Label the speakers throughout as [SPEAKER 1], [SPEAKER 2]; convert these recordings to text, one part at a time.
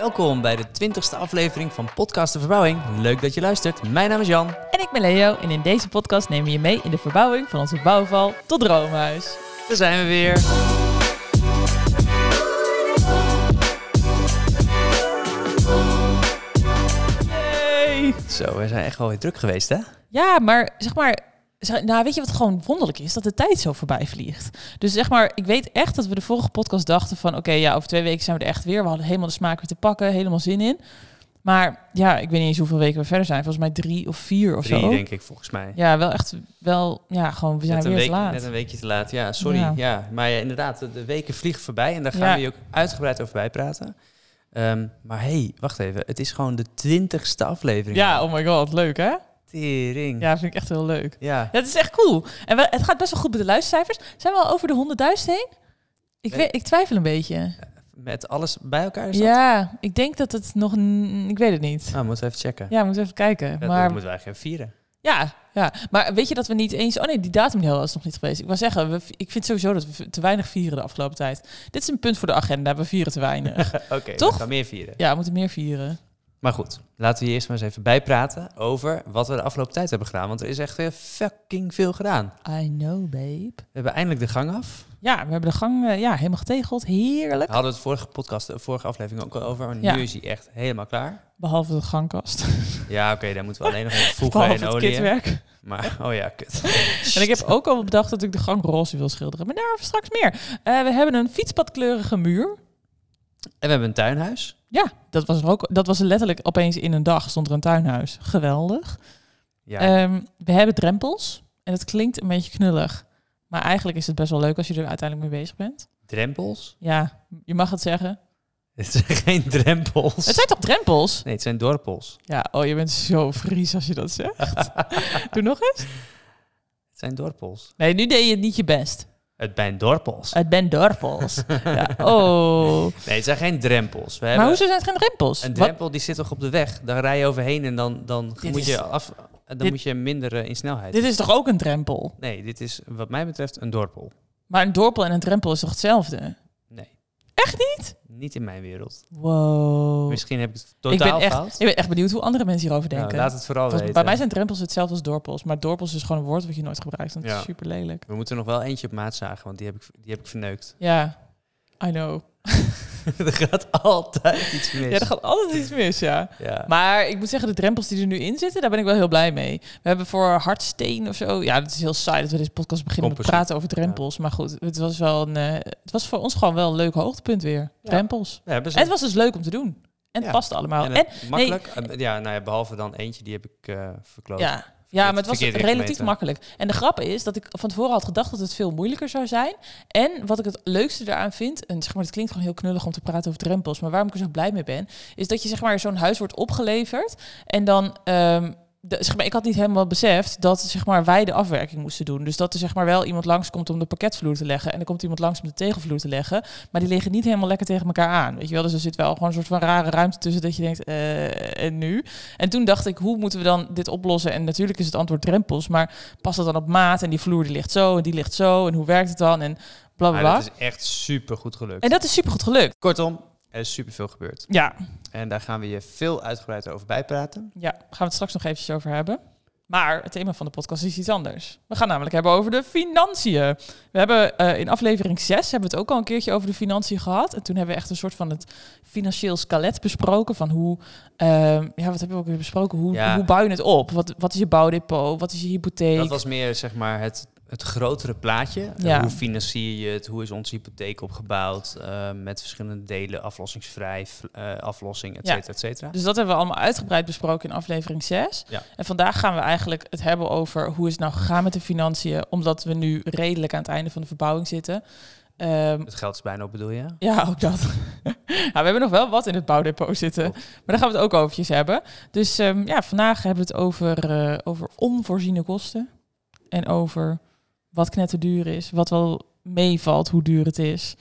[SPEAKER 1] Welkom bij de 20ste aflevering van Podcast de Verbouwing. Leuk dat je luistert. Mijn naam is Jan.
[SPEAKER 2] En ik ben Leo en in deze podcast nemen we je mee in de verbouwing van onze bouwval tot droomhuis.
[SPEAKER 1] Daar zijn we weer.
[SPEAKER 2] Yay!
[SPEAKER 1] Zo, we zijn echt wel weer druk geweest, hè?
[SPEAKER 2] Ja, maar zeg maar, zeg- nou weet je wat gewoon wonderlijk is? Dat de tijd zo voorbij vliegt. Dus zeg maar, ik weet echt dat we de vorige podcast dachten van oké, ja, over twee weken zijn we er echt weer. We hadden helemaal de smaak weer te pakken, helemaal zin in. Maar ja, ik weet niet eens hoeveel weken we verder zijn. Volgens mij drie of vier of zo.
[SPEAKER 1] Drie, denk ik, volgens mij.
[SPEAKER 2] Ja, wel echt, wel, ja, gewoon, we zijn
[SPEAKER 1] net, een
[SPEAKER 2] weer
[SPEAKER 1] week-
[SPEAKER 2] te laat.
[SPEAKER 1] net een weekje te laat, ja, sorry. Ja.
[SPEAKER 2] Ja.
[SPEAKER 1] Maar ja, inderdaad, de, de weken vliegen voorbij en daar gaan
[SPEAKER 2] Ja.
[SPEAKER 1] we je ook uitgebreid over bijpraten. Ehm, maar hé, hey, wacht even. Het is gewoon de 20ste aflevering.
[SPEAKER 2] Ja, oh my god, leuk hè?
[SPEAKER 1] Tering.
[SPEAKER 2] Ja, vind ik echt heel leuk.
[SPEAKER 1] Ja.
[SPEAKER 2] Ja, het is echt cool. En we- het gaat best wel goed met de luistercijfers. Zijn we al over de 100.000 heen? Ik,
[SPEAKER 1] Nee.
[SPEAKER 2] weet, ik twijfel een beetje.
[SPEAKER 1] Met alles bij elkaar is dat?
[SPEAKER 2] Ja, ik denk dat het nog... n- Ik weet het niet.
[SPEAKER 1] Nou, moeten we even checken.
[SPEAKER 2] Ja, we moeten even kijken.
[SPEAKER 1] Dat
[SPEAKER 2] maar,
[SPEAKER 1] moeten we eigenlijk even vieren.
[SPEAKER 2] ja, ja, maar weet je dat we niet eens... Oh nee, die datum is nog niet geweest. Ik wou zeggen, we, ik vind sowieso dat we te weinig vieren de afgelopen tijd. Dit is een punt voor de agenda. We vieren te weinig.
[SPEAKER 1] Oké, we
[SPEAKER 2] Toch?
[SPEAKER 1] gaan meer vieren.
[SPEAKER 2] ja, we moeten meer vieren.
[SPEAKER 1] Maar goed, laten we hier eerst maar eens even bijpraten over wat we de afgelopen tijd hebben gedaan. Want er is echt weer fucking veel gedaan.
[SPEAKER 2] I know, babe.
[SPEAKER 1] We hebben eindelijk de gang af.
[SPEAKER 2] Ja, we hebben de gang eh, ja, helemaal getegeld. Heerlijk.
[SPEAKER 1] We hadden het vorige podcast, de vorige aflevering ook al over. Maar
[SPEAKER 2] Ja.
[SPEAKER 1] nu is hij echt helemaal klaar.
[SPEAKER 2] Behalve de gangkast.
[SPEAKER 1] Ja, oké, daar moeten we alleen nog even vroeg bij
[SPEAKER 2] Behalve
[SPEAKER 1] en
[SPEAKER 2] het
[SPEAKER 1] olie. in.
[SPEAKER 2] kitwerk.
[SPEAKER 1] Maar, oh ja, kut.
[SPEAKER 2] En ik heb ook al bedacht dat ik de gang roze wil schilderen. Maar daarover straks meer. Eh, we hebben een fietspadkleurige muur.
[SPEAKER 1] En we hebben een tuinhuis.
[SPEAKER 2] Ja, dat was, er ook, dat was er letterlijk opeens in een dag stond er een tuinhuis. Geweldig.
[SPEAKER 1] Ja,
[SPEAKER 2] Ehm, we hebben drempels. En het klinkt een beetje knullig. Maar eigenlijk is het best wel leuk als je er uiteindelijk mee bezig bent.
[SPEAKER 1] drempels.
[SPEAKER 2] Ja, je mag het zeggen.
[SPEAKER 1] Het zijn geen drempels.
[SPEAKER 2] Het zijn toch drempels?
[SPEAKER 1] Nee, het zijn dorpels.
[SPEAKER 2] Ja, oh, je bent zo vries als je dat zegt. Doe nog eens.
[SPEAKER 1] Het zijn dorpels.
[SPEAKER 2] Nee, nu deed je niet je best.
[SPEAKER 1] Het zijn dorpels.
[SPEAKER 2] Het ben dorpels. Ja, oh.
[SPEAKER 1] Nee, het zijn geen drempels. We
[SPEAKER 2] Maar
[SPEAKER 1] hebben
[SPEAKER 2] hoezo zijn het geen drempels?
[SPEAKER 1] een
[SPEAKER 2] Wat-
[SPEAKER 1] drempel die zit toch op de weg. Dan rij je overheen en dan, dan,
[SPEAKER 2] Dit
[SPEAKER 1] moet,
[SPEAKER 2] is-
[SPEAKER 1] je af, dan
[SPEAKER 2] dit-
[SPEAKER 1] moet je minder eh, in snelheid.
[SPEAKER 2] Dit is toch ook een drempel?
[SPEAKER 1] Nee, dit is wat mij betreft een dorpel.
[SPEAKER 2] Maar een dorpel en een drempel is toch hetzelfde?
[SPEAKER 1] Nee,
[SPEAKER 2] Echt niet?
[SPEAKER 1] niet in mijn wereld.
[SPEAKER 2] Wow.
[SPEAKER 1] Misschien heb ik het
[SPEAKER 2] Oh. Ik ben,
[SPEAKER 1] totaal
[SPEAKER 2] echt,
[SPEAKER 1] fout.
[SPEAKER 2] ik ben echt benieuwd hoe andere mensen hierover
[SPEAKER 1] Nou,
[SPEAKER 2] denken.
[SPEAKER 1] laat het vooral
[SPEAKER 2] Volgens-
[SPEAKER 1] weten.
[SPEAKER 2] bij mij zijn drempels hetzelfde als dorpels. Maar dorpels is gewoon een woord wat je nooit gebruikt. Want het
[SPEAKER 1] Ja.
[SPEAKER 2] is super lelijk.
[SPEAKER 1] We moeten nog wel eentje op maat zagen, want die heb ik, die heb ik verneukt.
[SPEAKER 2] Ja, I know.
[SPEAKER 1] er gaat altijd iets mis.
[SPEAKER 2] Ja, er gaat altijd iets mis, ja.
[SPEAKER 1] Ja. Nou,
[SPEAKER 2] Maar ik moet zeggen, de drempels die er nu in zitten, daar ben ik wel heel blij mee. We hebben voor hartsteen of zo. Ja, dat is heel saai dat we deze podcast beginnen met
[SPEAKER 1] Composite.
[SPEAKER 2] praten over drempels. Maar goed, het was wel een. eh, het was voor ons gewoon wel een leuk hoogtepunt weer.
[SPEAKER 1] Ja.
[SPEAKER 2] Drempels.
[SPEAKER 1] We hebben ze.
[SPEAKER 2] En het was dus leuk om te doen.
[SPEAKER 1] Ja.
[SPEAKER 2] En het past allemaal.
[SPEAKER 1] En
[SPEAKER 2] En,
[SPEAKER 1] het makkelijk. Eh, Ja, nou ja, behalve dan eentje, die heb ik eh verkloot.
[SPEAKER 2] ja. Ja, maar het was
[SPEAKER 1] verkeerd
[SPEAKER 2] relatief
[SPEAKER 1] ingemeten.
[SPEAKER 2] makkelijk. En de grap is dat ik van tevoren had gedacht dat het veel moeilijker zou zijn. En wat ik het leukste daaraan vind, en zeg maar, het klinkt gewoon heel knullig om te praten over drempels, maar waarom ik er zo blij mee ben, is dat je zeg maar zo'n huis wordt opgeleverd en dan. ehm, de, zeg maar, ik had niet helemaal beseft dat zeg maar, wij de afwerking moesten doen. Dus dat er zeg maar, wel iemand langskomt om de pakketvloer te leggen. En er komt iemand langs om de tegelvloer te leggen. Maar die liggen niet helemaal lekker tegen elkaar aan. Weet je wel? Dus er zit wel gewoon een soort van rare ruimte tussen dat je denkt, eh, en nu? En toen dacht ik, hoe moeten we dan dit oplossen? En natuurlijk is het antwoord drempels, maar past dat dan op maat? En die vloer die ligt zo en die ligt zo. En hoe werkt het dan? En bla bla
[SPEAKER 1] Maar
[SPEAKER 2] bla.
[SPEAKER 1] dat is echt super goed gelukt.
[SPEAKER 2] En dat is supergoed gelukt.
[SPEAKER 1] Kortom, er is super veel gebeurd.
[SPEAKER 2] Ja,
[SPEAKER 1] En daar gaan we je veel uitgebreider over bijpraten.
[SPEAKER 2] ja, gaan we het straks nog eventjes over hebben. Maar het thema van de podcast is iets anders. We gaan namelijk hebben over de financiën. We hebben eh, in aflevering 6 hebben we het ook al een keertje over de financiën gehad. En toen hebben we echt een soort van het financieel skelet besproken. Van hoe, ehm, ja, wat hebben we ook weer besproken? Hoe,
[SPEAKER 1] Ja.
[SPEAKER 2] hoe bouw je het op? Wat, wat is je bouwdepot? Wat is je hypotheek?
[SPEAKER 1] Dat was meer zeg maar het, het grotere plaatje. Eh,
[SPEAKER 2] Ja.
[SPEAKER 1] Hoe financier je het? Hoe is onze hypotheek opgebouwd? eh, met verschillende delen, aflossingsvrij, v- eh, aflossing, et
[SPEAKER 2] Ja.
[SPEAKER 1] cetera, et cetera.
[SPEAKER 2] Dus dat hebben we allemaal uitgebreid besproken in aflevering 6.
[SPEAKER 1] Ja.
[SPEAKER 2] En vandaag gaan we eigenlijk het hebben over hoe is het nou gegaan met de financiën. Omdat we nu redelijk aan het einde van de verbouwing zitten. Ehm,
[SPEAKER 1] Het geld is bijna op, bedoel je?
[SPEAKER 2] ja, ook dat. ja, we hebben nog wel wat in het bouwdepot zitten.
[SPEAKER 1] Klopt.
[SPEAKER 2] Maar daar gaan we het ook overjes hebben. Dus ehm, ja, vandaag hebben we het over, eh, over onvoorziene kosten. En over wat knetterduur is. Wat wel meevalt, hoe duur het is.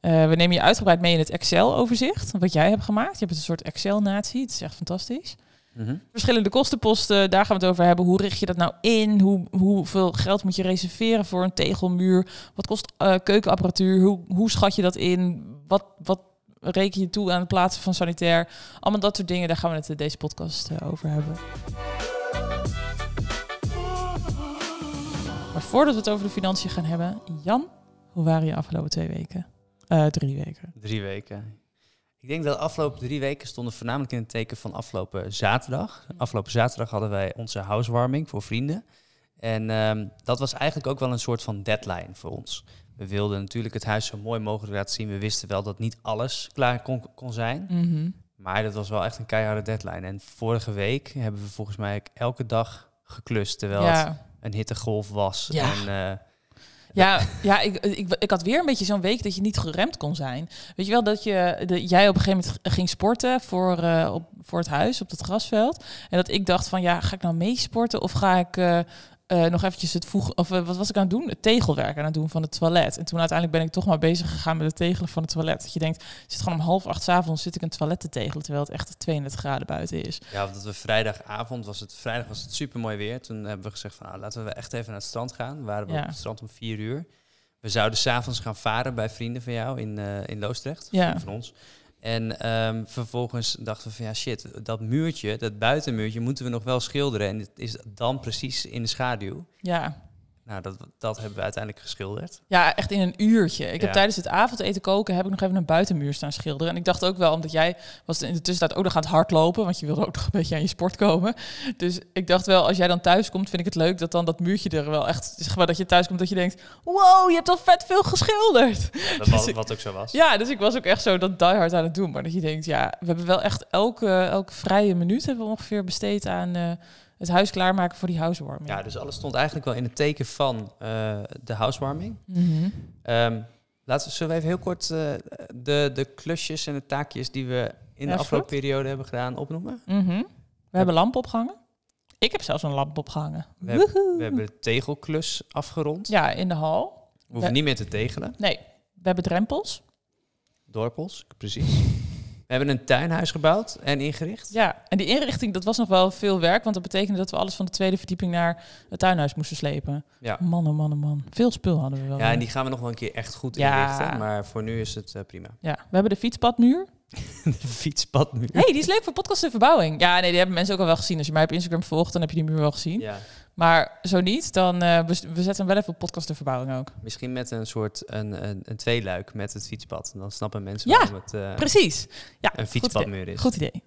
[SPEAKER 2] Eh, we nemen je uitgebreid mee in het Excel-overzicht. Wat jij hebt gemaakt. Je hebt een soort Excel-natie. Het is echt fantastisch.
[SPEAKER 1] Mhm.
[SPEAKER 2] Verschillende kostenposten, daar gaan we het over hebben. Hoe richt je dat nou in? Hoe, hoeveel geld moet je reserveren voor een tegelmuur? Wat kost eh, keukenapparatuur? Hoe, hoe schat je dat in? Wat, wat, reken je toe aan het plaatsen van sanitair? Allemaal dat soort dingen, daar gaan we het in deze podcast eh, over hebben. Maar voordat we het over de financiën gaan hebben, Jan, hoe waren je afgelopen twee weken? Eh, drie weken.
[SPEAKER 1] Drie weken. Ik denk dat de afgelopen drie weken stonden voornamelijk in het teken van afgelopen zaterdag.
[SPEAKER 2] Mhm.
[SPEAKER 1] Afgelopen zaterdag hadden wij onze housewarming voor vrienden. En ehm, dat was eigenlijk ook wel een soort van deadline voor ons. We wilden natuurlijk het huis zo mooi mogelijk laten zien. We wisten wel dat niet alles klaar kon, kon zijn. Maar dat was wel echt een keiharde deadline. En vorige week hebben we volgens mij elke dag geklust. Terwijl het
[SPEAKER 2] Ja.
[SPEAKER 1] een hittegolf was.
[SPEAKER 2] Ja.
[SPEAKER 1] En, eh,
[SPEAKER 2] Ja, ja ik, ik, ik had weer een beetje zo'n week dat je niet geremd kon zijn. Weet je wel, dat je, de, jij op een gegeven moment ging sporten voor, eh, op, voor het huis op het grasveld. En dat ik dacht van, ja, ga ik nou meesporten of ga ik eh, eh, nog eventjes het voegen... Of eh, wat was ik aan het doen? Het tegelwerk aan het doen van het toilet. En toen uiteindelijk ben ik toch maar bezig gegaan met het tegelen van het toilet. Dat je denkt, ik zit gewoon om half acht 's avonds zit ik een toilet te tegelen... terwijl het echt 32 graden buiten is.
[SPEAKER 1] Ja, omdat we vrijdagavond was het, vrijdag was het super mooi weer. Toen hebben we gezegd van nou, laten we echt even naar het strand gaan. We waren we
[SPEAKER 2] Ja.
[SPEAKER 1] op het strand om vier uur. We zouden s'avonds gaan varen bij vrienden van jou in, eh, in Loosdrecht,
[SPEAKER 2] Ja.
[SPEAKER 1] vrienden van ons. En ehm, vervolgens dachten we van ja shit, dat muurtje, dat buitenmuurtje moeten we nog wel schilderen. En het is dan precies in de schaduw.
[SPEAKER 2] Ja,
[SPEAKER 1] Nou, dat, dat hebben we uiteindelijk geschilderd.
[SPEAKER 2] Ja, echt in een uurtje. Ik heb
[SPEAKER 1] Ja.
[SPEAKER 2] tijdens het avondeten koken heb ik nog even een buitenmuur staan schilderen. En ik dacht ook wel, omdat jij was in de tussentijd ook nog aan het hardlopen, want je wilde ook nog een beetje aan je sport komen. Dus ik dacht wel, als jij dan thuis komt, vind ik het leuk dat dan dat muurtje er wel echt, zeg maar dat je thuis komt, dat je denkt, wow, je hebt al vet veel geschilderd.
[SPEAKER 1] Ja, dat
[SPEAKER 2] Dus
[SPEAKER 1] was,
[SPEAKER 2] ik-
[SPEAKER 1] wat ook zo was.
[SPEAKER 2] Ja, dus ik was ook echt zo dat die hard aan het doen. Maar dat je denkt, ja, we hebben wel echt elke, elke vrije minuut hebben we ongeveer besteed aan eh, het huis klaarmaken voor die housewarming.
[SPEAKER 1] Ja, dus alles stond eigenlijk wel in het teken van eh, de housewarming.
[SPEAKER 2] Mhm.
[SPEAKER 1] Ehm, laten we, zullen we even heel kort eh, de, de klusjes en de taakjes die we in
[SPEAKER 2] Ja,
[SPEAKER 1] de
[SPEAKER 2] is
[SPEAKER 1] afgelopen periode hebben gedaan opnoemen?
[SPEAKER 2] Mhm. We hebben lampen opgehangen. Ik heb zelfs een lamp opgehangen.
[SPEAKER 1] We hebben, we hebben de tegelklus afgerond.
[SPEAKER 2] Ja, in de hal.
[SPEAKER 1] We hoeven
[SPEAKER 2] we-
[SPEAKER 1] niet meer te tegelen.
[SPEAKER 2] Nee, we hebben drempels.
[SPEAKER 1] Dorpels, precies. We hebben een tuinhuis gebouwd en ingericht.
[SPEAKER 2] Ja, en die inrichting, dat was nog wel veel werk. Want dat betekende dat we alles van de tweede verdieping naar het tuinhuis moesten slepen.
[SPEAKER 1] Ja.
[SPEAKER 2] Man, oh man, oh man. Veel spul hadden we wel.
[SPEAKER 1] Ja, en die gaan we nog wel een keer echt goed
[SPEAKER 2] Ja.
[SPEAKER 1] inrichten. Maar voor nu is het eh, prima.
[SPEAKER 2] Ja, we hebben de fietspadmuur.
[SPEAKER 1] De fietspad nu.
[SPEAKER 2] Hé, hey, die is leuk voor podcast en verbouwing. Ja, nee, die hebben mensen ook al wel gezien. Als je mij op Instagram volgt, dan heb je die muur wel gezien.
[SPEAKER 1] Ja,
[SPEAKER 2] Maar zo niet, dan eh, we, we zetten hem wel even op podcast en verbouwing ook.
[SPEAKER 1] misschien met een soort een, een, een tweeluik met het fietspad. En Dan snappen mensen
[SPEAKER 2] Ja,
[SPEAKER 1] waarom het eh,
[SPEAKER 2] Precies. Ja,
[SPEAKER 1] een fietspadmuur is.
[SPEAKER 2] Goed idee.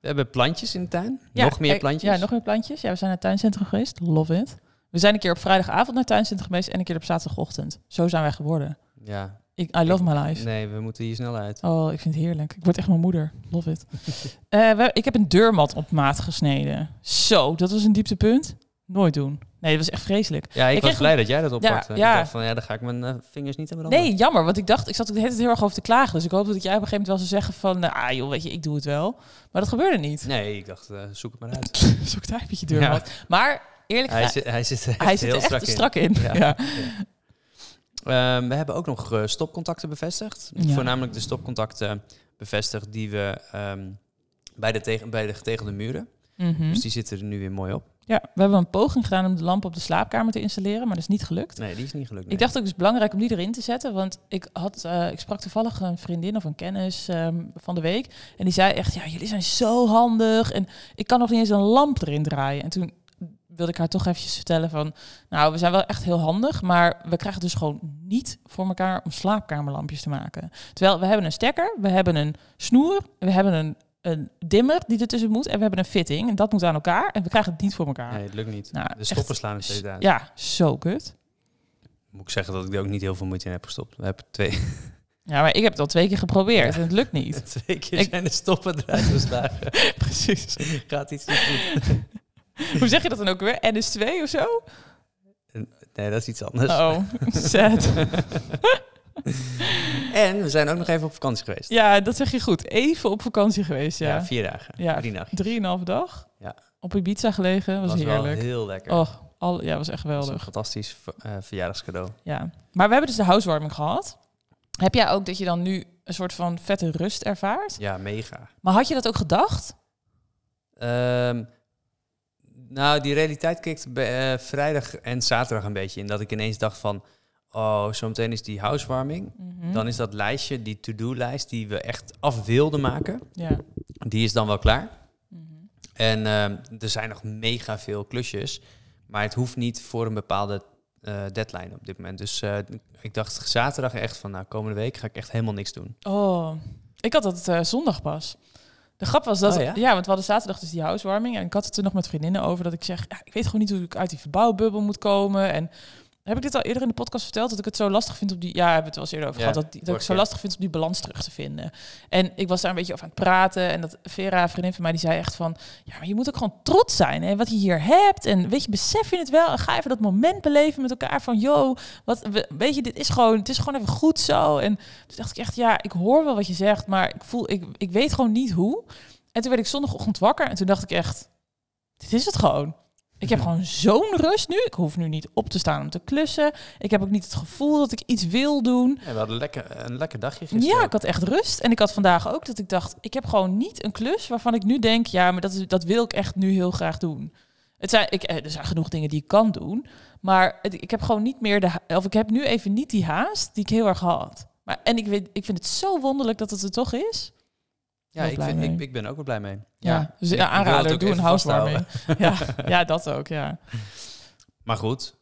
[SPEAKER 1] We hebben plantjes in de tuin.
[SPEAKER 2] Ja,
[SPEAKER 1] nog meer
[SPEAKER 2] kijk,
[SPEAKER 1] plantjes.
[SPEAKER 2] Ja, nog meer plantjes. Ja, we zijn naar het tuincentrum geweest. Love it. We zijn een keer op vrijdagavond naar het tuincentrum geweest en een keer op zaterdagochtend. Zo zijn wij geworden.
[SPEAKER 1] ja,
[SPEAKER 2] Ik, I love my life.
[SPEAKER 1] Nee, we moeten hier snel uit.
[SPEAKER 2] Oh, ik vind het heerlijk. Ik word echt mijn moeder. Love it. Eh, we- ik heb een deurmat op maat gesneden. Zo, dat was een dieptepunt. Nooit doen. Nee, dat was echt vreselijk.
[SPEAKER 1] Ja, ik,
[SPEAKER 2] Ik
[SPEAKER 1] was
[SPEAKER 2] kreeg
[SPEAKER 1] blij dat jij dat oppakte.
[SPEAKER 2] ja.
[SPEAKER 1] Ik dacht van, ja, dan ga ik mijn eh, vingers niet aan branden.
[SPEAKER 2] Nee, jammer, want ik dacht, ik zat ook de hele tijd heel erg over te klagen. Dus ik hoop dat jij op een gegeven moment wel zou zeggen van, nou, ah joh, weet je, ik doe het wel. Maar dat gebeurde niet.
[SPEAKER 1] Nee, ik dacht, eh, zoek het maar uit.
[SPEAKER 2] Zoek daar met je deurmat. Maar eerlijk
[SPEAKER 1] Hij
[SPEAKER 2] gezegd,
[SPEAKER 1] zit, hij zit, echt
[SPEAKER 2] hij zit
[SPEAKER 1] heel
[SPEAKER 2] er
[SPEAKER 1] strak
[SPEAKER 2] echt
[SPEAKER 1] in.
[SPEAKER 2] strak in.
[SPEAKER 1] Ja.
[SPEAKER 2] ja.
[SPEAKER 1] Ehm, we hebben ook nog eh, stopcontacten bevestigd.
[SPEAKER 2] Ja.
[SPEAKER 1] Voornamelijk de stopcontacten bevestigd die we ehm, bij, de tegen, bij de getegelde muren.
[SPEAKER 2] Mhm.
[SPEAKER 1] Dus die zitten er nu weer mooi op.
[SPEAKER 2] Ja, we hebben een poging gedaan om de lamp op de slaapkamer te installeren, maar dat is niet gelukt.
[SPEAKER 1] Nee, die is niet gelukt.
[SPEAKER 2] Ik dacht ook, het is belangrijk om die erin te zetten, want ik, had, eh, ik sprak toevallig een vriendin of een kennis ehm, van de week en die zei echt, ja, jullie zijn zo handig en ik kan nog niet eens een lamp erin draaien. En toen wilde ik haar toch eventjes vertellen van, nou, we zijn wel echt heel handig, maar we krijgen het dus gewoon niet voor elkaar om slaapkamerlampjes te maken. Terwijl we hebben een stekker, we hebben een snoer, we hebben een, een dimmer die ertussen moet en we hebben een fitting en dat moet aan elkaar en we krijgen het niet voor elkaar.
[SPEAKER 1] Nee, het lukt niet.
[SPEAKER 2] Nou,
[SPEAKER 1] de
[SPEAKER 2] echt
[SPEAKER 1] stoppen slaan het steeds
[SPEAKER 2] S-
[SPEAKER 1] uit.
[SPEAKER 2] Ja, zo kut.
[SPEAKER 1] Moet ik zeggen dat ik er ook niet heel veel moeite in heb gestopt. We hebben twee,
[SPEAKER 2] Ja, maar ik heb het al twee keer geprobeerd en het lukt niet.
[SPEAKER 1] twee keer
[SPEAKER 2] Ik-
[SPEAKER 1] zijn de stoppen eruit geslagen.
[SPEAKER 2] Precies.
[SPEAKER 1] Gaat iets niet goed.
[SPEAKER 2] Hoe zeg je dat dan ook weer? NS2 of zo?
[SPEAKER 1] Nee, dat is iets anders.
[SPEAKER 2] Oh, sad.
[SPEAKER 1] En we zijn ook nog even op vakantie geweest.
[SPEAKER 2] Ja, dat zeg je goed. Even op vakantie geweest,
[SPEAKER 1] Ja,
[SPEAKER 2] ja.
[SPEAKER 1] vier dagen.
[SPEAKER 2] Ja,
[SPEAKER 1] drie nachtjes.
[SPEAKER 2] Drieënhalve dag.
[SPEAKER 1] Ja.
[SPEAKER 2] Op Ibiza gelegen, was,
[SPEAKER 1] was
[SPEAKER 2] heerlijk.
[SPEAKER 1] wel heel lekker.
[SPEAKER 2] Oh, al, ja, was echt
[SPEAKER 1] dat was een
[SPEAKER 2] geweldig.
[SPEAKER 1] fantastisch ver- eh, verjaardagscadeau.
[SPEAKER 2] Ja. Maar we hebben dus de housewarming gehad. Heb jij ook dat je dan nu een soort van vette rust ervaart?
[SPEAKER 1] Ja, mega.
[SPEAKER 2] Maar had je dat ook gedacht?
[SPEAKER 1] Ehm, nou, die realiteit kikt bij, eh, vrijdag en zaterdag een beetje in. Dat ik ineens dacht van... oh, zometeen is die housewarming.
[SPEAKER 2] Mhm.
[SPEAKER 1] Dan is dat lijstje, die to-do-lijst die we echt af wilden maken,
[SPEAKER 2] Ja.
[SPEAKER 1] die is dan wel klaar.
[SPEAKER 2] Mhm.
[SPEAKER 1] En ehm, er zijn nog mega veel klusjes, maar het hoeft niet voor een bepaalde eh, deadline op dit moment. Dus eh, ik dacht zaterdag echt van, nou, komende week ga ik echt helemaal niks doen.
[SPEAKER 2] Oh, ik had dat eh, zondag pas. De grap was dat,
[SPEAKER 1] Oh, ja?
[SPEAKER 2] ja? want we hadden zaterdag dus die housewarming. En ik had het er nog met vriendinnen over dat ik zeg, ja, ik weet gewoon niet hoe ik uit die verbouwbubbel moet komen. En heb ik dit al eerder in de podcast verteld? Dat ik het zo lastig vind op die. Ja, hebben we het wel eens eerder over
[SPEAKER 1] Ja,
[SPEAKER 2] gehad. Dat, die- dat ik
[SPEAKER 1] vorige
[SPEAKER 2] zo
[SPEAKER 1] keer.
[SPEAKER 2] lastig vind om die balans terug te vinden. En ik was daar een beetje over aan het praten. En dat Vera, een vriendin van mij, die zei echt van. Ja, maar je moet ook gewoon trots zijn. En wat je hier hebt. En weet je, besef je het wel. En ga even dat moment beleven met elkaar. Van yo, wat, we- weet je, dit is gewoon. Het is gewoon even goed zo. En toen dacht ik echt, ja, ik hoor wel wat je zegt. Maar ik voel, ik, ik weet gewoon niet hoe. En toen werd ik zondagochtend wakker. En toen dacht ik echt, dit is het gewoon. Ik heb gewoon zo'n rust nu. Ik hoef nu niet op te staan om te klussen. Ik heb ook niet het gevoel dat ik iets wil doen.
[SPEAKER 1] En we hadden lekker, een lekker dagje
[SPEAKER 2] Ja, ik had echt rust. En ik had vandaag ook dat ik dacht, ik heb gewoon niet een klus waarvan ik nu denk, ja, maar dat, is, dat wil ik echt nu heel graag doen. Het zijn, ik, eh, er zijn genoeg dingen die ik kan doen. Maar het- ik heb gewoon niet meer de. ha- Of ik heb nu even niet die haast die ik heel erg had. Maar, en ik, weet, ik vind het zo wonderlijk dat het er toch is.
[SPEAKER 1] Ja,
[SPEAKER 2] Heel
[SPEAKER 1] ik,
[SPEAKER 2] blij
[SPEAKER 1] vind, ik,
[SPEAKER 2] mee.
[SPEAKER 1] ik ben er ook wel blij mee.
[SPEAKER 2] dus
[SPEAKER 1] Ik-
[SPEAKER 2] ja,
[SPEAKER 1] ik wil het
[SPEAKER 2] aanrader,
[SPEAKER 1] ook
[SPEAKER 2] doe een
[SPEAKER 1] even
[SPEAKER 2] housewarming. Ja, ja, dat ook, ja.
[SPEAKER 1] Maar goed,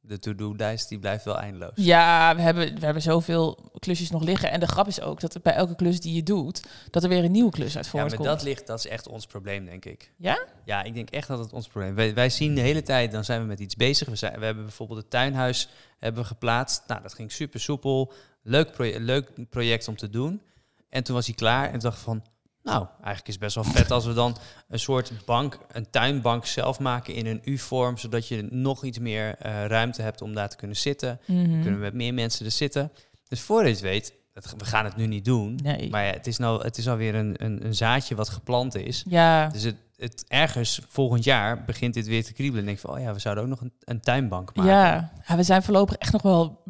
[SPEAKER 1] de to-do-lijst die blijft wel eindeloos.
[SPEAKER 2] Ja, we hebben, we hebben zoveel klusjes nog liggen. En de grap is ook dat er bij elke klus die je doet, dat er weer een nieuwe klus uit
[SPEAKER 1] Ja, maar
[SPEAKER 2] voortkomt.
[SPEAKER 1] dat ligt, dat is echt ons probleem, denk ik.
[SPEAKER 2] Ja?
[SPEAKER 1] Ja, ik denk echt dat het ons probleem is. Wij, wij zien de hele tijd, dan zijn we met iets bezig. We, zijn, we hebben bijvoorbeeld het tuinhuis hebben we geplaatst. Nou, dat ging super soepel. Leuk, proje- leuk project om te doen. En toen was hij klaar en dacht ik van... Nou, eigenlijk is het best wel vet als we dan een soort bank, een tuinbank zelf maken in een U-vorm, zodat je nog iets meer eh, ruimte hebt om daar te kunnen zitten.
[SPEAKER 2] Mhm.
[SPEAKER 1] Kunnen we met meer mensen er zitten. Dus voor je het weet, het- we gaan het nu niet doen.
[SPEAKER 2] Nee.
[SPEAKER 1] Maar ja, het is, nou, het is alweer een, een, een zaadje wat geplant is.
[SPEAKER 2] Ja,
[SPEAKER 1] Dus het, het, ergens volgend jaar begint dit weer te kriebelen. En denk ik van, oh ja, we zouden ook nog een, een tuinbank maken.
[SPEAKER 2] ja. ja, we zijn voorlopig echt nog wel,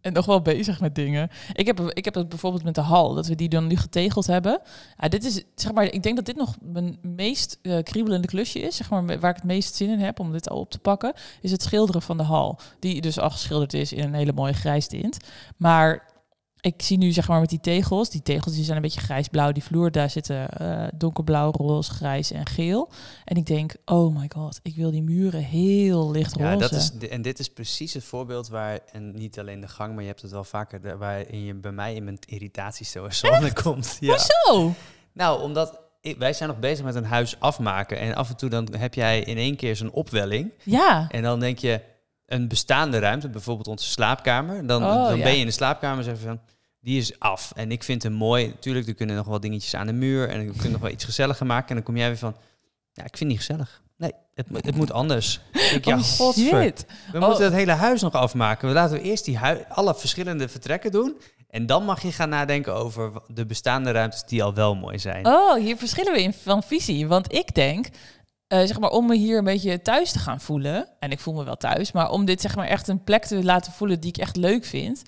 [SPEAKER 2] en nog wel bezig met dingen. Ik heb, ik heb het bijvoorbeeld met de hal, dat we die dan nu getegeld hebben. Ja, dit is, zeg maar, ik denk dat dit nog mijn meest eh, kriebelende klusje is, zeg maar, me- waar ik het meest zin in heb om dit al op te pakken, is het schilderen van de hal. Die dus al geschilderd is in een hele mooie grijs tint. Maar ik zie nu zeg maar met die tegels, die tegels die zijn een beetje grijsblauw, die vloer daar zitten eh, donkerblauw, roze, grijs en geel. En ik denk, oh my god, ik wil die muren heel licht roze.
[SPEAKER 1] Ja, dat is, di- en dit is precies het voorbeeld waar, en niet alleen de gang, maar je hebt het wel vaker, de- waarin je bij mij in mijn irritatiezone komt. Ja.
[SPEAKER 2] Hoezo?
[SPEAKER 1] Nou, omdat ik- wij zijn nog bezig met een huis afmaken. En af en toe dan heb jij in één keer zo'n opwelling.
[SPEAKER 2] Ja.
[SPEAKER 1] En dan denk je, een bestaande ruimte, bijvoorbeeld onze slaapkamer. Dan,
[SPEAKER 2] Oh,
[SPEAKER 1] dan
[SPEAKER 2] ja.
[SPEAKER 1] ben je in de slaapkamer en zeg je van, die is af. En ik vind hem mooi. Natuurlijk, er kunnen nog wel dingetjes aan de muur. En we kunnen nog wel iets gezelliger maken. En dan kom jij weer van, ja, ik vind het niet gezellig. Nee, het, moet- het moet anders. Ik denk, ja,
[SPEAKER 2] Oh,
[SPEAKER 1] godver.
[SPEAKER 2] shit.
[SPEAKER 1] We
[SPEAKER 2] Oh.
[SPEAKER 1] moeten het hele huis nog afmaken. We laten we eerst die hui- alle verschillende vertrekken doen. En dan mag je gaan nadenken over wa- de bestaande ruimtes die al wel mooi zijn.
[SPEAKER 2] Oh, hier verschillen we in van visie. Want ik denk, eh, zeg maar, om me hier een beetje thuis te gaan voelen. En ik voel me wel thuis. Maar om dit, zeg maar, echt een plek te laten voelen die ik echt leuk vind.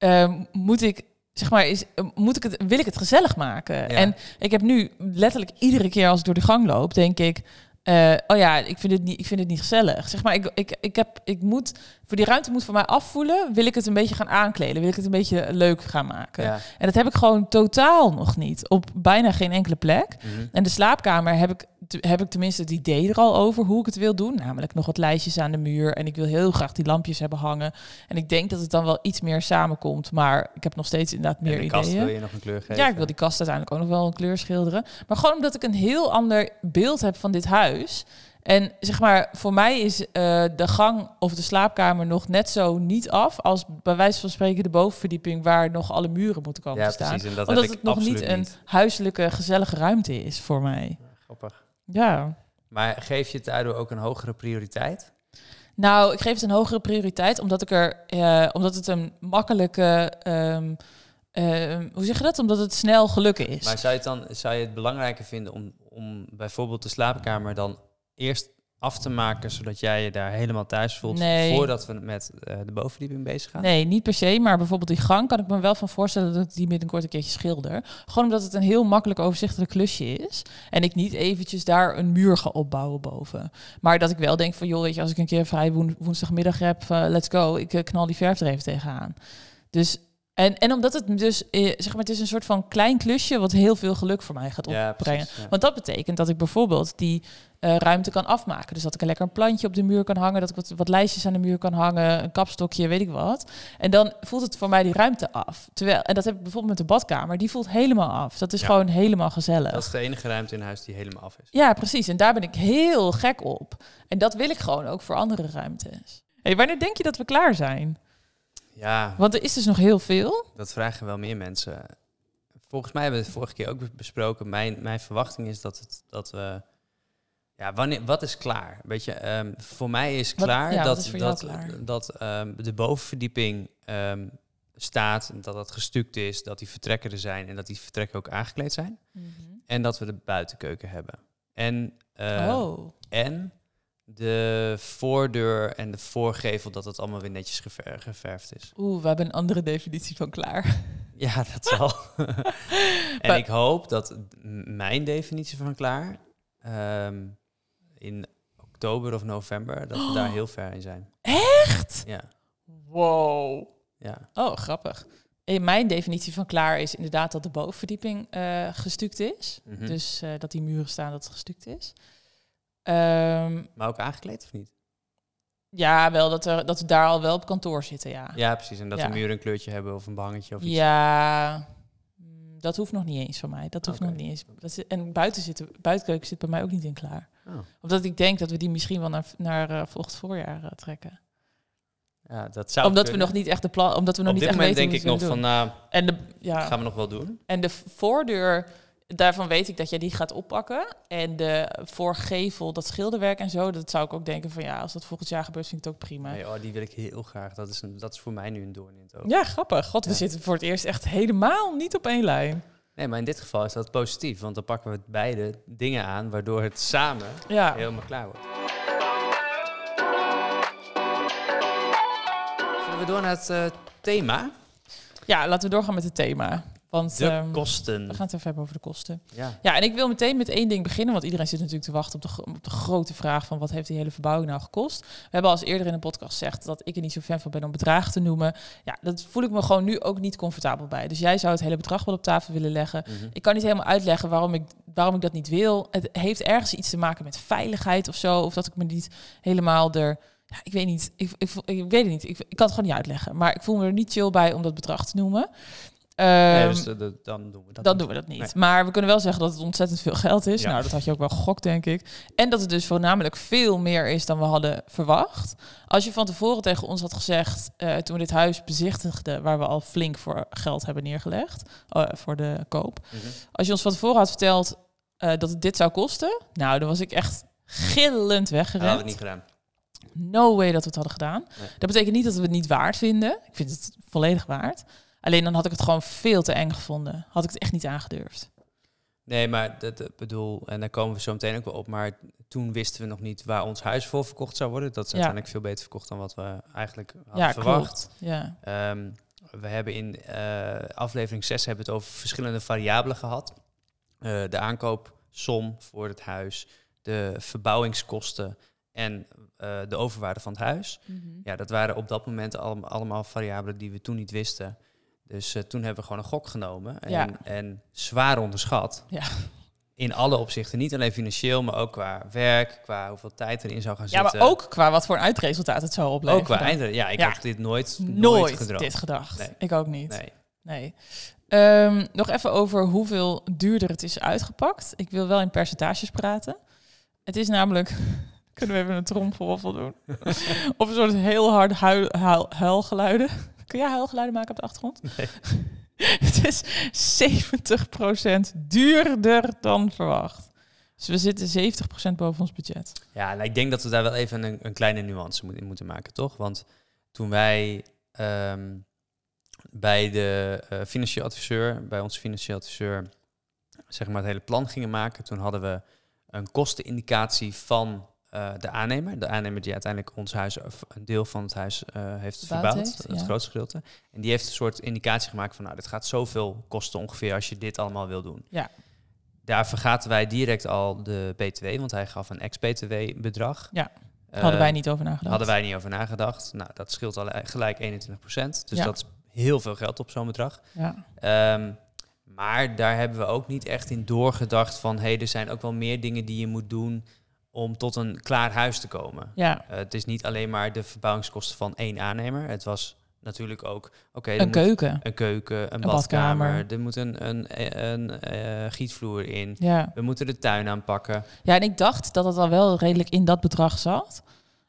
[SPEAKER 2] eh, moet ik, zeg maar, is, eh, moet ik het, wil ik het gezellig maken? En ik heb nu letterlijk iedere keer als ik door de gang loop, denk ik. eh, oh ja, ik vind, het niet, ik vind het niet gezellig. Zeg maar, ik, ik, ik, heb, ik moet, voor die ruimte moet voor mij afvoelen. Wil ik het een beetje gaan aankleden? Wil ik het een beetje leuk gaan maken?
[SPEAKER 1] Ja.
[SPEAKER 2] En dat heb ik gewoon totaal nog niet. Op bijna geen enkele plek.
[SPEAKER 1] Mhm.
[SPEAKER 2] En de slaapkamer heb ik, te- heb ik tenminste het idee er al over hoe ik het wil doen. Namelijk nog wat lijstjes aan de muur. En ik wil heel graag die lampjes hebben hangen. En ik denk dat het dan wel iets meer samenkomt. Maar ik heb nog steeds inderdaad meer
[SPEAKER 1] en de
[SPEAKER 2] ideeën.
[SPEAKER 1] kast wil je nog een kleur geven.
[SPEAKER 2] Ja, ik wil die kast uiteindelijk ook nog wel een kleur schilderen. Maar gewoon omdat ik een heel ander beeld heb van dit huis. En zeg maar, voor mij is eh, de gang of de slaapkamer nog net zo niet af... als bij wijze van spreken de bovenverdieping... waar nog alle muren moeten komen
[SPEAKER 1] Ja,
[SPEAKER 2] te staan.
[SPEAKER 1] precies. En dat
[SPEAKER 2] omdat
[SPEAKER 1] heb ik
[SPEAKER 2] het nog
[SPEAKER 1] absoluut
[SPEAKER 2] niet een huiselijke, gezellige ruimte is voor mij.
[SPEAKER 1] Grappig.
[SPEAKER 2] Ja.
[SPEAKER 1] Maar geef je het daardoor ook een hogere prioriteit?
[SPEAKER 2] Nou, ik geef het een hogere prioriteit omdat ik er, eh, omdat het een makkelijke, ehm, ehm, hoe zeg je dat? Omdat het snel gelukken is.
[SPEAKER 1] Maar zou je het dan zou je het belangrijker vinden om, om bijvoorbeeld de slaapkamer dan eerst af te maken, zodat jij je daar helemaal thuis voelt
[SPEAKER 2] Nee.
[SPEAKER 1] voordat we met eh, de bovendieping bezig gaan?
[SPEAKER 2] Nee, niet per se. Maar bijvoorbeeld die gang kan ik me wel van voorstellen dat ik die binnenkort een keertje schilder. Gewoon omdat het een heel makkelijk overzichtelijk klusje is. En ik niet eventjes daar een muur ga opbouwen boven. Maar dat ik wel denk van, joh, weet je, als ik een keer vrij woen- woensdagmiddag heb, eh, let's go. Ik eh, knal die verf er even tegenaan. Dus, en, en omdat het dus, eh, zeg maar, het is een soort van klein klusje wat heel veel geluk voor mij gaat
[SPEAKER 1] Ja,
[SPEAKER 2] opbrengen.
[SPEAKER 1] precies, ja.
[SPEAKER 2] Want dat betekent dat ik bijvoorbeeld die eh, ruimte kan afmaken. Dus dat ik een lekker een plantje op de muur kan hangen, dat ik wat, wat lijstjes aan de muur kan hangen, een kapstokje, weet ik wat. En dan voelt het voor mij die ruimte af. Terwijl, en dat heb ik bijvoorbeeld met de badkamer, die voelt helemaal af. Dat is
[SPEAKER 1] Ja.
[SPEAKER 2] gewoon helemaal gezellig.
[SPEAKER 1] Dat is de enige ruimte in huis die helemaal af is.
[SPEAKER 2] Ja, precies. En daar ben ik heel gek op. En dat wil ik gewoon ook voor andere ruimtes. Hey, wanneer denk je dat we klaar zijn?
[SPEAKER 1] Ja,
[SPEAKER 2] Want er is dus nog heel veel.
[SPEAKER 1] dat vragen wel meer mensen. Volgens mij hebben we het vorige keer ook besproken. Mijn, mijn verwachting is dat, het, dat we... Ja, wanneer, wat is klaar? Weet je, ehm, voor mij is
[SPEAKER 2] Wat-
[SPEAKER 1] klaar
[SPEAKER 2] ja, wat
[SPEAKER 1] dat,
[SPEAKER 2] is voor jou
[SPEAKER 1] dat,
[SPEAKER 2] klaar?
[SPEAKER 1] dat ehm, de bovenverdieping ehm, staat, dat dat gestuukt is, dat die vertrekken er zijn en dat die vertrekken ook aangekleed zijn. En dat we de buitenkeuken hebben. En, ehm,
[SPEAKER 2] oh,
[SPEAKER 1] en de voordeur en de voorgevel, dat het allemaal weer netjes gever- geverfd is.
[SPEAKER 2] oeh, we hebben een andere definitie van klaar.
[SPEAKER 1] Ja, dat zal. en
[SPEAKER 2] Maar-
[SPEAKER 1] ik hoop dat m- mijn definitie van klaar ehm, in oktober of november, dat we daar heel ver in zijn.
[SPEAKER 2] Oh. Echt?
[SPEAKER 1] Ja,
[SPEAKER 2] Wow.
[SPEAKER 1] ja.
[SPEAKER 2] Oh, grappig. In mijn definitie van klaar is inderdaad dat de bovenverdieping eh, gestuukt is.
[SPEAKER 1] Mhm.
[SPEAKER 2] Dus eh, dat die muren staan dat het gestuukt is. Ehm,
[SPEAKER 1] Maar ook aangekleed of niet?
[SPEAKER 2] ja, wel dat, er, dat we daar al wel op kantoor zitten, ja.
[SPEAKER 1] Ja, precies. En dat
[SPEAKER 2] Ah. Ja.
[SPEAKER 1] de muren een kleurtje hebben of een behangetje of iets.
[SPEAKER 2] Ja, mm, dat hoeft nog niet eens van mij. Dat hoeft
[SPEAKER 1] Oké.
[SPEAKER 2] nog niet eens. Dat zit- en buiten zitten, buitenkeuken zit bij mij ook niet in klaar.
[SPEAKER 1] Oh.
[SPEAKER 2] Omdat ik denk dat we die misschien wel naar, naar eh, volgend voorjaar eh, trekken.
[SPEAKER 1] Ja, dat zou
[SPEAKER 2] omdat
[SPEAKER 1] kunnen.
[SPEAKER 2] we nog niet echt de plan, omdat we nog
[SPEAKER 1] Op
[SPEAKER 2] niet
[SPEAKER 1] dit
[SPEAKER 2] echt
[SPEAKER 1] moment
[SPEAKER 2] weten
[SPEAKER 1] denk ik
[SPEAKER 2] hoe
[SPEAKER 1] nog
[SPEAKER 2] we het
[SPEAKER 1] van,
[SPEAKER 2] willen
[SPEAKER 1] nou,
[SPEAKER 2] doen. En de, ja.
[SPEAKER 1] gaan we nog wel doen.
[SPEAKER 2] En de v- voordeur, daarvan weet ik dat jij die gaat oppakken. En de voorgevel, dat schilderwerk en zo, dat zou ik ook denken van ja, als dat volgend jaar gebeurt, vind ik het ook prima.
[SPEAKER 1] Nee, oh, die wil ik heel graag. Dat is, een, dat is voor mij nu een doorn in het oog.
[SPEAKER 2] Ja, grappig. God, we
[SPEAKER 1] Ja.
[SPEAKER 2] zitten voor het eerst echt helemaal niet op één lijn.
[SPEAKER 1] Nee, maar in dit geval is dat positief, want dan pakken we beide dingen aan, waardoor het samen
[SPEAKER 2] Ja.
[SPEAKER 1] helemaal klaar wordt. Zullen we door naar het eh, thema?
[SPEAKER 2] ja, laten we doorgaan met het thema. Want
[SPEAKER 1] De
[SPEAKER 2] ehm,
[SPEAKER 1] kosten.
[SPEAKER 2] we gaan het even hebben over de kosten.
[SPEAKER 1] Ja.
[SPEAKER 2] Ja, en ik wil meteen met één ding beginnen, want iedereen zit natuurlijk te wachten op de, gro- op de grote vraag van wat heeft die hele verbouwing nou gekost. We hebben al eens eerder in een podcast gezegd dat ik er niet zo fan van ben om bedragen te noemen. Ja, dat voel ik me gewoon nu ook niet comfortabel bij. Dus jij zou het hele bedrag wel op tafel willen leggen.
[SPEAKER 1] Mhm.
[SPEAKER 2] Ik kan niet helemaal uitleggen waarom ik, waarom ik dat niet wil. Het heeft ergens iets te maken met veiligheid of zo, of dat ik me niet helemaal er... Ja, ik weet niet. Ik, ik, voel- ik weet het niet. Ik, ik kan het gewoon niet uitleggen. Maar ik voel me er niet chill bij om dat bedrag te noemen.
[SPEAKER 1] Nee,
[SPEAKER 2] Ehm,
[SPEAKER 1] dus eh, dat- dan doen we dat.
[SPEAKER 2] dan
[SPEAKER 1] niet.
[SPEAKER 2] doen we dat niet. Maar we kunnen wel zeggen dat het ontzettend veel geld is.
[SPEAKER 1] Ja.
[SPEAKER 2] Nou, dat had je ook wel gegokt, denk ik. En dat het dus voornamelijk veel meer is dan we hadden verwacht. Als je van tevoren tegen ons had gezegd, eh, toen we dit huis bezichtigden, waar we al flink voor geld hebben neergelegd, eh, voor de koop.
[SPEAKER 1] Mhm.
[SPEAKER 2] Als je ons van tevoren had verteld eh, dat het dit zou kosten, nou, dan was ik echt gillend
[SPEAKER 1] Dat hadden we
[SPEAKER 2] weggerend.
[SPEAKER 1] Nou, niet gedaan.
[SPEAKER 2] No way dat we het hadden gedaan.
[SPEAKER 1] Nee.
[SPEAKER 2] Dat betekent niet dat we het niet waard vinden. Ik vind het volledig waard. Alleen dan had ik het gewoon veel te eng gevonden. Had ik het echt niet aangedurfd.
[SPEAKER 1] Nee, maar dat eh, bedoel, en daar komen we zo meteen ook wel op. Maar toen wisten we nog niet waar ons huis voor verkocht zou worden. Dat is
[SPEAKER 2] Ja.
[SPEAKER 1] uiteindelijk veel beter verkocht dan wat we eigenlijk hadden
[SPEAKER 2] Ja,
[SPEAKER 1] verwacht.
[SPEAKER 2] klopt. Ja.
[SPEAKER 1] Ehm, we hebben in eh, aflevering 6 hebben we het over verschillende variabelen gehad. Eh, de aankoopsom voor het huis, de verbouwingskosten en eh, de overwaarde van het huis. Ja, dat waren op dat moment allem- allemaal variabelen die we toen niet wisten. Dus eh, toen hebben we gewoon een gok genomen en,
[SPEAKER 2] Ja.
[SPEAKER 1] en zwaar onderschat.
[SPEAKER 2] Ja.
[SPEAKER 1] In alle opzichten, niet alleen financieel, maar ook qua werk, qua hoeveel tijd erin zou gaan
[SPEAKER 2] ja,
[SPEAKER 1] zitten.
[SPEAKER 2] maar ook qua wat voor een uitresultaat het zou opleveren.
[SPEAKER 1] dus, eh, Ook qua einde. Ja, ik
[SPEAKER 2] Ja.
[SPEAKER 1] had dit nooit, nooit,
[SPEAKER 2] Nooit
[SPEAKER 1] gedroomd.
[SPEAKER 2] dit gedacht.
[SPEAKER 1] Nee.
[SPEAKER 2] Ik ook niet. Nee.
[SPEAKER 1] Nee.
[SPEAKER 2] Ehm, nog even over hoeveel duurder het is uitgepakt. Ik wil wel in percentages praten. Het is namelijk... Kunnen we even een tromgeroffel doen? of een soort heel hard huil, huil- huilgeluiden. Kun jij huilgeluiden maken op de achtergrond?
[SPEAKER 1] Nee.
[SPEAKER 2] het is 70% duurder dan verwacht. Dus we zitten 70% boven ons budget.
[SPEAKER 1] Ja, nou, ik denk dat we daar wel even een, een kleine nuance moet- in moeten maken, toch? Want toen wij ehm, bij de eh, financieel adviseur, bij onze financieel adviseur, zeg maar het hele plan gingen maken, toen hadden we een kostenindicatie van eh, eh, de aannemer. De aannemer die uiteindelijk ons huis, of een deel van het huis eh, heeft
[SPEAKER 2] Verbouwd
[SPEAKER 1] verbouwd.
[SPEAKER 2] heeft,
[SPEAKER 1] het
[SPEAKER 2] ja.
[SPEAKER 1] grootste gedeelte. En die heeft een soort indicatie gemaakt van, nou, dit gaat zoveel kosten ongeveer als je dit allemaal wil doen.
[SPEAKER 2] Ja.
[SPEAKER 1] Daar vergaten wij direct al de BTW, want hij gaf een ex-BTW bedrag.
[SPEAKER 2] Ja.
[SPEAKER 1] Eh,
[SPEAKER 2] hadden wij niet over nagedacht.
[SPEAKER 1] Hadden wij niet over nagedacht. Nou, dat scheelt al gelijk 21 Dus
[SPEAKER 2] Ja.
[SPEAKER 1] dat is heel veel geld op zo'n bedrag.
[SPEAKER 2] Ja.
[SPEAKER 1] Ehm, maar daar hebben we ook niet echt in doorgedacht van... hé, hey, er zijn ook wel meer dingen die je moet doen om tot een klaar huis te komen.
[SPEAKER 2] ja,
[SPEAKER 1] Eh, het is niet alleen maar de verbouwingskosten van één aannemer. Het was natuurlijk ook... oké, er
[SPEAKER 2] een
[SPEAKER 1] moet
[SPEAKER 2] keuken.
[SPEAKER 1] een keuken, een, badkamer.
[SPEAKER 2] badkamer.
[SPEAKER 1] Er moet een, een, eh, een, eh, gietvloer in.
[SPEAKER 2] Ja.
[SPEAKER 1] We moeten de tuin aanpakken.
[SPEAKER 2] ja, en ik dacht dat het al wel redelijk in dat bedrag zat.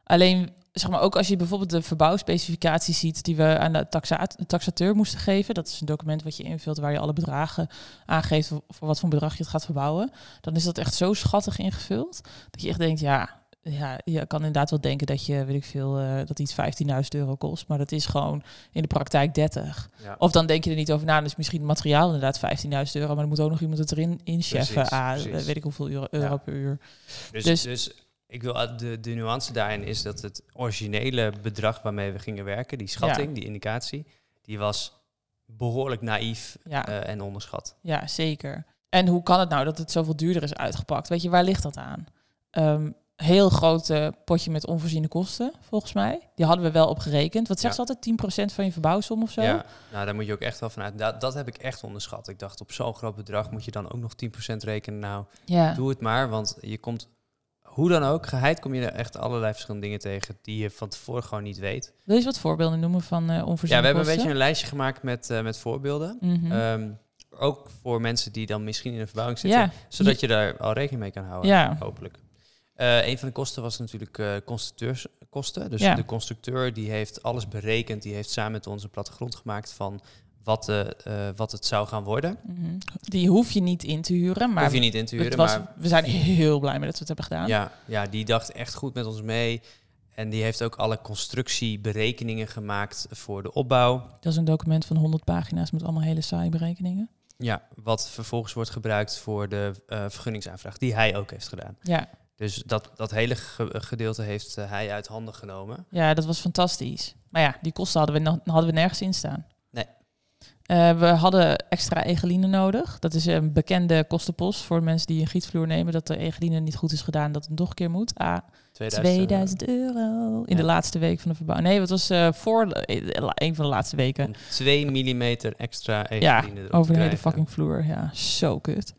[SPEAKER 2] Alleen, zeg maar, ook als je bijvoorbeeld de verbouwspecificatie ziet die we aan de taxa- taxateur moesten geven. Dat is een document wat je invult waar je alle bedragen aangeeft voor voor wat voor bedrag je het gaat verbouwen. Dan is dat echt zo schattig ingevuld dat je echt denkt, ja, ja je kan inderdaad wel denken dat je, weet ik veel, eh, dat iets 15.000 euro kost. Maar dat is gewoon in de praktijk 30.
[SPEAKER 1] Ja.
[SPEAKER 2] Of dan denk je er niet over na. Dan is misschien het materiaal inderdaad 15.000 euro. Maar dan moet ook nog iemand het erin incheffen.
[SPEAKER 1] Precies,
[SPEAKER 2] Ah,
[SPEAKER 1] precies.
[SPEAKER 2] weet ik hoeveel euro, euro per uur.
[SPEAKER 1] Dus, dus...
[SPEAKER 2] Dus-
[SPEAKER 1] ik wil uit- de, de nuance daarin is dat het originele bedrag waarmee we gingen werken, die schatting, die indicatie, die was behoorlijk naïef
[SPEAKER 2] Ja,
[SPEAKER 1] eh, en onderschat.
[SPEAKER 2] ja, zeker. En hoe kan het nou dat het zoveel duurder is uitgepakt? Weet je, waar ligt dat aan? Ehm heel groot eh, potje met onvoorziene kosten, volgens mij. Die hadden we wel op gerekend. Wat zegt
[SPEAKER 1] Ja.
[SPEAKER 2] ze altijd? 10% van je verbouwsom of zo?
[SPEAKER 1] Ja, nou daar moet je ook echt wel vanuit. Dat, dat heb ik echt onderschat. Ik dacht, op zo'n groot bedrag moet je dan ook nog 10% rekenen. Nou,
[SPEAKER 2] ja.
[SPEAKER 1] doe het maar, want je komt hoe dan ook, geheid kom je er echt allerlei verschillende dingen tegen die je van tevoren gewoon niet weet.
[SPEAKER 2] Wil je eens wat voorbeelden noemen van eh onvoorziene
[SPEAKER 1] Ja, we hebben een beetje
[SPEAKER 2] kosten?
[SPEAKER 1] een lijstje gemaakt met, eh, met voorbeelden.
[SPEAKER 2] Mhm.
[SPEAKER 1] Ehm, ook voor mensen die dan misschien in een verbouwing zitten.
[SPEAKER 2] ja,
[SPEAKER 1] Zodat je daar al rekening mee kan houden,
[SPEAKER 2] Ja.
[SPEAKER 1] hopelijk. Eh, een van de kosten was natuurlijk eh constructeurskosten. Dus
[SPEAKER 2] Ja.
[SPEAKER 1] de constructeur die heeft alles berekend. Die heeft samen met ons een plattegrond gemaakt van wat, de, eh, wat het zou gaan worden.
[SPEAKER 2] mhm. die hoef je niet in te huren. Maar
[SPEAKER 1] Hoef je niet in te huren,
[SPEAKER 2] het was,
[SPEAKER 1] maar
[SPEAKER 2] we zijn heel blij mee dat we het hebben gedaan.
[SPEAKER 1] ja, ja, die dacht echt goed met ons mee. En die heeft ook alle constructieberekeningen gemaakt voor de opbouw.
[SPEAKER 2] Dat is een document van 100 pagina's met allemaal hele saaie berekeningen.
[SPEAKER 1] Ja, wat vervolgens wordt gebruikt voor de eh, vergunningsaanvraag, die hij ook heeft gedaan.
[SPEAKER 2] Ja,
[SPEAKER 1] Dus dat, dat hele ge- gedeelte heeft eh, hij uit handen genomen.
[SPEAKER 2] ja, dat was fantastisch. Maar ja, die kosten hadden we, nog- hadden we nergens in staan.
[SPEAKER 1] Nee.
[SPEAKER 2] Eh, we hadden extra egeline nodig. Dat is een bekende kostenpost voor mensen die een gietvloer nemen. Dat de egeline niet goed is gedaan, dat het nog een keer moet. Ah,
[SPEAKER 1] 2000
[SPEAKER 2] 2000 euro.
[SPEAKER 1] Ja.
[SPEAKER 2] In de laatste week van de verbouwing. Nee, het was eh, voor de- eh, een van de laatste weken.
[SPEAKER 1] om 2 mm extra
[SPEAKER 2] Ja,
[SPEAKER 1] egeline erop te
[SPEAKER 2] over de hele
[SPEAKER 1] krijgen.
[SPEAKER 2] fucking vloer. Ja, zo kut.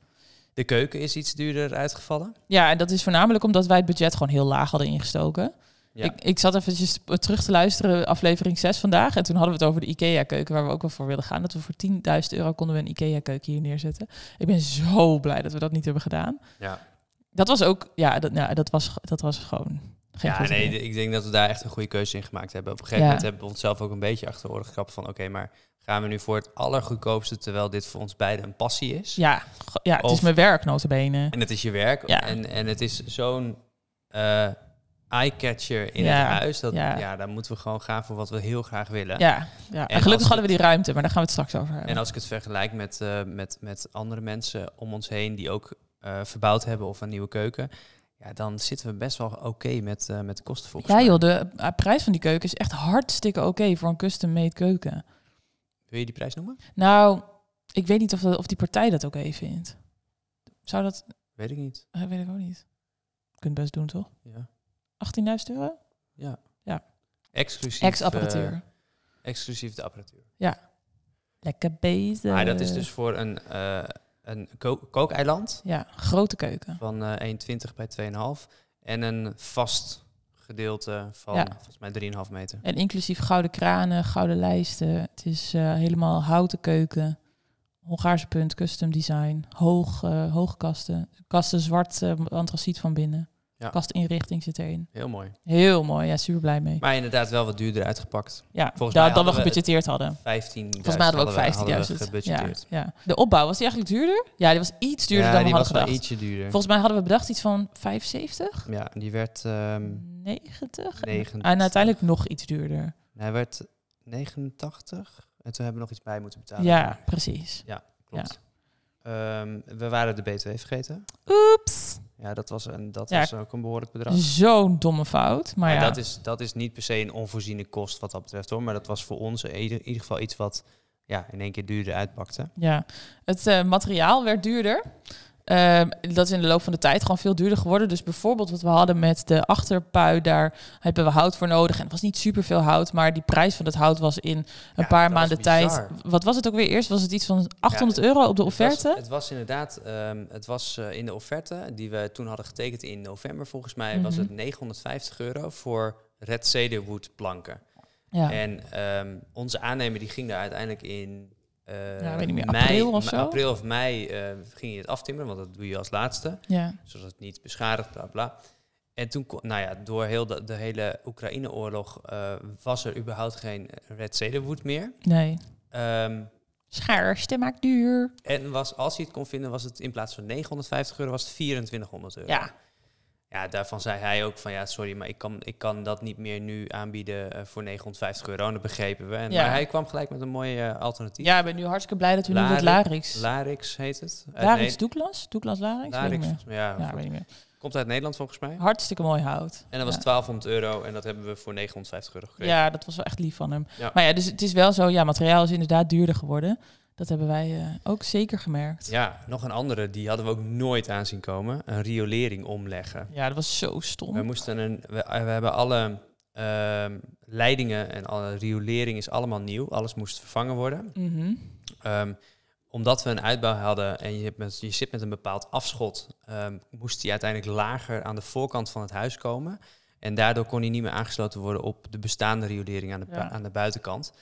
[SPEAKER 1] De keuken is iets duurder uitgevallen.
[SPEAKER 2] Ja, en dat is voornamelijk omdat wij het budget gewoon heel laag hadden ingestoken.
[SPEAKER 1] Ja.
[SPEAKER 2] Ik, ik zat eventjes terug te luisteren, aflevering 6 vandaag. En toen hadden we het over de IKEA-keuken, waar we ook wel voor wilden gaan. Dat we voor 10.000 euro konden we een IKEA-keuken hier neerzetten. Ik ben zo blij dat we dat niet hebben gedaan.
[SPEAKER 1] Ja,
[SPEAKER 2] Dat was ook, ja, dat, ja, dat, was, dat was gewoon geen
[SPEAKER 1] ja
[SPEAKER 2] goed
[SPEAKER 1] nee,
[SPEAKER 2] idee.
[SPEAKER 1] d- ik denk dat we daar echt een goede keuze in gemaakt hebben. Op een gegeven
[SPEAKER 2] Ja.
[SPEAKER 1] moment hebben we onszelf ook een beetje achter de oren gekrapt van... oké, maar gaan we nu voor het allergoedkoopste... terwijl dit voor ons beiden een passie is?
[SPEAKER 2] Ja, go- ja het
[SPEAKER 1] Of-
[SPEAKER 2] is mijn werk, notabene.
[SPEAKER 1] En het is je werk.
[SPEAKER 2] Ja.
[SPEAKER 1] En, en het is zo'n eh, eye-catcher in
[SPEAKER 2] Ja,
[SPEAKER 1] het huis. Dat, ja.
[SPEAKER 2] ja.
[SPEAKER 1] daar moeten we gewoon gaan voor wat we heel graag willen.
[SPEAKER 2] Ja, ja.
[SPEAKER 1] als
[SPEAKER 2] En gelukkig
[SPEAKER 1] het-
[SPEAKER 2] hadden we die ruimte, maar daar gaan we het straks over hebben.
[SPEAKER 1] En als ik het vergelijk met, eh, met, met andere mensen om ons heen die ook eh, verbouwd hebben of een nieuwe keuken, ja, dan zitten we best wel oké met, eh, met de kosten volgens
[SPEAKER 2] ja
[SPEAKER 1] mij.
[SPEAKER 2] joh, de eh, prijs van die keuken is echt hartstikke oké voor een custom-made keuken.
[SPEAKER 1] Wil je die prijs noemen?
[SPEAKER 2] Nou, ik weet niet of, dat- of die partij dat ook even vindt. Zou dat...
[SPEAKER 1] Weet ik niet.
[SPEAKER 2] eh, weet ik ook niet. Je kunt best doen, toch?
[SPEAKER 1] Ja.
[SPEAKER 2] 18.000 euro?
[SPEAKER 1] Exclusief,
[SPEAKER 2] Ex-apparatuur.
[SPEAKER 1] eh, exclusief de apparatuur.
[SPEAKER 2] Lekker bezig.
[SPEAKER 1] Maar dat is dus voor een, eh, een ko- kookeiland
[SPEAKER 2] Ja, grote keuken.
[SPEAKER 1] van eh 1,20 bij 2,5 en een vast gedeelte van
[SPEAKER 2] Ja.
[SPEAKER 1] volgens mij 3,5 meter.
[SPEAKER 2] En inclusief gouden kranen, gouden lijsten. Het is eh, helemaal houten keuken. Hongaarse punt, custom design. Hoog, eh, hoge kasten. Kasten zwart, eh, antraciet van binnen.
[SPEAKER 1] Ja.
[SPEAKER 2] Kastinrichting zit erin.
[SPEAKER 1] Heel mooi.
[SPEAKER 2] Heel mooi, ja, super blij mee.
[SPEAKER 1] Maar inderdaad wel wat duurder uitgepakt.
[SPEAKER 2] ja,
[SPEAKER 1] volgens mij
[SPEAKER 2] dat, dat we
[SPEAKER 1] hadden we het-
[SPEAKER 2] gebudgeteerd hadden.
[SPEAKER 1] 15
[SPEAKER 2] Volgens mij hadden we ook 15.000. ja,
[SPEAKER 1] gebudgeteerd.
[SPEAKER 2] ja. De opbouw, was die eigenlijk duurder? Ja, die was iets duurder dan we
[SPEAKER 1] die
[SPEAKER 2] hadden
[SPEAKER 1] was wel
[SPEAKER 2] gedacht.
[SPEAKER 1] ietsje duurder.
[SPEAKER 2] Volgens mij hadden we bedacht iets van 75,
[SPEAKER 1] Ja, die werd ehm
[SPEAKER 2] 90.
[SPEAKER 1] 90.
[SPEAKER 2] En uiteindelijk nog iets duurder.
[SPEAKER 1] Hij werd 89 en toen hebben we nog iets bij moeten
[SPEAKER 2] Ja,
[SPEAKER 1] betalen.
[SPEAKER 2] precies.
[SPEAKER 1] klopt. Ehm, we waren de BTW vergeten.
[SPEAKER 2] Oeps.
[SPEAKER 1] Ja, dat was, een, dat
[SPEAKER 2] Ja.
[SPEAKER 1] was ook een behoorlijk bedrag.
[SPEAKER 2] Zo'n domme fout. Maar
[SPEAKER 1] Maar
[SPEAKER 2] ja,
[SPEAKER 1] dat, is, dat is niet per se een onvoorziene kost wat dat betreft hoor. Maar dat was voor ons in ieder, in ieder geval iets wat ja, in één keer duurder uitpakte.
[SPEAKER 2] ja. het eh, materiaal werd duurder. Ehm, dat is in de loop van de tijd gewoon veel duurder geworden. Dus bijvoorbeeld wat we hadden met de achterpui, daar hebben we hout voor nodig. En het was niet superveel hout, maar die prijs van dat hout was in een
[SPEAKER 1] Ja,
[SPEAKER 2] paar
[SPEAKER 1] dat is
[SPEAKER 2] maanden tijd.
[SPEAKER 1] bizar.
[SPEAKER 2] Wat was het ook weer eerst? Was het iets van 800 euro op de
[SPEAKER 1] Het was,
[SPEAKER 2] offerte?
[SPEAKER 1] het was inderdaad, ehm, het was eh, in de offerte die we toen hadden getekend in november volgens mij, was
[SPEAKER 2] Mhm.
[SPEAKER 1] het 950 euro voor red cedarwood planken.
[SPEAKER 2] Ja.
[SPEAKER 1] En ehm, onze aannemer die ging daar uiteindelijk in eh,
[SPEAKER 2] Ja, ik weet niet meer,
[SPEAKER 1] mei-
[SPEAKER 2] april of
[SPEAKER 1] ma-
[SPEAKER 2] zo?
[SPEAKER 1] April of mei eh, ging je het aftimmeren, want dat doe je als laatste,
[SPEAKER 2] ja.
[SPEAKER 1] zodat het niet beschadigt, bla bla. En toen, kon- nou ja, door heel de, de hele Oekraïne-oorlog eh, was er überhaupt geen red cedarwood meer.
[SPEAKER 2] Nee.
[SPEAKER 1] Ehm,
[SPEAKER 2] Schaarste maakt duur.
[SPEAKER 1] en was, als hij het kon vinden, was het in plaats van 950 euro, was het 2400 euro.
[SPEAKER 2] Ja.
[SPEAKER 1] Ja, daarvan zei hij ook van ja, sorry, maar ik kan, ik kan dat niet meer nu aanbieden eh, voor 950 euro. En dat begrepen we. En,
[SPEAKER 2] Ja.
[SPEAKER 1] Maar hij kwam gelijk met een mooie eh, alternatief.
[SPEAKER 2] Ja, ik ben nu hartstikke blij dat we nu dat
[SPEAKER 1] Larix.
[SPEAKER 2] Larix...
[SPEAKER 1] Larix heet het. Uit
[SPEAKER 2] Larix
[SPEAKER 1] Ne-
[SPEAKER 2] Doeklas? Doeklas Larix? Weet
[SPEAKER 1] eh,
[SPEAKER 2] ik
[SPEAKER 1] Larix,
[SPEAKER 2] niet
[SPEAKER 1] volgens mij, ja,
[SPEAKER 2] meer. Ja, weet ik niet
[SPEAKER 1] voor- komt uit Nederland volgens mij.
[SPEAKER 2] meer. Hartstikke mooi hout.
[SPEAKER 1] En dat was
[SPEAKER 2] Ja.
[SPEAKER 1] 1200 euro en dat hebben we voor 950 euro gekregen.
[SPEAKER 2] Ja, dat was wel echt lief van hem.
[SPEAKER 1] Ja.
[SPEAKER 2] Maar ja, dus het is wel zo, ja, materiaal is inderdaad duurder geworden. Dat hebben wij eh, ook zeker gemerkt. Ja.
[SPEAKER 1] Ja, nog een andere, die hadden we ook nooit aan zien komen. Een riolering omleggen.
[SPEAKER 2] dat was zo
[SPEAKER 1] We
[SPEAKER 2] stom.
[SPEAKER 1] moesten een, we, eh, we hebben alle ehm, leidingen en alle riolering is allemaal nieuw. Alles moest vervangen worden.
[SPEAKER 2] Mhm.
[SPEAKER 1] Ehm, omdat we een uitbouw hadden en je, hebt met, je zit met een bepaald afschot, ehm, moest die uiteindelijk lager aan de voorkant van het huis komen. En daardoor kon die niet meer aangesloten worden op de bestaande riolering aan de, bu-
[SPEAKER 2] Ja.
[SPEAKER 1] aan de buitenkant.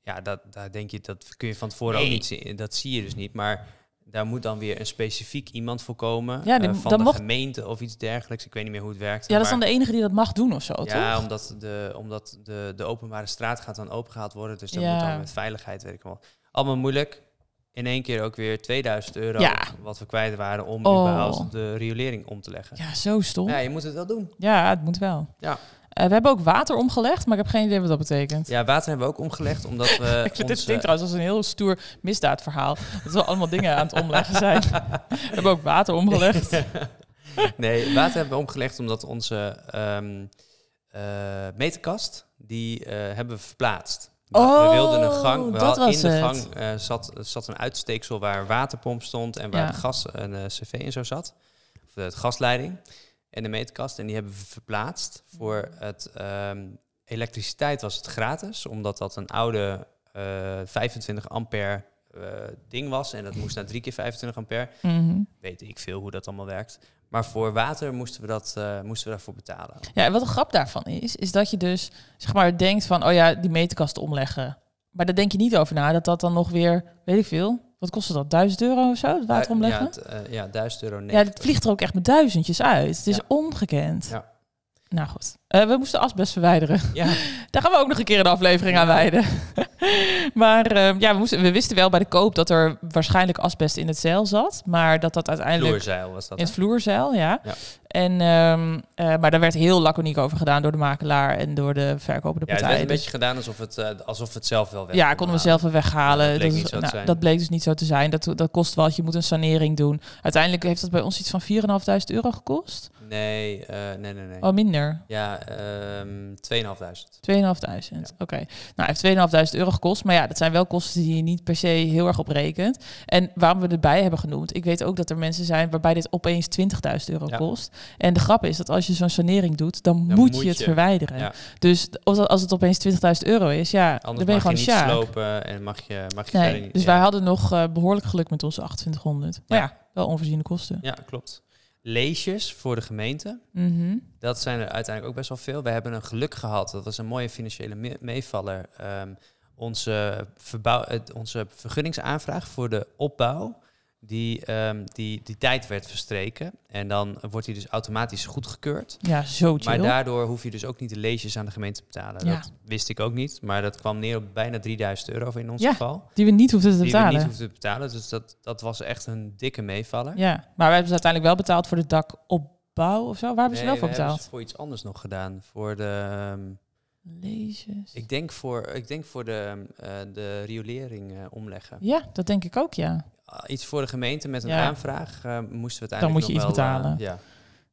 [SPEAKER 1] Ja, dat, daar denk je, dat kun je van tevoren ook
[SPEAKER 2] Nee.
[SPEAKER 1] niet zien. Dat zie je dus niet. Maar daar moet dan weer een specifiek iemand voor komen.
[SPEAKER 2] Ja,
[SPEAKER 1] Ja,
[SPEAKER 2] die-
[SPEAKER 1] van
[SPEAKER 2] dat
[SPEAKER 1] de
[SPEAKER 2] mocht-
[SPEAKER 1] gemeente of iets dergelijks. Ik weet niet meer hoe het werkt.
[SPEAKER 2] Ja, dat is
[SPEAKER 1] maar-
[SPEAKER 2] dan de enige die dat mag doen of zo,
[SPEAKER 1] ja,
[SPEAKER 2] Oh, toch?
[SPEAKER 1] omdat, de, omdat de, de openbare straat gaat dan opengehaald worden. Dus dat
[SPEAKER 2] Ja.
[SPEAKER 1] moet dan met veiligheid, weet ik wel. Allemaal moeilijk. In één keer ook weer 2000 euro
[SPEAKER 2] Ja.
[SPEAKER 1] wat we kwijt waren om
[SPEAKER 2] Oh.
[SPEAKER 1] überhaupt de riolering om te leggen. Ja.
[SPEAKER 2] Ja, zo stom.
[SPEAKER 1] je moet het wel doen.
[SPEAKER 2] Ja, het moet wel.
[SPEAKER 1] Ja.
[SPEAKER 2] Eh, we hebben ook water omgelegd, maar ik heb geen idee wat dat betekent.
[SPEAKER 1] Ja, water hebben we ook omgelegd, omdat we
[SPEAKER 2] Dit
[SPEAKER 1] ons,
[SPEAKER 2] klinkt
[SPEAKER 1] eh,
[SPEAKER 2] trouwens als een heel stoer misdaadverhaal. Dat we allemaal dingen aan het omleggen zijn. We hebben ook water omgelegd.
[SPEAKER 1] nee, water hebben we omgelegd omdat onze ehm eh, meterkast, die eh, hebben we verplaatst. We-
[SPEAKER 2] Oh,
[SPEAKER 1] we wilden een gang. We
[SPEAKER 2] dat
[SPEAKER 1] hadden-
[SPEAKER 2] was
[SPEAKER 1] in de
[SPEAKER 2] het.
[SPEAKER 1] gang eh, zat, zat een uitsteeksel waar een waterpomp stond en waar
[SPEAKER 2] Ja.
[SPEAKER 1] de gas en eh, cv en zo zat. Of de gasleiding en de meterkast. En die hebben we verplaatst voor het ehm, elektriciteit was het gratis, omdat dat een oude eh, 25 ampère eh, ding was. En dat moest naar drie keer 25 ampère
[SPEAKER 2] Mhm.
[SPEAKER 1] weet ik veel hoe dat allemaal werkt. Maar voor water moesten we, dat, eh, moesten we daarvoor betalen.
[SPEAKER 2] Ja, en wat een grap daarvan is, is dat je dus zeg maar denkt van, oh ja, die meterkast omleggen. Maar daar denk je niet over na, dat dat dan nog weer, weet ik veel, wat kostte dat, 1000 euro of zo, het water
[SPEAKER 1] Ja,
[SPEAKER 2] omleggen?
[SPEAKER 1] het, eh, ja 1000 euro.
[SPEAKER 2] Ja, het vliegt er ook echt met duizendjes uit. Het is
[SPEAKER 1] Ja.
[SPEAKER 2] ongekend.
[SPEAKER 1] Ja.
[SPEAKER 2] Nou goed, Eh, we moesten asbest verwijderen.
[SPEAKER 1] Ja,
[SPEAKER 2] Daar gaan we ook nog een keer een aflevering aan wijden. maar ehm, ja, we, moesten, we wisten wel bij de koop dat er waarschijnlijk asbest in het zeil zat. Maar dat dat uiteindelijk
[SPEAKER 1] vloerzeil was dat.
[SPEAKER 2] in
[SPEAKER 1] hè?
[SPEAKER 2] het vloerzeil, ja.
[SPEAKER 1] Ja.
[SPEAKER 2] En, ehm, eh, maar daar werd heel laconiek over gedaan door de makelaar en door de verkopende
[SPEAKER 1] Ja, het
[SPEAKER 2] partij.
[SPEAKER 1] werd een
[SPEAKER 2] Dus-
[SPEAKER 1] beetje gedaan alsof het, eh, alsof het zelf wel werkte.
[SPEAKER 2] ja, konden we zelf wel weghalen.
[SPEAKER 1] Ja, dat bleek
[SPEAKER 2] is-
[SPEAKER 1] niet zo te
[SPEAKER 2] nou,
[SPEAKER 1] zijn.
[SPEAKER 2] dat bleek dus niet zo te zijn. Dat, dat kost wel, je moet een sanering doen. Uiteindelijk heeft dat bij ons iets van 4.500 euro gekost.
[SPEAKER 1] Nee, eh, nee, nee, nee.
[SPEAKER 2] Oh, minder.
[SPEAKER 1] Ja, ehm 2.500.
[SPEAKER 2] 2.500, oké. Nou, hij heeft 2.500 euro gekost, maar ja, dat zijn wel kosten die je niet per se heel erg op rekent. En waarom we erbij hebben genoemd, ik weet ook dat er mensen zijn waarbij dit opeens 20.000 euro
[SPEAKER 1] Ja.
[SPEAKER 2] kost. En de grap is dat als je zo'n sanering doet, dan,
[SPEAKER 1] Dan
[SPEAKER 2] moet,
[SPEAKER 1] moet
[SPEAKER 2] je het
[SPEAKER 1] je.
[SPEAKER 2] verwijderen.
[SPEAKER 1] Ja.
[SPEAKER 2] Dus als dat- als het opeens 20.000 euro is, ja,
[SPEAKER 1] Anders
[SPEAKER 2] dan ben je
[SPEAKER 1] mag je
[SPEAKER 2] gewoon
[SPEAKER 1] niet
[SPEAKER 2] sjaak.
[SPEAKER 1] slopen en mag je, mag je verder
[SPEAKER 2] Nee,
[SPEAKER 1] niet.
[SPEAKER 2] dus
[SPEAKER 1] ja.
[SPEAKER 2] wij hadden nog eh, behoorlijk geluk met onze 2800. Maar ja,
[SPEAKER 1] Ja.
[SPEAKER 2] wel onvoorziene kosten.
[SPEAKER 1] Ja, klopt. Leesjes voor de gemeente.
[SPEAKER 2] Mhm.
[SPEAKER 1] Dat zijn er uiteindelijk ook best wel veel. We hebben een geluk gehad. Dat was een mooie financiële me- meevaller. Ehm, onze, verbouw, het- onze vergunningsaanvraag voor de opbouw, die, ehm, die, die tijd werd verstreken. En dan wordt die dus automatisch goedgekeurd.
[SPEAKER 2] Ja, zo chill.
[SPEAKER 1] Maar daardoor hoef je dus ook niet de leesjes aan de gemeente te betalen.
[SPEAKER 2] Ja.
[SPEAKER 1] Dat wist ik ook niet. Maar dat kwam neer op bijna 3000 euro in ons
[SPEAKER 2] Ja,
[SPEAKER 1] geval.
[SPEAKER 2] Die we niet hoefden te
[SPEAKER 1] Die we niet
[SPEAKER 2] betalen.
[SPEAKER 1] hoefden te betalen. Dus dat, dat was echt een dikke meevaller.
[SPEAKER 2] Ja, maar wij hebben ze uiteindelijk wel betaald voor de dakopbouw of zo. Waar hebben ze
[SPEAKER 1] Nee,
[SPEAKER 2] wel voor
[SPEAKER 1] we hebben ze
[SPEAKER 2] betaald?
[SPEAKER 1] voor iets anders nog gedaan. Voor de... ehm,
[SPEAKER 2] Leesjes.
[SPEAKER 1] Ik denk voor, ik denk voor de, ehm, eh, de riolering eh, omleggen.
[SPEAKER 2] Ja, dat denk ik ook, ja.
[SPEAKER 1] ah, iets voor de gemeente met een
[SPEAKER 2] Ja.
[SPEAKER 1] aanvraag, eh, moesten we uiteindelijk
[SPEAKER 2] Dan moet je
[SPEAKER 1] nog
[SPEAKER 2] iets
[SPEAKER 1] wel, eh,
[SPEAKER 2] betalen.
[SPEAKER 1] ja.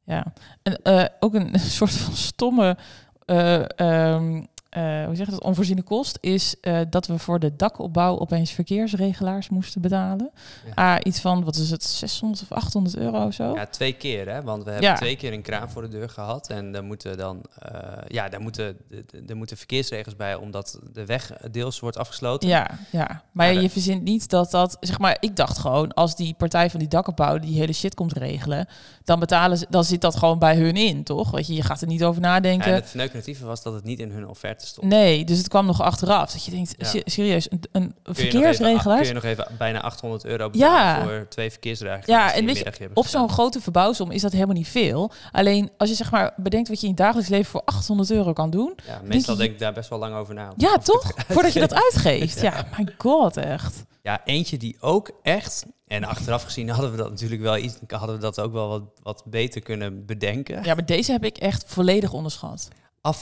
[SPEAKER 2] Ja, en eh, ook een soort van stomme, eh, ehm, eh, hoe zeg je dat, onvoorziene kost is eh, dat we voor de dakopbouw opeens verkeersregelaars moesten betalen.
[SPEAKER 1] Ja.
[SPEAKER 2] Ah, iets van, wat is het, 600 of 800 euro of zo?
[SPEAKER 1] Ja, twee keer, hè? Want we hebben
[SPEAKER 2] Oh. Ja.
[SPEAKER 1] twee keer een kraan voor de deur gehad. En daar moeten dan, eh, ja, daar moeten, de- de- daar moeten verkeersregels bij, omdat de weg deels wordt afgesloten.
[SPEAKER 2] Ja, ja. Maar
[SPEAKER 1] Ja,
[SPEAKER 2] je
[SPEAKER 1] dat-
[SPEAKER 2] verzint niet dat dat... Zeg maar, ik dacht gewoon, als die partij van die dakopbouw die hele shit komt regelen, dan, betalen ze, dan zit dat gewoon bij hun in, toch? Weet je, je gaat er niet over
[SPEAKER 1] Ja,
[SPEAKER 2] nadenken.
[SPEAKER 1] en het verneukeratieve was dat het niet in hun offerte stond.
[SPEAKER 2] eh, Nee, dus het kwam nog achteraf. Dat je denkt,
[SPEAKER 1] Ja.
[SPEAKER 2] se- serieus, een, een
[SPEAKER 1] Kun je nog even-
[SPEAKER 2] verkeersregelaar...
[SPEAKER 1] Kun je nog even bijna 800 euro
[SPEAKER 2] Ja.
[SPEAKER 1] betalen voor twee verkeersregels?
[SPEAKER 2] Ja, en weet je, op zo'n grote verbouwsom is dat helemaal niet veel. Alleen als je zeg maar bedenkt wat je in het dagelijks leven voor 800 euro kan doen.
[SPEAKER 1] Ja, meestal
[SPEAKER 2] je-
[SPEAKER 1] denk ik daar best wel lang over na.
[SPEAKER 2] Ja,
[SPEAKER 1] Of ik het
[SPEAKER 2] toch? Voordat je dat uitgeeft.
[SPEAKER 1] Ja.
[SPEAKER 2] Ja, my god, echt.
[SPEAKER 1] Ja, eentje die ook echt. En achteraf gezien hadden we dat natuurlijk wel iets. Hadden we dat ook wel wat, wat beter kunnen bedenken.
[SPEAKER 2] Ja, maar deze heb ik echt volledig onderschat.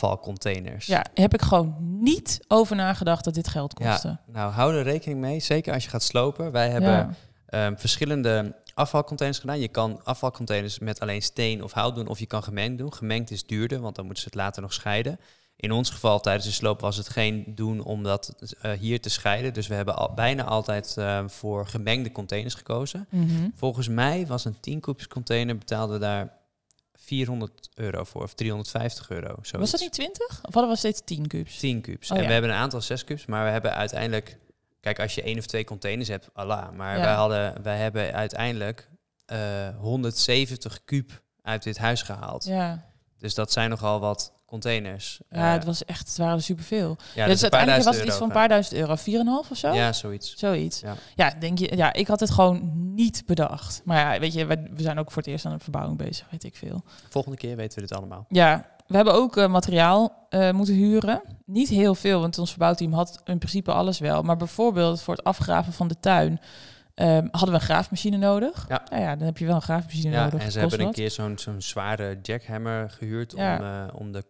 [SPEAKER 1] Afvalcontainers.
[SPEAKER 2] Ja, heb ik gewoon niet over nagedacht dat dit geld
[SPEAKER 1] Ja,
[SPEAKER 2] kostte.
[SPEAKER 1] nou hou er rekening mee. Zeker als je gaat slopen. Wij hebben
[SPEAKER 2] Ja.
[SPEAKER 1] ehm, verschillende afvalcontainers gedaan. Je kan afvalcontainers met alleen steen of hout doen. Of je kan gemengd doen. Gemengd is duurder, want dan moeten ze het later nog scheiden. In ons geval tijdens de sloop was het geen doen om dat eh, hier te scheiden. Dus we hebben al, bijna altijd ehm, voor gemengde containers gekozen.
[SPEAKER 2] Mhm.
[SPEAKER 1] Volgens mij was een 10 koepjes container betaalden we daar 400 euro voor of 350 euro. Zoiets.
[SPEAKER 2] Was dat niet 20? Of hadden we steeds 10 cubes?
[SPEAKER 1] 10 kubus.
[SPEAKER 2] Oh,
[SPEAKER 1] en
[SPEAKER 2] ja.
[SPEAKER 1] we hebben een aantal 6 kubus, maar we hebben uiteindelijk kijk als je één of twee containers hebt, Allah, maar
[SPEAKER 2] Ja.
[SPEAKER 1] wij hadden wij hebben uiteindelijk eh, 170 kuub uit dit huis gehaald.
[SPEAKER 2] Ja,
[SPEAKER 1] Dus dat zijn nogal wat containers.
[SPEAKER 2] ja
[SPEAKER 1] Eh,
[SPEAKER 2] het, was echt, het waren er superveel.
[SPEAKER 1] ja,
[SPEAKER 2] dus
[SPEAKER 1] een paar
[SPEAKER 2] uiteindelijk
[SPEAKER 1] duizend
[SPEAKER 2] was het iets
[SPEAKER 1] euro
[SPEAKER 2] van een
[SPEAKER 1] gaan.
[SPEAKER 2] paar duizend euro. 4,5 of zo?
[SPEAKER 1] Ja, zoiets.
[SPEAKER 2] Zoiets. Ja.
[SPEAKER 1] Ja.
[SPEAKER 2] denk je, ja, ik had het gewoon niet bedacht. Maar ja, weet je, we, we zijn ook voor het eerst aan een verbouwing bezig, weet ik veel.
[SPEAKER 1] Volgende keer weten we dit allemaal.
[SPEAKER 2] Ja, we hebben ook eh, materiaal eh, moeten huren. Niet heel veel, want ons verbouwteam had in principe alles wel. Maar bijvoorbeeld voor het afgraven van de tuin ehm, hadden we een graafmachine nodig.
[SPEAKER 1] Ja.
[SPEAKER 2] Nou ja, dan heb je wel een graafmachine
[SPEAKER 1] Ja,
[SPEAKER 2] nodig.
[SPEAKER 1] en ze
[SPEAKER 2] kost
[SPEAKER 1] hebben een
[SPEAKER 2] wat.
[SPEAKER 1] keer zo'n zo'n zware jackhammer gehuurd
[SPEAKER 2] Ja.
[SPEAKER 1] om, eh, om de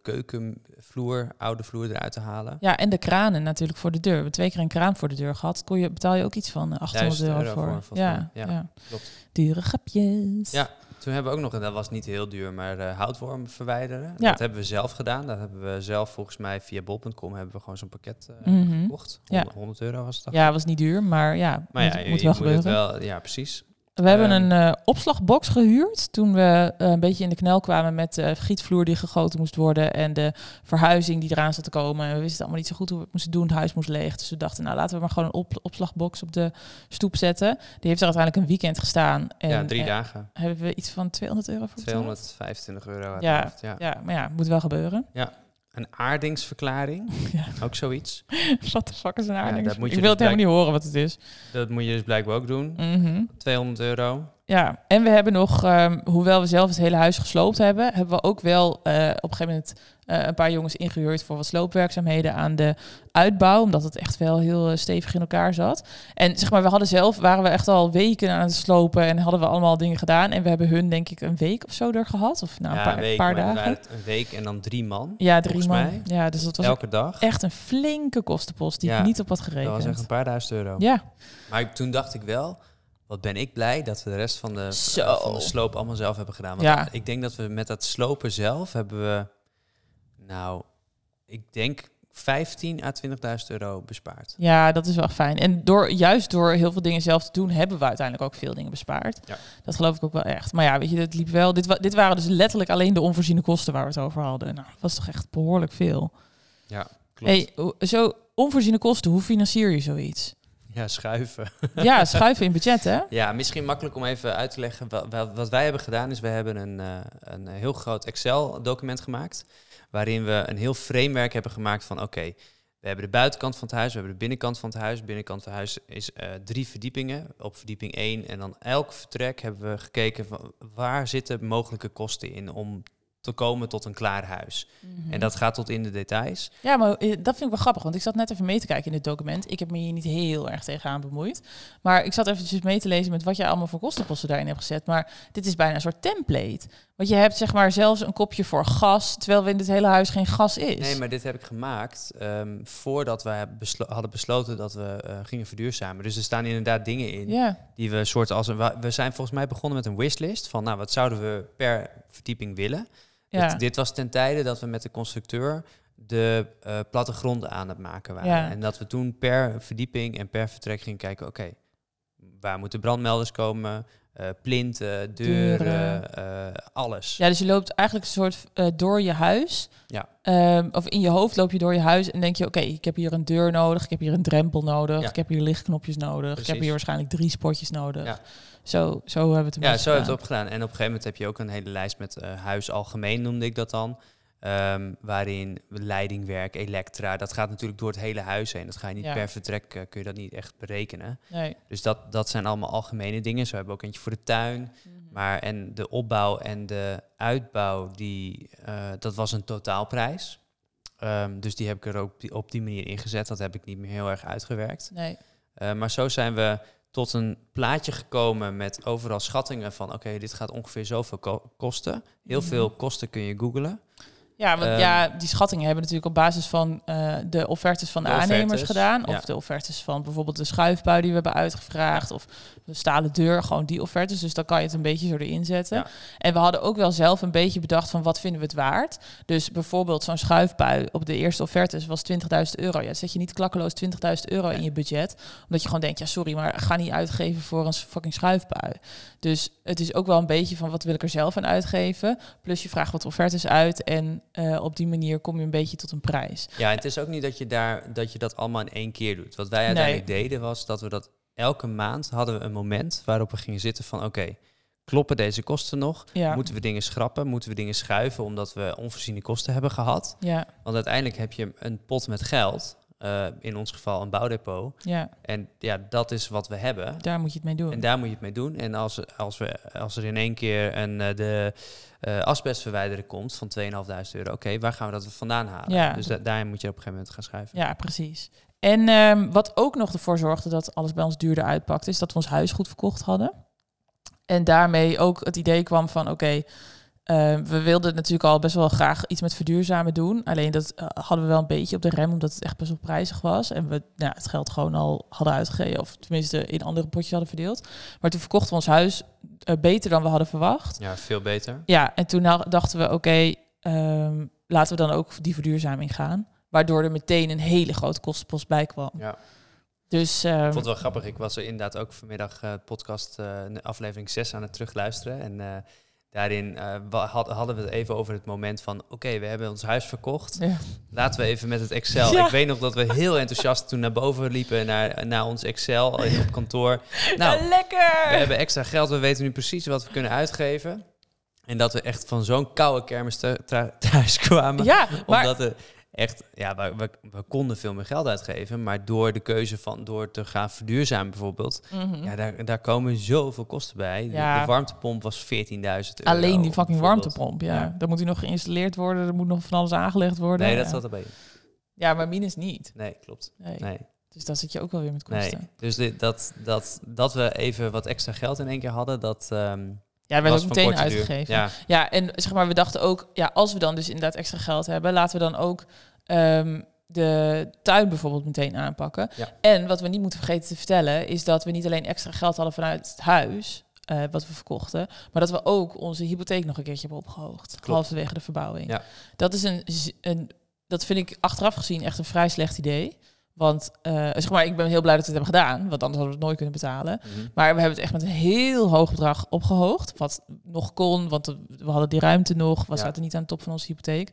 [SPEAKER 1] keukenvloer, oude vloer eruit te halen.
[SPEAKER 2] Ja, en de kranen natuurlijk voor de deur. We hebben twee keer een kraan voor de deur gehad. Kon je, betaal je ook iets van eh, 800
[SPEAKER 1] €1000
[SPEAKER 2] euro,
[SPEAKER 1] euro
[SPEAKER 2] voor.
[SPEAKER 1] voor, volgens
[SPEAKER 2] ja,
[SPEAKER 1] mij.
[SPEAKER 2] ja.
[SPEAKER 1] Ja, klopt.
[SPEAKER 2] Dure grapjes.
[SPEAKER 1] Ja. Toen hebben we ook nog, en dat was niet heel duur, maar eh, houtworm verwijderen.
[SPEAKER 2] Ja.
[SPEAKER 1] Dat hebben we zelf gedaan. Dat hebben we zelf volgens mij via bol.com hebben we gewoon zo'n pakket eh,
[SPEAKER 2] Mhm.
[SPEAKER 1] gekocht.
[SPEAKER 2] Ja.
[SPEAKER 1] 100, 100 euro was het. dacht ik.
[SPEAKER 2] Ja, was niet duur, maar ja,
[SPEAKER 1] Maar ja,
[SPEAKER 2] moet,
[SPEAKER 1] je-
[SPEAKER 2] moet
[SPEAKER 1] je
[SPEAKER 2] wel
[SPEAKER 1] moet het
[SPEAKER 2] gebeuren.
[SPEAKER 1] wel, ja, precies.
[SPEAKER 2] We hebben
[SPEAKER 1] Ehm,
[SPEAKER 2] een eh, opslagbox gehuurd toen we eh, een beetje in de knel kwamen met eh, de gietvloer die gegoten moest worden en de verhuizing die eraan zat te komen. En we wisten het allemaal niet zo goed hoe we het moesten doen. Het huis moest leeg. Dus we dachten, nou laten we maar gewoon een op- opslagbox op de stoep zetten. Die heeft er uiteindelijk een weekend gestaan. En,
[SPEAKER 1] ja, drie
[SPEAKER 2] eh,
[SPEAKER 1] dagen.
[SPEAKER 2] hebben we iets van 200 euro voor betaald?
[SPEAKER 1] 225 euro. uit
[SPEAKER 2] Ja.
[SPEAKER 1] mijn hoofd, ja.
[SPEAKER 2] Ja, maar ja, moet wel gebeuren.
[SPEAKER 1] Een aardingsverklaring,
[SPEAKER 2] Ja.
[SPEAKER 1] ook zoiets.
[SPEAKER 2] What the fuck is een aardig?
[SPEAKER 1] dat moet je
[SPEAKER 2] ik wil het
[SPEAKER 1] dus
[SPEAKER 2] helemaal niet horen wat het is.
[SPEAKER 1] Dat moet je dus blijkbaar ook doen.
[SPEAKER 2] Mhm.
[SPEAKER 1] 200 euro.
[SPEAKER 2] Ja, en we hebben nog, ehm, hoewel we zelf het hele huis gesloopt hebben, hebben we ook wel eh, op een gegeven moment eh, een paar jongens ingehuurd voor wat sloopwerkzaamheden aan de uitbouw, omdat het echt wel heel eh, stevig in elkaar zat. En zeg maar, we hadden zelf, waren we echt al weken aan het slopen en hadden we allemaal dingen gedaan. En we hebben hun denk ik een week of zo er gehad, of nou, een
[SPEAKER 1] ja,
[SPEAKER 2] paar,
[SPEAKER 1] een week,
[SPEAKER 2] paar
[SPEAKER 1] maar dan
[SPEAKER 2] dagen.
[SPEAKER 1] waren het Een week en dan drie man.
[SPEAKER 2] Ja, drie
[SPEAKER 1] volgens
[SPEAKER 2] man.
[SPEAKER 1] mij.
[SPEAKER 2] Ja, dus dat was
[SPEAKER 1] Elke dag.
[SPEAKER 2] echt een flinke kostenpost die
[SPEAKER 1] Ja,
[SPEAKER 2] ik niet op had
[SPEAKER 1] Dat was echt
[SPEAKER 2] gerekend.
[SPEAKER 1] een paar duizend euro.
[SPEAKER 2] Ja,
[SPEAKER 1] Maar ik- toen dacht ik wel, wat ben ik blij dat we de rest van de, eh,
[SPEAKER 2] Zo.
[SPEAKER 1] van de sloop allemaal zelf hebben gedaan. Want
[SPEAKER 2] Ja.
[SPEAKER 1] ik denk dat we met dat slopen zelf hebben we, nou, ik denk 15 à 20.000 euro bespaard.
[SPEAKER 2] ja, dat is wel fijn. En door, juist door heel veel dingen zelf te doen, hebben we uiteindelijk ook veel dingen bespaard.
[SPEAKER 1] Ja.
[SPEAKER 2] Dat geloof ik ook wel echt. Maar ja, weet je, dit liep wel. Dit, wa- dit waren dus letterlijk alleen de onvoorziene kosten waar we het over hadden. Nou, dat was toch echt behoorlijk veel.
[SPEAKER 1] Ja, klopt.
[SPEAKER 2] Hey, hoe- zo onvoorziene kosten, hoe financier je zoiets?
[SPEAKER 1] Ja, schuiven.
[SPEAKER 2] ja, schuiven in budget, hè?
[SPEAKER 1] Ja, misschien makkelijk om even uit te leggen. Wa- wa- Wat wij hebben gedaan is, we hebben een, eh, een heel groot Excel-document gemaakt. Waarin we een heel framework hebben gemaakt van, oké, we hebben de buitenkant van het huis, we hebben de binnenkant van het huis. De binnenkant van het huis is eh, drie verdiepingen, op verdieping één. En dan elk vertrek hebben we gekeken van, waar zitten mogelijke kosten in om te komen tot een klaar huis.
[SPEAKER 2] Mhm.
[SPEAKER 1] En dat gaat tot in de details.
[SPEAKER 2] Ja, maar eh, dat vind ik wel grappig, want ik zat net even mee te kijken in het document. Ik heb me hier niet heel erg tegenaan bemoeid. Maar ik zat eventjes mee te lezen met wat je allemaal voor kostenposten daarin hebt gezet. Maar dit is bijna een soort template. Want je hebt zeg maar zelfs een kopje voor gas, terwijl we in dit hele huis geen gas is.
[SPEAKER 1] Nee, maar dit heb ik gemaakt ehm, voordat we beslo- hadden besloten dat we eh, gingen verduurzamen. Dus er staan inderdaad dingen in
[SPEAKER 2] Ja,
[SPEAKER 1] die we soort als een... wa- We zijn volgens mij begonnen met een wishlist van, nou, wat zouden we per verdieping willen?
[SPEAKER 2] ja.
[SPEAKER 1] Het- dit was ten tijde dat we met de constructeur de eh plattegronden aan het maken waren.
[SPEAKER 2] Ja.
[SPEAKER 1] En dat we toen per verdieping en per vertrek gingen kijken, oké, waar moeten brandmelders komen? Eh, plinten, deuren,
[SPEAKER 2] Deuren.
[SPEAKER 1] eh, alles.
[SPEAKER 2] ja, dus je loopt eigenlijk een soort eh, door je huis.
[SPEAKER 1] Ja.
[SPEAKER 2] Ehm, of in je hoofd loop je door je huis en denk je, oké, ik heb hier een deur nodig, ik heb hier een drempel nodig,
[SPEAKER 1] Ja.
[SPEAKER 2] ik heb hier lichtknopjes nodig, ik heb
[SPEAKER 1] Precies.
[SPEAKER 2] hier waarschijnlijk drie spotjes nodig.
[SPEAKER 1] Ja.
[SPEAKER 2] Zo, zo hebben we het een
[SPEAKER 1] Ja,
[SPEAKER 2] beetje
[SPEAKER 1] zo heb je
[SPEAKER 2] gedaan.
[SPEAKER 1] het opgedaan. En op een gegeven moment heb je ook een hele lijst met eh, huis algemeen, noemde ik dat dan. Ehm, waarin leidingwerk, elektra, dat gaat natuurlijk door het hele huis heen. Dat ga je niet
[SPEAKER 2] Ja.
[SPEAKER 1] per vertrek, eh, kun je dat niet echt berekenen.
[SPEAKER 2] Nee.
[SPEAKER 1] Dus dat, dat zijn allemaal algemene dingen. Zo hebben we ook eentje voor de tuin. Maar en de opbouw en de uitbouw, die, eh, dat was een totaalprijs. Ehm, dus die heb ik er ook die- op die manier ingezet. Dat heb ik niet meer heel erg uitgewerkt.
[SPEAKER 2] Nee.
[SPEAKER 1] Eh, maar zo zijn we tot een plaatje gekomen met overal schattingen van... oké, dit gaat ongeveer zoveel ko- kosten. Heel
[SPEAKER 2] Mhm.
[SPEAKER 1] veel kosten kun je googlen.
[SPEAKER 2] Ja, want
[SPEAKER 1] Ehm,
[SPEAKER 2] ja, die schattingen hebben natuurlijk op basis van eh, de offertes van de,
[SPEAKER 1] De
[SPEAKER 2] aannemers
[SPEAKER 1] offertes,
[SPEAKER 2] gedaan. Of
[SPEAKER 1] ja.
[SPEAKER 2] de offertes van bijvoorbeeld de schuifbui die we hebben uitgevraagd. Of de stalen deur, gewoon die offertes. Dus dan kan je het een beetje zo erin zetten.
[SPEAKER 1] Ja.
[SPEAKER 2] En we hadden ook wel zelf een beetje bedacht van wat vinden we het waard. Dus bijvoorbeeld zo'n schuifbui op de eerste offertes was 20.000 euro. Ja, dan zet je niet klakkeloos 20.000 euro in je budget. Omdat je gewoon denkt, ja sorry, maar ga niet uitgeven voor een fucking schuifbui. Dus het is ook wel een beetje van wat wil ik er zelf aan uitgeven. Plus je vraagt wat offertes uit en eh, op die manier kom je een beetje tot een prijs.
[SPEAKER 1] Ja, en het is ook niet dat je, daar, dat je dat allemaal in één keer doet. Wat wij uiteindelijk deden was dat we dat elke maand hadden we een moment... waarop we gingen zitten van oké, kloppen deze kosten nog?
[SPEAKER 2] Ja,
[SPEAKER 1] Moeten we dingen schrappen? Moeten we dingen schuiven omdat we onvoorziene kosten hebben gehad?
[SPEAKER 2] ja,
[SPEAKER 1] Want uiteindelijk heb je een pot met geld... eh, in ons geval een bouwdepot.
[SPEAKER 2] ja,
[SPEAKER 1] En ja, dat is wat we hebben.
[SPEAKER 2] daar moet je het mee doen.
[SPEAKER 1] En daar moet je het mee doen. En als, als, we, als er in één keer een, eh, de eh asbestverwijderen komt van 2.500 euro, oké, waar gaan we dat vandaan halen?
[SPEAKER 2] Ja.
[SPEAKER 1] Dus da- daarin moet je op een gegeven moment gaan schuiven.
[SPEAKER 2] Ja, precies. En ehm, wat ook nog ervoor zorgde dat alles bij ons duurder uitpakte, is dat we ons huis goed verkocht hadden. En daarmee ook het idee kwam van oké, ehm, we wilden natuurlijk al best wel graag iets met verduurzamen doen. Alleen dat eh, hadden we wel een beetje op de rem, omdat het echt best wel prijzig was. En we nou, het geld gewoon al hadden uitgegeven, of tenminste in andere potjes hadden verdeeld. Maar toen verkochten we ons huis eh, beter dan we hadden verwacht.
[SPEAKER 1] Ja, veel beter.
[SPEAKER 2] Ja, en toen nou- dachten we, oké, ehm, laten we dan ook die verduurzaming gaan. Waardoor er meteen een hele grote kostenpost bij kwam.
[SPEAKER 1] Ja.
[SPEAKER 2] Dus
[SPEAKER 1] Ik
[SPEAKER 2] ehm,
[SPEAKER 1] vond het wel grappig. Ik was er inderdaad ook vanmiddag eh, podcast eh, aflevering 6 aan het terugluisteren. En eh, daarin eh, wa- had- hadden we het even over het moment van... oké, we hebben ons huis verkocht.
[SPEAKER 2] ja.
[SPEAKER 1] Laten we even met het Excel.
[SPEAKER 2] Ja.
[SPEAKER 1] Ik weet nog dat we heel enthousiast toen naar boven liepen... naar, naar ons Excel eh, op kantoor. Nou,
[SPEAKER 2] Ja, lekker!
[SPEAKER 1] We hebben extra geld, we weten nu precies wat we kunnen uitgeven. En dat we echt van zo'n koude kermis thu- thu- thuis kwamen.
[SPEAKER 2] ja, maar
[SPEAKER 1] Omdat we echt, ja, we, we, we konden veel meer geld uitgeven. Maar door de keuze van door te gaan verduurzamen bijvoorbeeld.
[SPEAKER 2] Mhm.
[SPEAKER 1] Ja, eh, daar, daar komen zoveel kosten bij. De-
[SPEAKER 2] Ja.
[SPEAKER 1] De, warmtepomp was 14.000 euro.
[SPEAKER 2] alleen die fucking
[SPEAKER 1] oh, bijvoorbeeld.
[SPEAKER 2] warmtepomp, ja.
[SPEAKER 1] Ja.
[SPEAKER 2] Dan moet die nog geïnstalleerd worden, er moet nog van alles aangelegd worden.
[SPEAKER 1] Nee, dat
[SPEAKER 2] ja.
[SPEAKER 1] zat erbij.
[SPEAKER 2] ja, maar minus niet.
[SPEAKER 1] Nee, klopt.
[SPEAKER 2] Nee.
[SPEAKER 1] Nee,
[SPEAKER 2] Dus dan zit je ook wel weer met
[SPEAKER 1] nee.
[SPEAKER 2] kosten.
[SPEAKER 1] Dus dit, dat, dat, dat we even wat extra geld in één keer hadden, dat ehm
[SPEAKER 2] Ja, werd
[SPEAKER 1] was
[SPEAKER 2] ook
[SPEAKER 1] van
[SPEAKER 2] meteen
[SPEAKER 1] korte duur.
[SPEAKER 2] uitgegeven.
[SPEAKER 1] Ja,
[SPEAKER 2] Ja, en zeg maar, we dachten ook, ja, als we dan dus inderdaad extra geld hebben, laten we dan ook ehm, de tuin bijvoorbeeld meteen aanpakken.
[SPEAKER 1] Ja.
[SPEAKER 2] En wat we niet moeten vergeten te vertellen, is dat we niet alleen extra geld hadden vanuit het huis, eh, wat we verkochten, maar dat we ook onze hypotheek nog een keertje hebben opgehoogd. Halverwege de verbouwing.
[SPEAKER 1] Ja.
[SPEAKER 2] Dat is een, z- een, dat vind ik achteraf gezien echt een vrij slecht idee. Want eh, zeg maar, ik ben heel blij dat we het hebben gedaan, want anders hadden we het nooit kunnen betalen.
[SPEAKER 1] Mhm.
[SPEAKER 2] Maar we hebben het echt met een heel hoog bedrag opgehoogd. Wat nog kon, want we hadden die ruimte nog. We
[SPEAKER 1] Ja.
[SPEAKER 2] zaten niet aan de top van onze hypotheek.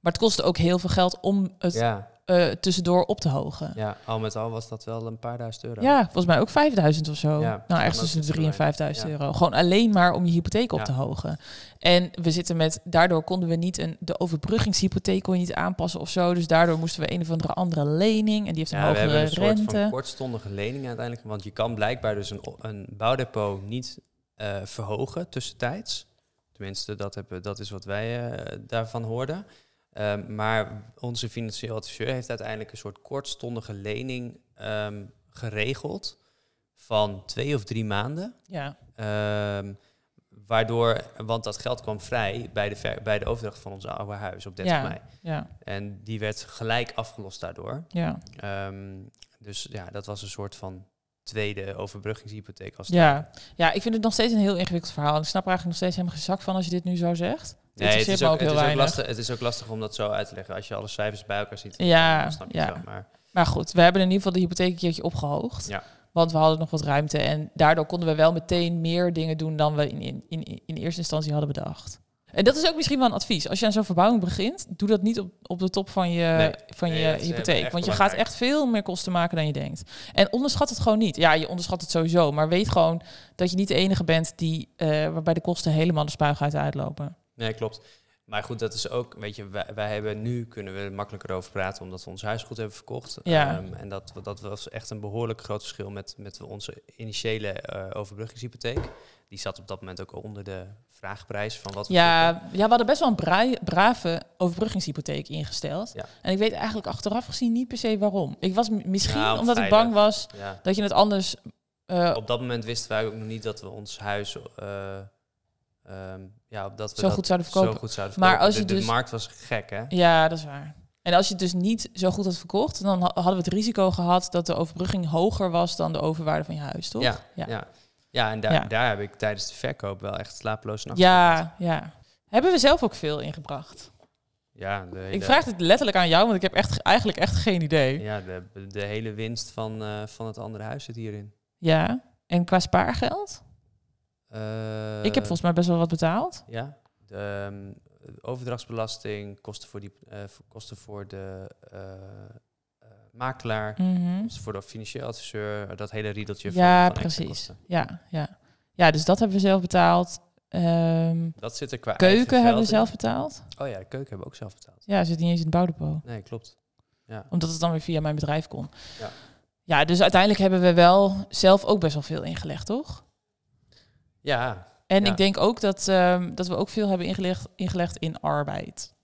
[SPEAKER 2] Maar het kostte ook heel veel geld om het
[SPEAKER 1] ja,
[SPEAKER 2] eh, tussendoor op te hogen. Ja.
[SPEAKER 1] ja, al met al was dat wel een paar duizend euro.
[SPEAKER 2] volgens mij ook 5000 of zo.
[SPEAKER 1] Ja,
[SPEAKER 2] nou,
[SPEAKER 1] kan
[SPEAKER 2] ergens
[SPEAKER 1] ook
[SPEAKER 2] tussen de
[SPEAKER 1] iets
[SPEAKER 2] 3 en
[SPEAKER 1] zijn.
[SPEAKER 2] 5000
[SPEAKER 1] eh, Ja.
[SPEAKER 2] euro. Gewoon alleen maar om je hypotheek op
[SPEAKER 1] Ja.
[SPEAKER 2] te hogen. En we zitten met, daardoor konden we niet een, de overbruggingshypotheek kon je niet aanpassen of zo. Dus daardoor moesten we een of andere andere lening. En die heeft een
[SPEAKER 1] Ja, we
[SPEAKER 2] hogere
[SPEAKER 1] hebben een soort van
[SPEAKER 2] rente.
[SPEAKER 1] kortstondige lening uiteindelijk. Want je kan blijkbaar dus een, o- een bouwdepot niet eh, verhogen tussentijds. Tenminste, dat, hebben, dat is wat wij eh, daarvan hoorden. Ehm, maar onze financieel adviseur heeft uiteindelijk een soort kortstondige lening ehm, geregeld van twee of drie maanden.
[SPEAKER 2] Ja,
[SPEAKER 1] Ehm, waardoor, want dat geld kwam vrij bij de, ver- bij de overdracht van ons oude huis op 30 mei.
[SPEAKER 2] ja,
[SPEAKER 1] En die werd gelijk afgelost daardoor.
[SPEAKER 2] ja.
[SPEAKER 1] Ehm, dus ja, dat was een soort van tweede overbruggingshypotheek. Als het ware.
[SPEAKER 2] Ja. ja, ik vind het nog steeds een heel ingewikkeld verhaal. En ik snap er eigenlijk nog steeds helemaal geen zak van als je dit nu zo zegt.
[SPEAKER 1] Nee, het
[SPEAKER 2] interesseert
[SPEAKER 1] is,
[SPEAKER 2] me
[SPEAKER 1] ook,
[SPEAKER 2] ook heel
[SPEAKER 1] het, is ook
[SPEAKER 2] weinig.
[SPEAKER 1] lastig, het is ook lastig om dat zo uit te leggen. Als je alle cijfers bij elkaar ziet,
[SPEAKER 2] Ja,
[SPEAKER 1] dan snap je
[SPEAKER 2] ja.
[SPEAKER 1] het wel. Maar
[SPEAKER 2] Maar goed, we hebben in ieder geval de hypotheek een keertje opgehoogd.
[SPEAKER 1] Ja.
[SPEAKER 2] Want we hadden nog wat ruimte. En daardoor konden we wel meteen meer dingen doen dan we in, in, in, in eerste instantie hadden bedacht. En dat is ook misschien wel een advies. Als je aan zo'n verbouwing begint, doe dat niet op, op de top van je,
[SPEAKER 1] Nee,
[SPEAKER 2] van
[SPEAKER 1] nee,
[SPEAKER 2] je
[SPEAKER 1] dat is, eh,
[SPEAKER 2] hypotheek.
[SPEAKER 1] echt
[SPEAKER 2] Want je gaat
[SPEAKER 1] belangrijk.
[SPEAKER 2] echt veel meer kosten maken dan je denkt. En onderschat het gewoon niet. Ja, je onderschat het sowieso. Maar weet gewoon dat je niet de enige bent die, eh, waarbij de kosten helemaal de spuigaten uitlopen.
[SPEAKER 1] nee, klopt. Maar goed, dat is ook, weet je, wij, wij hebben nu kunnen we er makkelijker over praten omdat we ons huis goed hebben verkocht.
[SPEAKER 2] Ja.
[SPEAKER 1] Ehm, en dat, dat was echt een behoorlijk groot verschil met, met onze initiële eh, overbruggingshypotheek. Die zat op dat moment ook al onder de vraagprijs van wat we vroegen.
[SPEAKER 2] Ja, ja, we hadden best wel een braai- brave overbruggingshypotheek ingesteld.
[SPEAKER 1] Ja.
[SPEAKER 2] En ik weet eigenlijk achteraf gezien niet per se waarom. Ik was m- misschien
[SPEAKER 1] Nou,
[SPEAKER 2] omdat ik
[SPEAKER 1] veilig.
[SPEAKER 2] bang was
[SPEAKER 1] Ja.
[SPEAKER 2] dat je het anders. eh,
[SPEAKER 1] Op dat moment wisten wij ook nog niet dat we ons huis... eh, ehm, ja, dat we
[SPEAKER 2] Zo
[SPEAKER 1] dat
[SPEAKER 2] goed zouden verkopen.
[SPEAKER 1] Zo goed zouden
[SPEAKER 2] Maar
[SPEAKER 1] verkopen.
[SPEAKER 2] als je
[SPEAKER 1] de, de
[SPEAKER 2] dus-
[SPEAKER 1] markt was gek, hè?
[SPEAKER 2] ja, dat is waar. En als je het dus niet zo goed had verkocht, dan ha- hadden we het risico gehad dat de overbrugging hoger was dan de overwaarde van je huis, toch?
[SPEAKER 1] Ja,
[SPEAKER 2] Ja.
[SPEAKER 1] ja. ja. en daar,
[SPEAKER 2] Ja.
[SPEAKER 1] daar heb ik tijdens de verkoop wel echt slapeloos nachten. gehad.
[SPEAKER 2] ja, ja. Hebben we zelf ook veel ingebracht?
[SPEAKER 1] ja de hele,
[SPEAKER 2] Ik vraag dit letterlijk aan jou, want ik heb echt, ge- eigenlijk echt geen idee.
[SPEAKER 1] Ja, de, de hele winst van, eh, van het andere huis zit hierin.
[SPEAKER 2] Ja. En qua spaargeld?
[SPEAKER 1] Eh,
[SPEAKER 2] ik heb volgens mij best wel wat betaald.
[SPEAKER 1] Ja, de ehm, overdrachtsbelasting, kosten voor, die, eh, voor- kosten voor de eh, eh, makelaar,
[SPEAKER 2] Mhm.
[SPEAKER 1] kosten voor de financieel adviseur, dat hele riedeltje van- van,
[SPEAKER 2] Ja,
[SPEAKER 1] extra
[SPEAKER 2] precies.
[SPEAKER 1] kosten.
[SPEAKER 2] Ja, ja. ja, dus dat hebben we zelf betaald. Ehm,
[SPEAKER 1] Dat zit er qua eigen
[SPEAKER 2] keuken hebben
[SPEAKER 1] geld in.
[SPEAKER 2] we zelf betaald.
[SPEAKER 1] Oh ja, de keuken hebben we ook zelf betaald.
[SPEAKER 2] Ja, zit niet eens in het bouwdepot.
[SPEAKER 1] Nee, klopt.
[SPEAKER 2] Omdat het dan weer via mijn bedrijf kon.
[SPEAKER 1] Ja.
[SPEAKER 2] ja, dus uiteindelijk hebben we wel zelf ook best wel veel ingelegd, toch?
[SPEAKER 1] Ja,
[SPEAKER 2] En
[SPEAKER 1] Ja.
[SPEAKER 2] ik denk ook dat, ehm, dat we ook veel hebben ingelegd, ingelegd in arbeid.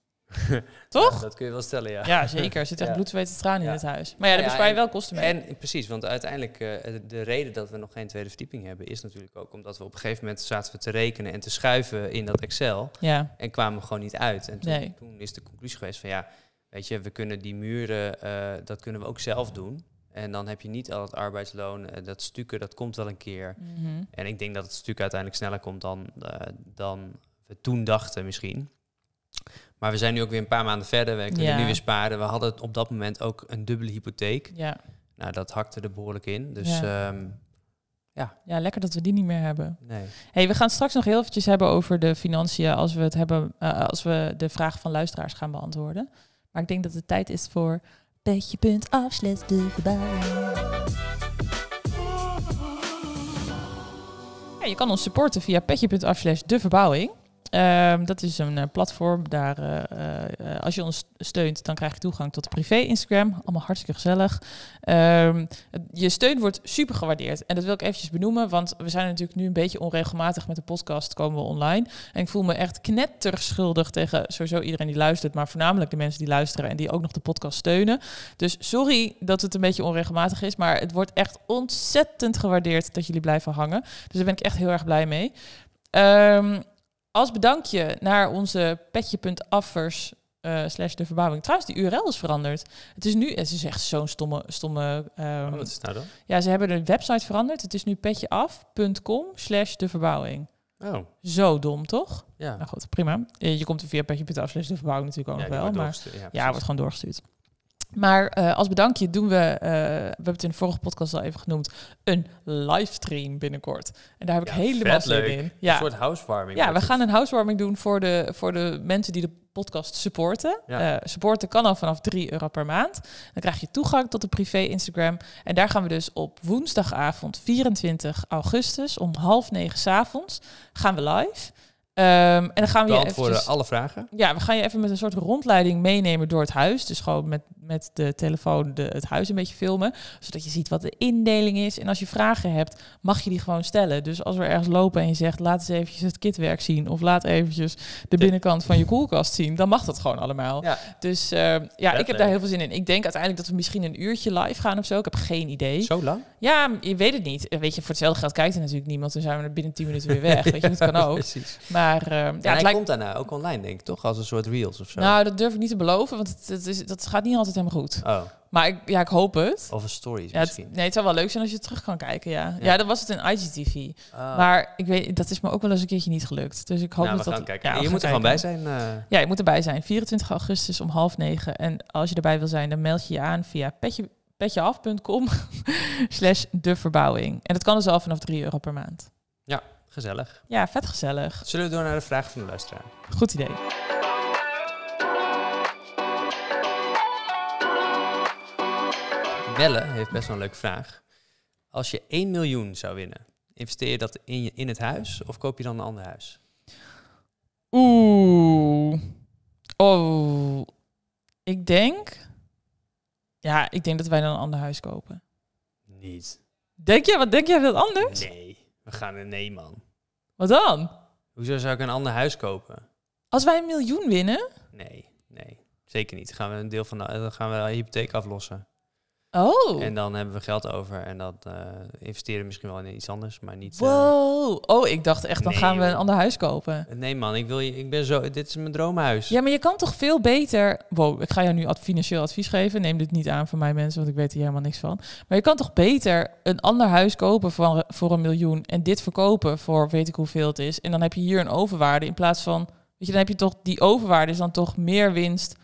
[SPEAKER 2] toch?
[SPEAKER 1] dat kun je wel stellen, ja.
[SPEAKER 2] Ja, zeker. Er zit echt
[SPEAKER 1] Ja.
[SPEAKER 2] bloed, zweet en tranen in
[SPEAKER 1] Ja.
[SPEAKER 2] het huis. Maar ja, daar
[SPEAKER 1] Ja,
[SPEAKER 2] bespaar je
[SPEAKER 1] en-
[SPEAKER 2] wel kosten mee.
[SPEAKER 1] En precies, want uiteindelijk eh, de reden dat we nog geen tweede verdieping hebben is natuurlijk ook omdat we op een gegeven moment zaten we te rekenen en te schuiven in dat Excel
[SPEAKER 2] ja,
[SPEAKER 1] en kwamen we gewoon niet uit. En toen,
[SPEAKER 2] Nee.
[SPEAKER 1] toen is de conclusie geweest van ja, weet je, we kunnen die muren, eh, dat kunnen we ook zelf doen. En dan heb je niet al het arbeidsloon, eh, dat stukken, dat komt wel een keer.
[SPEAKER 2] Mhm.
[SPEAKER 1] En ik denk dat het stuk uiteindelijk sneller komt dan, eh, dan we toen dachten misschien. Maar we zijn nu ook weer een paar maanden verder. We kunnen
[SPEAKER 2] Ja.
[SPEAKER 1] nu weer sparen. We hadden op dat moment ook een dubbele hypotheek.
[SPEAKER 2] ja.
[SPEAKER 1] Nou, dat hakte er behoorlijk in. Dus ja,
[SPEAKER 2] ja, lekker dat we die niet meer hebben.
[SPEAKER 1] nee.
[SPEAKER 2] Hey, we gaan het straks nog heel eventjes hebben over de financiën als we, het hebben, eh, als we de vraag van luisteraars gaan beantwoorden. Maar ik denk dat het tijd is voor petje punt af slash de verbouwing. Ja, je kan ons supporten via petje.af slash de verbouwing. Ehm, dat is een eh, platform. Daar, eh, eh, eh, als je ons steunt, dan krijg je toegang tot de privé-Instagram. Allemaal hartstikke gezellig. Ehm, het- je steun wordt super gewaardeerd. En dat wil ik eventjes benoemen, want we zijn natuurlijk nu een beetje onregelmatig met de podcast. Komen we online. En ik voel me echt knetterschuldig tegen sowieso iedereen die luistert, maar voornamelijk de mensen die luisteren en die ook nog de podcast steunen. Dus sorry dat het een beetje onregelmatig is, maar het wordt echt ontzettend gewaardeerd dat jullie blijven hangen. Dus daar ben ik echt heel erg blij mee. Ehm, als bedankje naar onze petje.affers eh slash de verbouwing. Trouwens, die URL is veranderd. Het is nu, het is echt zo'n stomme, stomme ehm,
[SPEAKER 1] Oh, wat is het nou dan?
[SPEAKER 2] ja, ze hebben de website veranderd. Het is nu petjeaf.com slash de verbouwing.
[SPEAKER 1] Oh,
[SPEAKER 2] Zo dom, toch?
[SPEAKER 1] ja.
[SPEAKER 2] Nou goed, prima. Eh, Je komt er via petje.af slash de verbouwing natuurlijk ook
[SPEAKER 1] ja, die
[SPEAKER 2] nog wel.
[SPEAKER 1] wordt
[SPEAKER 2] Maar
[SPEAKER 1] doorgestuurd. Ja,
[SPEAKER 2] ja, wordt gewoon doorgestuurd. Maar eh, als bedankje doen we, eh, we hebben het in de vorige podcast al even genoemd, een livestream binnenkort. En daar heb ik
[SPEAKER 1] Ja,
[SPEAKER 2] helemaal
[SPEAKER 1] vet
[SPEAKER 2] zin
[SPEAKER 1] leuk.
[SPEAKER 2] in.
[SPEAKER 1] Een
[SPEAKER 2] Ja,
[SPEAKER 1] soort housewarming.
[SPEAKER 2] ja we
[SPEAKER 1] wordt
[SPEAKER 2] gaan een housewarming doen voor de, voor de mensen die de podcast supporten.
[SPEAKER 1] Ja.
[SPEAKER 2] Eh, supporten kan al vanaf 3 euro per maand. Dan krijg je toegang tot de privé Instagram. En daar gaan we dus op woensdagavond 24 augustus om half negen 's avonds gaan we live. Ehm, en dan gaan
[SPEAKER 1] het.
[SPEAKER 2] we je
[SPEAKER 1] Beantwoorden
[SPEAKER 2] eventjes-
[SPEAKER 1] alle vragen.
[SPEAKER 2] ja, we gaan je even met een soort rondleiding meenemen door het huis. Dus gewoon met, met de telefoon de, het huis een beetje filmen. Zodat je ziet wat de indeling is. En als je vragen hebt, mag je die gewoon stellen. Dus als we ergens lopen en je zegt, laat eens eventjes het kitwerk zien. Of laat eventjes de binnenkant van je koelkast zien. Dan mag dat gewoon allemaal.
[SPEAKER 1] Ja.
[SPEAKER 2] Dus eh, ja, ik heb
[SPEAKER 1] leuk.
[SPEAKER 2] daar heel veel zin in. Ik denk uiteindelijk dat we misschien een uurtje live gaan of zo. Ik heb geen idee.
[SPEAKER 1] Zo lang?
[SPEAKER 2] Ja, m- je weet het niet. Eh, Weet je, voor hetzelfde geld kijkt er natuurlijk niemand. Dan zijn we er binnen 10 minuten weer weg. Weet je, dat kan ook.
[SPEAKER 1] Precies.
[SPEAKER 2] Maar eh,
[SPEAKER 1] Ja,
[SPEAKER 2] ja, het
[SPEAKER 1] hij
[SPEAKER 2] lijkt...
[SPEAKER 1] komt daarna ook online, denk ik, toch? Als een soort reels of zo.
[SPEAKER 2] Nou, dat durf ik niet te beloven, want het, het is, dat gaat niet altijd helemaal goed.
[SPEAKER 1] Oh,
[SPEAKER 2] Maar ik, ja, ik hoop het.
[SPEAKER 1] of een stories
[SPEAKER 2] Ja, het,
[SPEAKER 1] misschien.
[SPEAKER 2] nee, het zou wel leuk zijn als je het terug kan kijken, ja.
[SPEAKER 1] Ja.
[SPEAKER 2] Ja, dat was het in IGTV.
[SPEAKER 1] Ah.
[SPEAKER 2] Maar ik weet, dat is me ook wel eens een keertje niet gelukt. Dus ik hoop
[SPEAKER 1] nou, we
[SPEAKER 2] dat dat...
[SPEAKER 1] gaan kijken.
[SPEAKER 2] ja, we
[SPEAKER 1] je
[SPEAKER 2] gaan
[SPEAKER 1] moet er gewoon bij
[SPEAKER 2] kijken.
[SPEAKER 1] zijn. eh.
[SPEAKER 2] Ja, je moet erbij zijn. 24 augustus om half negen. En als je erbij wil zijn, dan meld je je aan via petje, petjeaf.com slash de verbouwing. En dat kan dus al vanaf 3 euro per maand.
[SPEAKER 1] gezellig.
[SPEAKER 2] Ja, vet gezellig.
[SPEAKER 1] Zullen we door naar de vraag van de luisteraar?
[SPEAKER 2] Goed idee.
[SPEAKER 1] Melle heeft best wel een leuke vraag. Als je 1 miljoen zou winnen, investeer je dat in, je, in het huis of koop je dan een ander huis?
[SPEAKER 2] Oeh. Oh. Ik denk... Ja, ik denk dat wij dan een ander huis kopen.
[SPEAKER 1] Niet.
[SPEAKER 2] Denk jij, wat denk jij dat anders?
[SPEAKER 1] Nee, we gaan een nee, man.
[SPEAKER 2] Wat dan?
[SPEAKER 1] Hoezo zou ik een ander huis kopen?
[SPEAKER 2] Als wij een miljoen winnen?
[SPEAKER 1] Nee, nee. Zeker niet. Gaan we een deel van de, dan gaan we de hypotheek aflossen.
[SPEAKER 2] Oh.
[SPEAKER 1] En dan hebben we geld over. En dat eh, investeren we misschien wel in iets anders, maar niet. eh,
[SPEAKER 2] Wow. Oh, ik dacht echt, dan
[SPEAKER 1] Nee,
[SPEAKER 2] gaan we een
[SPEAKER 1] joh.
[SPEAKER 2] ander huis kopen.
[SPEAKER 1] nee, man, ik, wil je, ik ben zo. Dit is mijn droomhuis.
[SPEAKER 2] Ja, maar je kan toch veel beter. Wow, ik ga jou nu ad financieel advies geven. Neem dit niet aan van mij, mensen, want ik weet hier helemaal niks van. Maar je kan toch beter een ander huis kopen van, voor een miljoen en dit verkopen voor weet ik hoeveel het is. En dan heb je hier een overwaarde in plaats van. Weet je, dan heb je toch die overwaarde is dan toch meer winst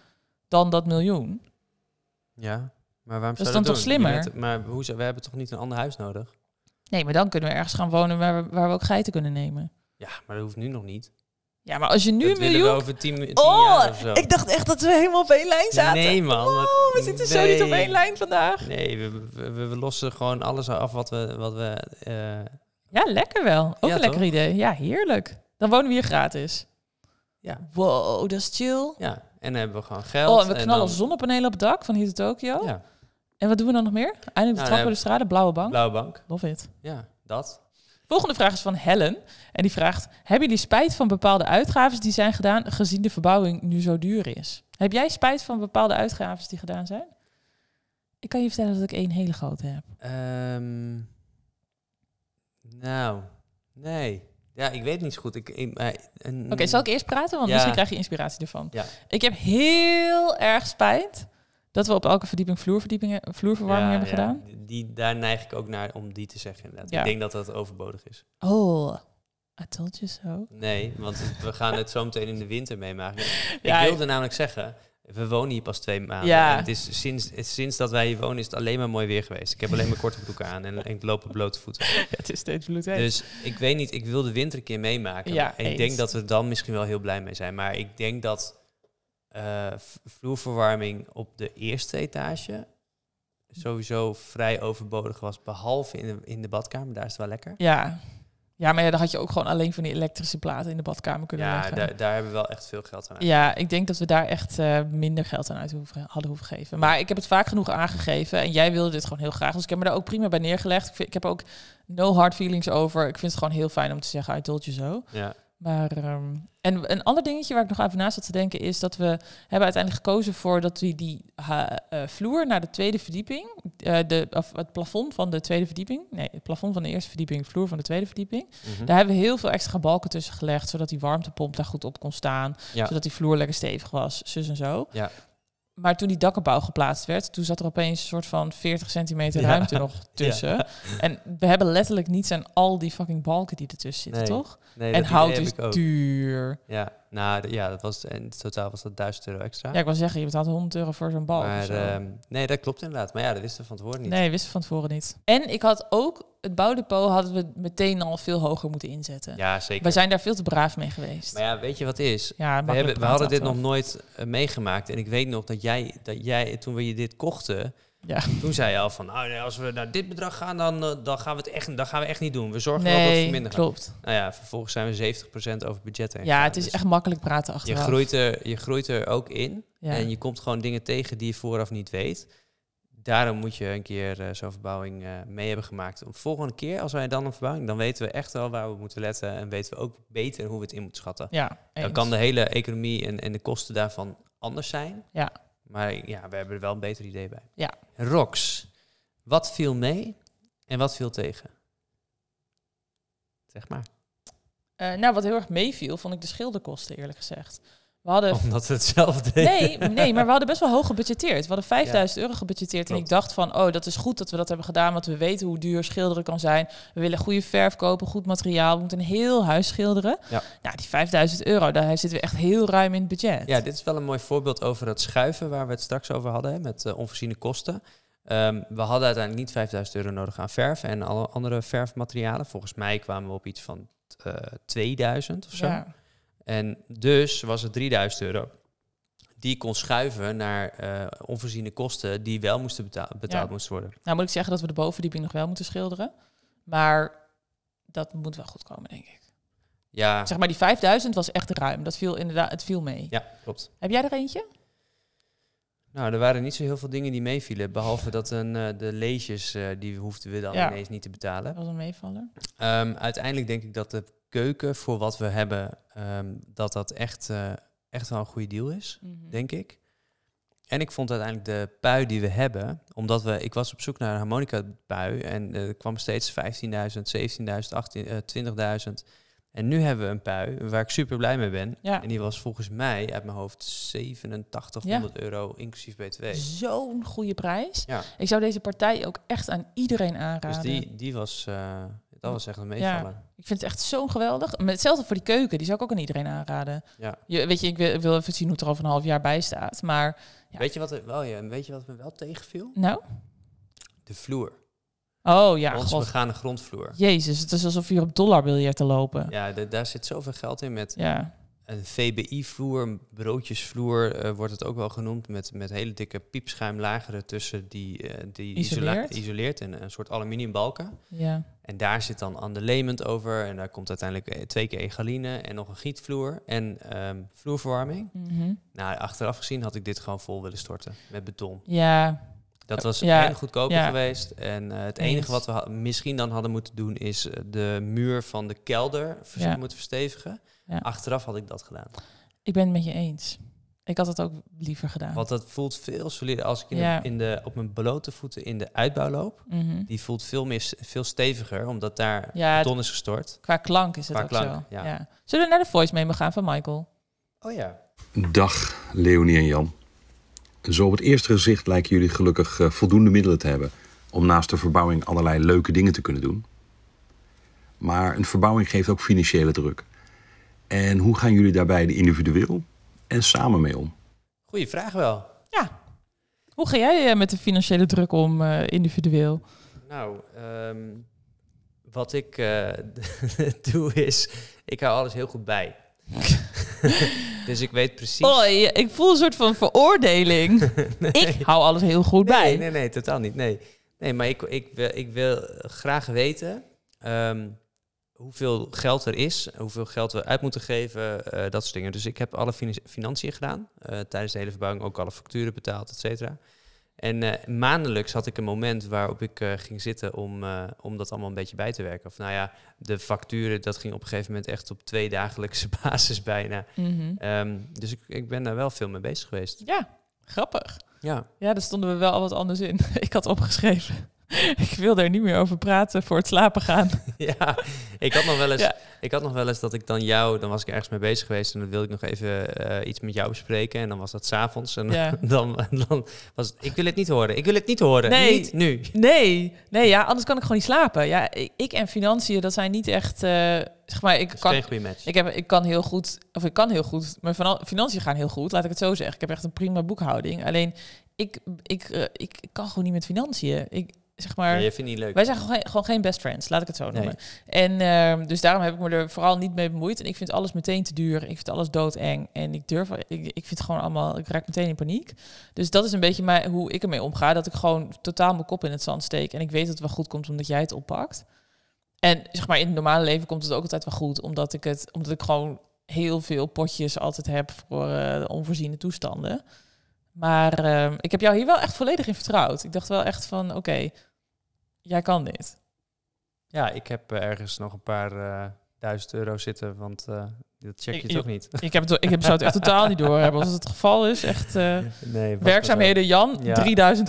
[SPEAKER 2] dan dat miljoen.
[SPEAKER 1] Ja, maar waarom
[SPEAKER 2] Dat is
[SPEAKER 1] zou dat
[SPEAKER 2] dan toch
[SPEAKER 1] doen?
[SPEAKER 2] slimmer?
[SPEAKER 1] Je bent- maar hoe, zou- we hebben toch niet een ander huis nodig?
[SPEAKER 2] Nee, maar dan kunnen we ergens gaan wonen waar we, waar we ook geiten kunnen nemen.
[SPEAKER 1] Ja, maar dat hoeft nu nog niet.
[SPEAKER 2] Ja, maar als je nu
[SPEAKER 1] dat
[SPEAKER 2] een
[SPEAKER 1] willen we
[SPEAKER 2] miljoen.
[SPEAKER 1] over tien, mi- tien
[SPEAKER 2] Oh,
[SPEAKER 1] jaar of zo.
[SPEAKER 2] ik dacht echt dat we helemaal op één lijn zaten.
[SPEAKER 1] Nee, man,
[SPEAKER 2] Oh,
[SPEAKER 1] dat-
[SPEAKER 2] we zitten zo niet op
[SPEAKER 1] nee.
[SPEAKER 2] één lijn vandaag.
[SPEAKER 1] Nee, we, we, we- we lossen gewoon alles af wat we... Wat we eh,
[SPEAKER 2] Ja, lekker wel. Ook
[SPEAKER 1] Ja,
[SPEAKER 2] een lekker
[SPEAKER 1] toch?
[SPEAKER 2] idee. Ja, heerlijk. Dan wonen we hier gratis.
[SPEAKER 1] Ja.
[SPEAKER 2] Wow, dat is chill.
[SPEAKER 1] ja, en dan hebben we gewoon geld.
[SPEAKER 2] Oh, en we knallen oh,
[SPEAKER 1] dan-
[SPEAKER 2] zonnepanelen op het dak van hier tot Tokio.
[SPEAKER 1] Ja,
[SPEAKER 2] En wat doen we dan nog meer? Eindelijk de
[SPEAKER 1] Nou,
[SPEAKER 2] trappen,
[SPEAKER 1] ja.
[SPEAKER 2] de straten, blauwe bank.
[SPEAKER 1] blauwe bank.
[SPEAKER 2] Love it.
[SPEAKER 1] Ja, dat.
[SPEAKER 2] Volgende vraag is van Helen. En die vraagt, hebben jullie spijt van bepaalde uitgaven die zijn gedaan, gezien de verbouwing nu zo duur is? Heb jij spijt van bepaalde uitgaven die gedaan zijn? Ik kan je vertellen dat ik één hele grote heb.
[SPEAKER 1] Ehm, nou, nee. Ja, ik weet niet zo goed. Ik, ik- maar- en-
[SPEAKER 2] Oké, zal ik eerst praten? Want
[SPEAKER 1] Mm. Ja.
[SPEAKER 2] misschien krijg je inspiratie ervan.
[SPEAKER 1] Ja.
[SPEAKER 2] Ik heb heel erg spijt dat we op elke verdieping vloerverdiepingen, vloerverwarming
[SPEAKER 1] Ja,
[SPEAKER 2] hebben
[SPEAKER 1] ja.
[SPEAKER 2] gedaan.
[SPEAKER 1] Die, daar neig ik ook naar om die te zeggen. Inderdaad.
[SPEAKER 2] Ja.
[SPEAKER 1] Ik denk dat dat overbodig is.
[SPEAKER 2] Oh, I told you so.
[SPEAKER 1] Nee, want we gaan het zo meteen in de winter meemaken.
[SPEAKER 2] Ja,
[SPEAKER 1] ik wilde namelijk zeggen, we wonen hier pas twee maanden.
[SPEAKER 2] Ja.
[SPEAKER 1] En het is sinds, het- sinds dat wij hier wonen is het alleen maar mooi weer geweest. Ik heb alleen maar korte broeken aan en, en ik loop op blote voeten.
[SPEAKER 2] het is steeds bloedheet.
[SPEAKER 1] Dus ik weet niet, ik wil de winter een keer meemaken.
[SPEAKER 2] Ja,
[SPEAKER 1] en ik
[SPEAKER 2] eens.
[SPEAKER 1] denk dat we dan misschien wel heel blij mee zijn. Maar ik denk dat eh, v- vloerverwarming op de eerste etage sowieso vrij overbodig was. Behalve in de, in de badkamer, daar is het wel lekker.
[SPEAKER 2] ja. ja, maar ja, dan had je ook gewoon alleen van die elektrische platen in de badkamer kunnen
[SPEAKER 1] Ja,
[SPEAKER 2] leggen.
[SPEAKER 1] daar, daar hebben we wel echt veel geld aan.
[SPEAKER 2] Ja, ik denk dat we daar echt eh, minder geld aan uit hoeven, hadden hoeven geven. Maar ik heb het vaak genoeg aangegeven en jij wilde dit gewoon heel graag. Dus ik heb me daar ook prima bij neergelegd. Ik, vind- ik heb ook no hard feelings over. Ik vind het gewoon heel fijn om te zeggen, I told you so.
[SPEAKER 1] Ja.
[SPEAKER 2] Maar ehm, en een ander dingetje waar ik nog even na zat te denken is dat we hebben uiteindelijk gekozen voor dat we die ha- eh, vloer naar de tweede verdieping, eh, de, of het plafond van de tweede verdieping, nee, het plafond van de eerste verdieping, vloer van de tweede verdieping.
[SPEAKER 1] Mhm.
[SPEAKER 2] Daar hebben we heel veel extra balken tussen gelegd, zodat die warmtepomp daar goed op kon staan,
[SPEAKER 1] Ja.
[SPEAKER 2] zodat die vloer lekker stevig was, zus en zo.
[SPEAKER 1] Ja.
[SPEAKER 2] Maar toen die dakkenbouw geplaatst werd, toen zat er opeens een soort van 40 centimeter
[SPEAKER 1] Ja.
[SPEAKER 2] ruimte nog tussen. En we hebben letterlijk niets aan al die fucking balken die ertussen zitten,
[SPEAKER 1] Nee.
[SPEAKER 2] toch?
[SPEAKER 1] Nee,
[SPEAKER 2] En
[SPEAKER 1] dat idee
[SPEAKER 2] hout
[SPEAKER 1] heb
[SPEAKER 2] is
[SPEAKER 1] ik ook.
[SPEAKER 2] duur.
[SPEAKER 1] Ja, nou d- ja, dat was, in totaal was dat 1000 euro extra.
[SPEAKER 2] Ja, ik wil zeggen, je betaalt 100 euro voor zo'n bal.
[SPEAKER 1] maar, ehm, nee, dat klopt inderdaad. Maar ja, dat wisten we van het woord niet.
[SPEAKER 2] nee, wist ik van tevoren niet. En ik had ook, het bouwdepot hadden we meteen al veel hoger moeten inzetten.
[SPEAKER 1] Ja, zeker.
[SPEAKER 2] we zijn daar veel te braaf mee geweest.
[SPEAKER 1] Maar ja, weet je wat het is?
[SPEAKER 2] ja,
[SPEAKER 1] We, hebben, we hadden dit nog
[SPEAKER 2] nooit.
[SPEAKER 1] nooit eh, meegemaakt. En ik weet nog dat jij, dat jij, toen we je dit kochten,
[SPEAKER 2] Ja.
[SPEAKER 1] Toen zei je al van, nou, nee, als we naar dit bedrag gaan, dan, eh, dan, gaan we het echt, dan gaan we echt niet doen. We zorgen wel dat het
[SPEAKER 2] Nee,
[SPEAKER 1] minder gaat.
[SPEAKER 2] klopt.
[SPEAKER 1] Nou ja, vervolgens zijn we 70% over budget heen
[SPEAKER 2] Ja,
[SPEAKER 1] gegaan.
[SPEAKER 2] het is
[SPEAKER 1] Dus
[SPEAKER 2] echt makkelijk praten
[SPEAKER 1] Je
[SPEAKER 2] achteraf.
[SPEAKER 1] groeit, er, je groeit er ook in
[SPEAKER 2] Ja.
[SPEAKER 1] en je komt gewoon dingen tegen die je vooraf niet weet. Daarom moet je een keer eh, zo'n verbouwing eh, mee hebben gemaakt. Om volgende keer, als wij dan een verbouwing, dan weten we echt wel waar we moeten letten. En weten we ook beter hoe we het in moeten schatten.
[SPEAKER 2] ja,
[SPEAKER 1] Dan
[SPEAKER 2] eens.
[SPEAKER 1] kan de hele economie en, en de kosten daarvan anders zijn.
[SPEAKER 2] Ja.
[SPEAKER 1] Maar ja, we hebben er wel een beter idee bij.
[SPEAKER 2] Ja.
[SPEAKER 1] Rox, wat viel mee en wat viel tegen? Zeg maar.
[SPEAKER 2] Eh, nou, wat heel erg meeviel, vond ik de schilderkosten, eerlijk gezegd. We hadden
[SPEAKER 1] Omdat we het zelf deden.
[SPEAKER 2] Eh, Nee, nee, maar we hadden best wel hoog gebudgeteerd. We hadden 5000 euro gebudgeteerd. En
[SPEAKER 1] Klopt.
[SPEAKER 2] ik dacht van, oh, dat is goed dat we dat hebben gedaan. Want we weten hoe duur schilderen kan zijn. We willen goede verf kopen, goed materiaal. We moeten een heel huis schilderen.
[SPEAKER 1] Ja.
[SPEAKER 2] Nou, die 5000 euro, daar zitten we echt heel ruim in het budget.
[SPEAKER 1] Ja, dit is wel een mooi voorbeeld over dat schuiven waar we het straks over hadden, hè, met eh, onvoorziene kosten. Ehm, we hadden uiteindelijk niet 5000 euro nodig aan verf en alle andere verfmaterialen. Volgens mij kwamen we op iets van eh, 2000 of zo.
[SPEAKER 2] Ja.
[SPEAKER 1] En dus was het 3000 euro. Die kon schuiven naar eh, onvoorziene kosten die wel moesten betaal- betaald
[SPEAKER 2] Ja.
[SPEAKER 1] moesten worden.
[SPEAKER 2] Nou moet ik zeggen dat we de bovendieping nog wel moeten schilderen. Maar dat moet wel goed komen, denk ik.
[SPEAKER 1] Ja,
[SPEAKER 2] Zeg maar, die 5000 was echt ruim. Dat viel inderdaad, het viel mee.
[SPEAKER 1] ja klopt.
[SPEAKER 2] Heb jij er eentje?
[SPEAKER 1] Nou, er waren niet zo heel veel dingen die meevielen. Behalve dat een, eh, de leesjes, eh, die hoefden we dan
[SPEAKER 2] Ja.
[SPEAKER 1] ineens niet te betalen.
[SPEAKER 2] Dat was een meevaller.
[SPEAKER 1] Ehm, uiteindelijk denk ik dat de keuken voor wat we hebben, ehm, dat dat echt, eh, echt wel een goede deal is,
[SPEAKER 2] Mhm.
[SPEAKER 1] denk ik. En ik vond uiteindelijk de pui die we hebben, omdat we, ik was op zoek naar een harmonica pui en eh, er kwam steeds 15.000, 17.000, 18, eh, 20.000. En nu hebben we een pui waar ik super blij mee ben.
[SPEAKER 2] Ja.
[SPEAKER 1] En die was volgens mij uit mijn hoofd 8700 euro inclusief BTW.
[SPEAKER 2] Zo'n goede prijs.
[SPEAKER 1] Ja.
[SPEAKER 2] Ik zou deze partij ook echt aan iedereen aanraden.
[SPEAKER 1] Dus die, die was, eh, dat was echt een meevaller.
[SPEAKER 2] Ik vind het echt zo geweldig. Maar hetzelfde voor die keuken, die zou ik ook aan iedereen aanraden.
[SPEAKER 1] Ja.
[SPEAKER 2] Je, weet je, ik wil, ik wil even zien hoe het er over een half jaar bij staat. Maar Ja.
[SPEAKER 1] Weet, je wat er, wel, ja, weet je wat me wel tegenviel?
[SPEAKER 2] nou,
[SPEAKER 1] De vloer.
[SPEAKER 2] oh ja,
[SPEAKER 1] Onze
[SPEAKER 2] god.
[SPEAKER 1] begane grondvloer.
[SPEAKER 2] Jezus, het is alsof je hier op dollarbiljet te lopen. Ja.
[SPEAKER 1] Ja, da- daar zit zoveel geld in met een VBI-vloer, een broodjesvloer eh, wordt het ook wel genoemd, met, met hele dikke piepschuimlagen ertussen die, eh, die isola-
[SPEAKER 2] Isoleert.
[SPEAKER 1] isoleert en een soort aluminiumbalken.
[SPEAKER 2] ja.
[SPEAKER 1] En daar zit dan underlayment over en daar komt uiteindelijk eh, twee keer egaline en nog een gietvloer en ehm, vloerverwarming.
[SPEAKER 2] Mhm.
[SPEAKER 1] Nou, achteraf gezien had ik dit gewoon vol willen storten met beton.
[SPEAKER 2] Ja,
[SPEAKER 1] Dat was
[SPEAKER 2] Ja,
[SPEAKER 1] en goedkoper
[SPEAKER 2] ja.
[SPEAKER 1] geweest. En eh, het
[SPEAKER 2] Eens.
[SPEAKER 1] enige wat we ha- misschien dan hadden moeten doen... is eh, de muur van de kelder vers-
[SPEAKER 2] Ja.
[SPEAKER 1] moeten verstevigen.
[SPEAKER 2] Ja.
[SPEAKER 1] Achteraf had ik dat gedaan.
[SPEAKER 2] ik ben het met je eens. Ik had het ook liever gedaan.
[SPEAKER 1] Want dat voelt veel solider als ik in
[SPEAKER 2] Ja.
[SPEAKER 1] de, in de, op mijn blote voeten in de uitbouw loop.
[SPEAKER 2] Mhm.
[SPEAKER 1] Die voelt veel, meer, s- veel steviger, omdat daar
[SPEAKER 2] Ja,
[SPEAKER 1] beton is gestort.
[SPEAKER 2] Qua klank is het
[SPEAKER 1] Qua
[SPEAKER 2] ook
[SPEAKER 1] klank,
[SPEAKER 2] zo.
[SPEAKER 1] ja.
[SPEAKER 2] Zullen we naar de voice memo gaan van Michael?
[SPEAKER 1] Oh ja.
[SPEAKER 3] Dag Leonie en Jan. Zo op het eerste gezicht lijken jullie gelukkig eh, voldoende middelen te hebben om naast de verbouwing allerlei leuke dingen te kunnen doen. Maar een verbouwing geeft ook financiële druk. En hoe gaan jullie daarbij de individueel en samen mee om?
[SPEAKER 1] Goeie vraag wel.
[SPEAKER 2] Ja. Hoe ga jij eh, met de financiële druk om eh, individueel?
[SPEAKER 1] Nou, ehm, wat ik eh, doe is... Ik hou alles heel goed bij. dus ik weet precies...
[SPEAKER 2] Oh, ja, ik voel een soort van veroordeling. Ik hou alles heel goed bij.
[SPEAKER 1] Nee, nee, nee, totaal niet. Nee, nee maar ik, ik, wil- ik wil graag weten ehm, hoeveel geld er is, hoeveel geld we uit moeten geven, eh, dat soort dingen. Dus ik heb alle finan- financiën gedaan, eh, tijdens de hele verbouwing ook alle facturen betaald, et cetera. En eh, maandelijks had ik een moment waarop ik eh, ging zitten om, eh, om dat allemaal een beetje bij te werken. Of nou ja, de facturen, dat ging op een gegeven moment echt op twee dagelijkse basis bijna.
[SPEAKER 2] Mhm.
[SPEAKER 1] Ehm, dus ik, ik ben daar wel veel mee bezig geweest.
[SPEAKER 2] Ja, grappig.
[SPEAKER 1] Ja,
[SPEAKER 2] Ja, daar stonden we wel al wat anders in. Ik had opgeschreven. Ik wil daar niet meer over praten voor het slapen gaan.
[SPEAKER 1] Ja, ik had nog wel eens,
[SPEAKER 2] Ja.
[SPEAKER 1] ik had nog wel eens dat ik dan jou, dan was ik ergens mee bezig geweest en dan wilde ik nog even eh, iets met jou bespreken en dan was dat s'avonds en
[SPEAKER 2] Ja.
[SPEAKER 1] dan, dan was het, ik wil het niet horen, ik wil het niet horen,
[SPEAKER 2] Nee.
[SPEAKER 1] niet nu.
[SPEAKER 2] Nee, nee ja, anders kan ik gewoon niet slapen. Ja, ik, ik en financiën, dat zijn niet echt. eh, zeg maar, ik
[SPEAKER 1] Dat is
[SPEAKER 2] kan,
[SPEAKER 1] geen goede match.
[SPEAKER 2] ik, heb, ik kan heel goed, of ik kan heel goed, mijn finan- financiën gaan heel goed, laat ik het zo zeggen. Ik heb echt een prima boekhouding. Alleen ik, ik, eh, ik kan gewoon niet met financiën. Ik, zeg maar...
[SPEAKER 1] je vindt niet leuk.
[SPEAKER 2] Wij zijn gewoon geen, gewoon geen best friends, laat ik het zo noemen. En ehm, dus daarom heb ik me er vooral niet mee bemoeid. En ik vind alles meteen te duur. Ik vind alles doodeng. En ik durf, ik, ik vind het gewoon allemaal, ik raak meteen in paniek. Dus dat is een beetje mij, hoe ik ermee omga. Dat ik gewoon totaal mijn kop in het zand steek. En ik weet dat het wel goed komt omdat jij het oppakt. En zeg maar, in het normale leven komt het ook altijd wel goed. Omdat ik het, omdat ik gewoon heel veel potjes altijd heb voor eh, onvoorziene toestanden. Maar ehm, ik heb jou hier wel echt volledig in vertrouwd. Ik dacht wel echt van, oké, jij kan dit.
[SPEAKER 1] Ja, ik heb eh, ergens nog een paar eh, duizend euro zitten, want eh, dat check je
[SPEAKER 2] Ik-
[SPEAKER 1] toch niet?
[SPEAKER 2] Ik heb, het, ik heb, zou het echt totaal niet door hebben. Als het het geval is, echt eh,
[SPEAKER 1] Nee, was
[SPEAKER 2] werkzaamheden Jan,
[SPEAKER 1] Ja.
[SPEAKER 2] 3000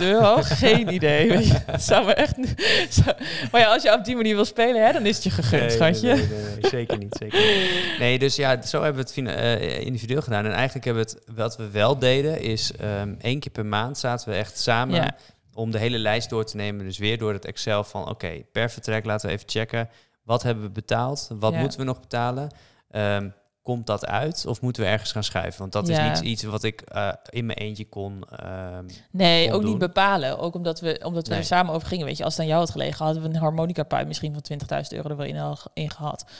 [SPEAKER 2] euro. Geen idee. Weet je. Dat Zou me echt, niet- zou- maar ja, als je op die manier wil spelen, hè, dan is het je
[SPEAKER 1] maar
[SPEAKER 2] gegund,
[SPEAKER 1] zo. Nee,
[SPEAKER 2] schatje.
[SPEAKER 1] nee, nee, nee, nee, zeker niet, zeker niet. Nee, dus ja, zo hebben we het fina- eh, individueel gedaan. En eigenlijk hebben we het, wat we wel deden, is ehm, één keer per maand zaten we echt samen
[SPEAKER 2] Ja.
[SPEAKER 1] om de hele lijst door te nemen. Dus weer door het Excel van, oké, per vertrek laten we even checken. Wat hebben we betaald? Wat
[SPEAKER 2] Ja.
[SPEAKER 1] moeten we nog betalen? Ehm, komt dat uit of moeten we ergens gaan schuiven? Want dat
[SPEAKER 2] Ja.
[SPEAKER 1] is niet iets wat ik eh, in mijn eentje kon. ehm,
[SPEAKER 2] Nee,
[SPEAKER 1] Kon
[SPEAKER 2] ook niet
[SPEAKER 1] doen.
[SPEAKER 2] bepalen. Ook omdat we, omdat we
[SPEAKER 1] Nee.
[SPEAKER 2] er samen over gingen. Weet je, als het aan jou had gelegen, hadden we een harmonica puit misschien van 20.000 euro er wel in, al- in gehad.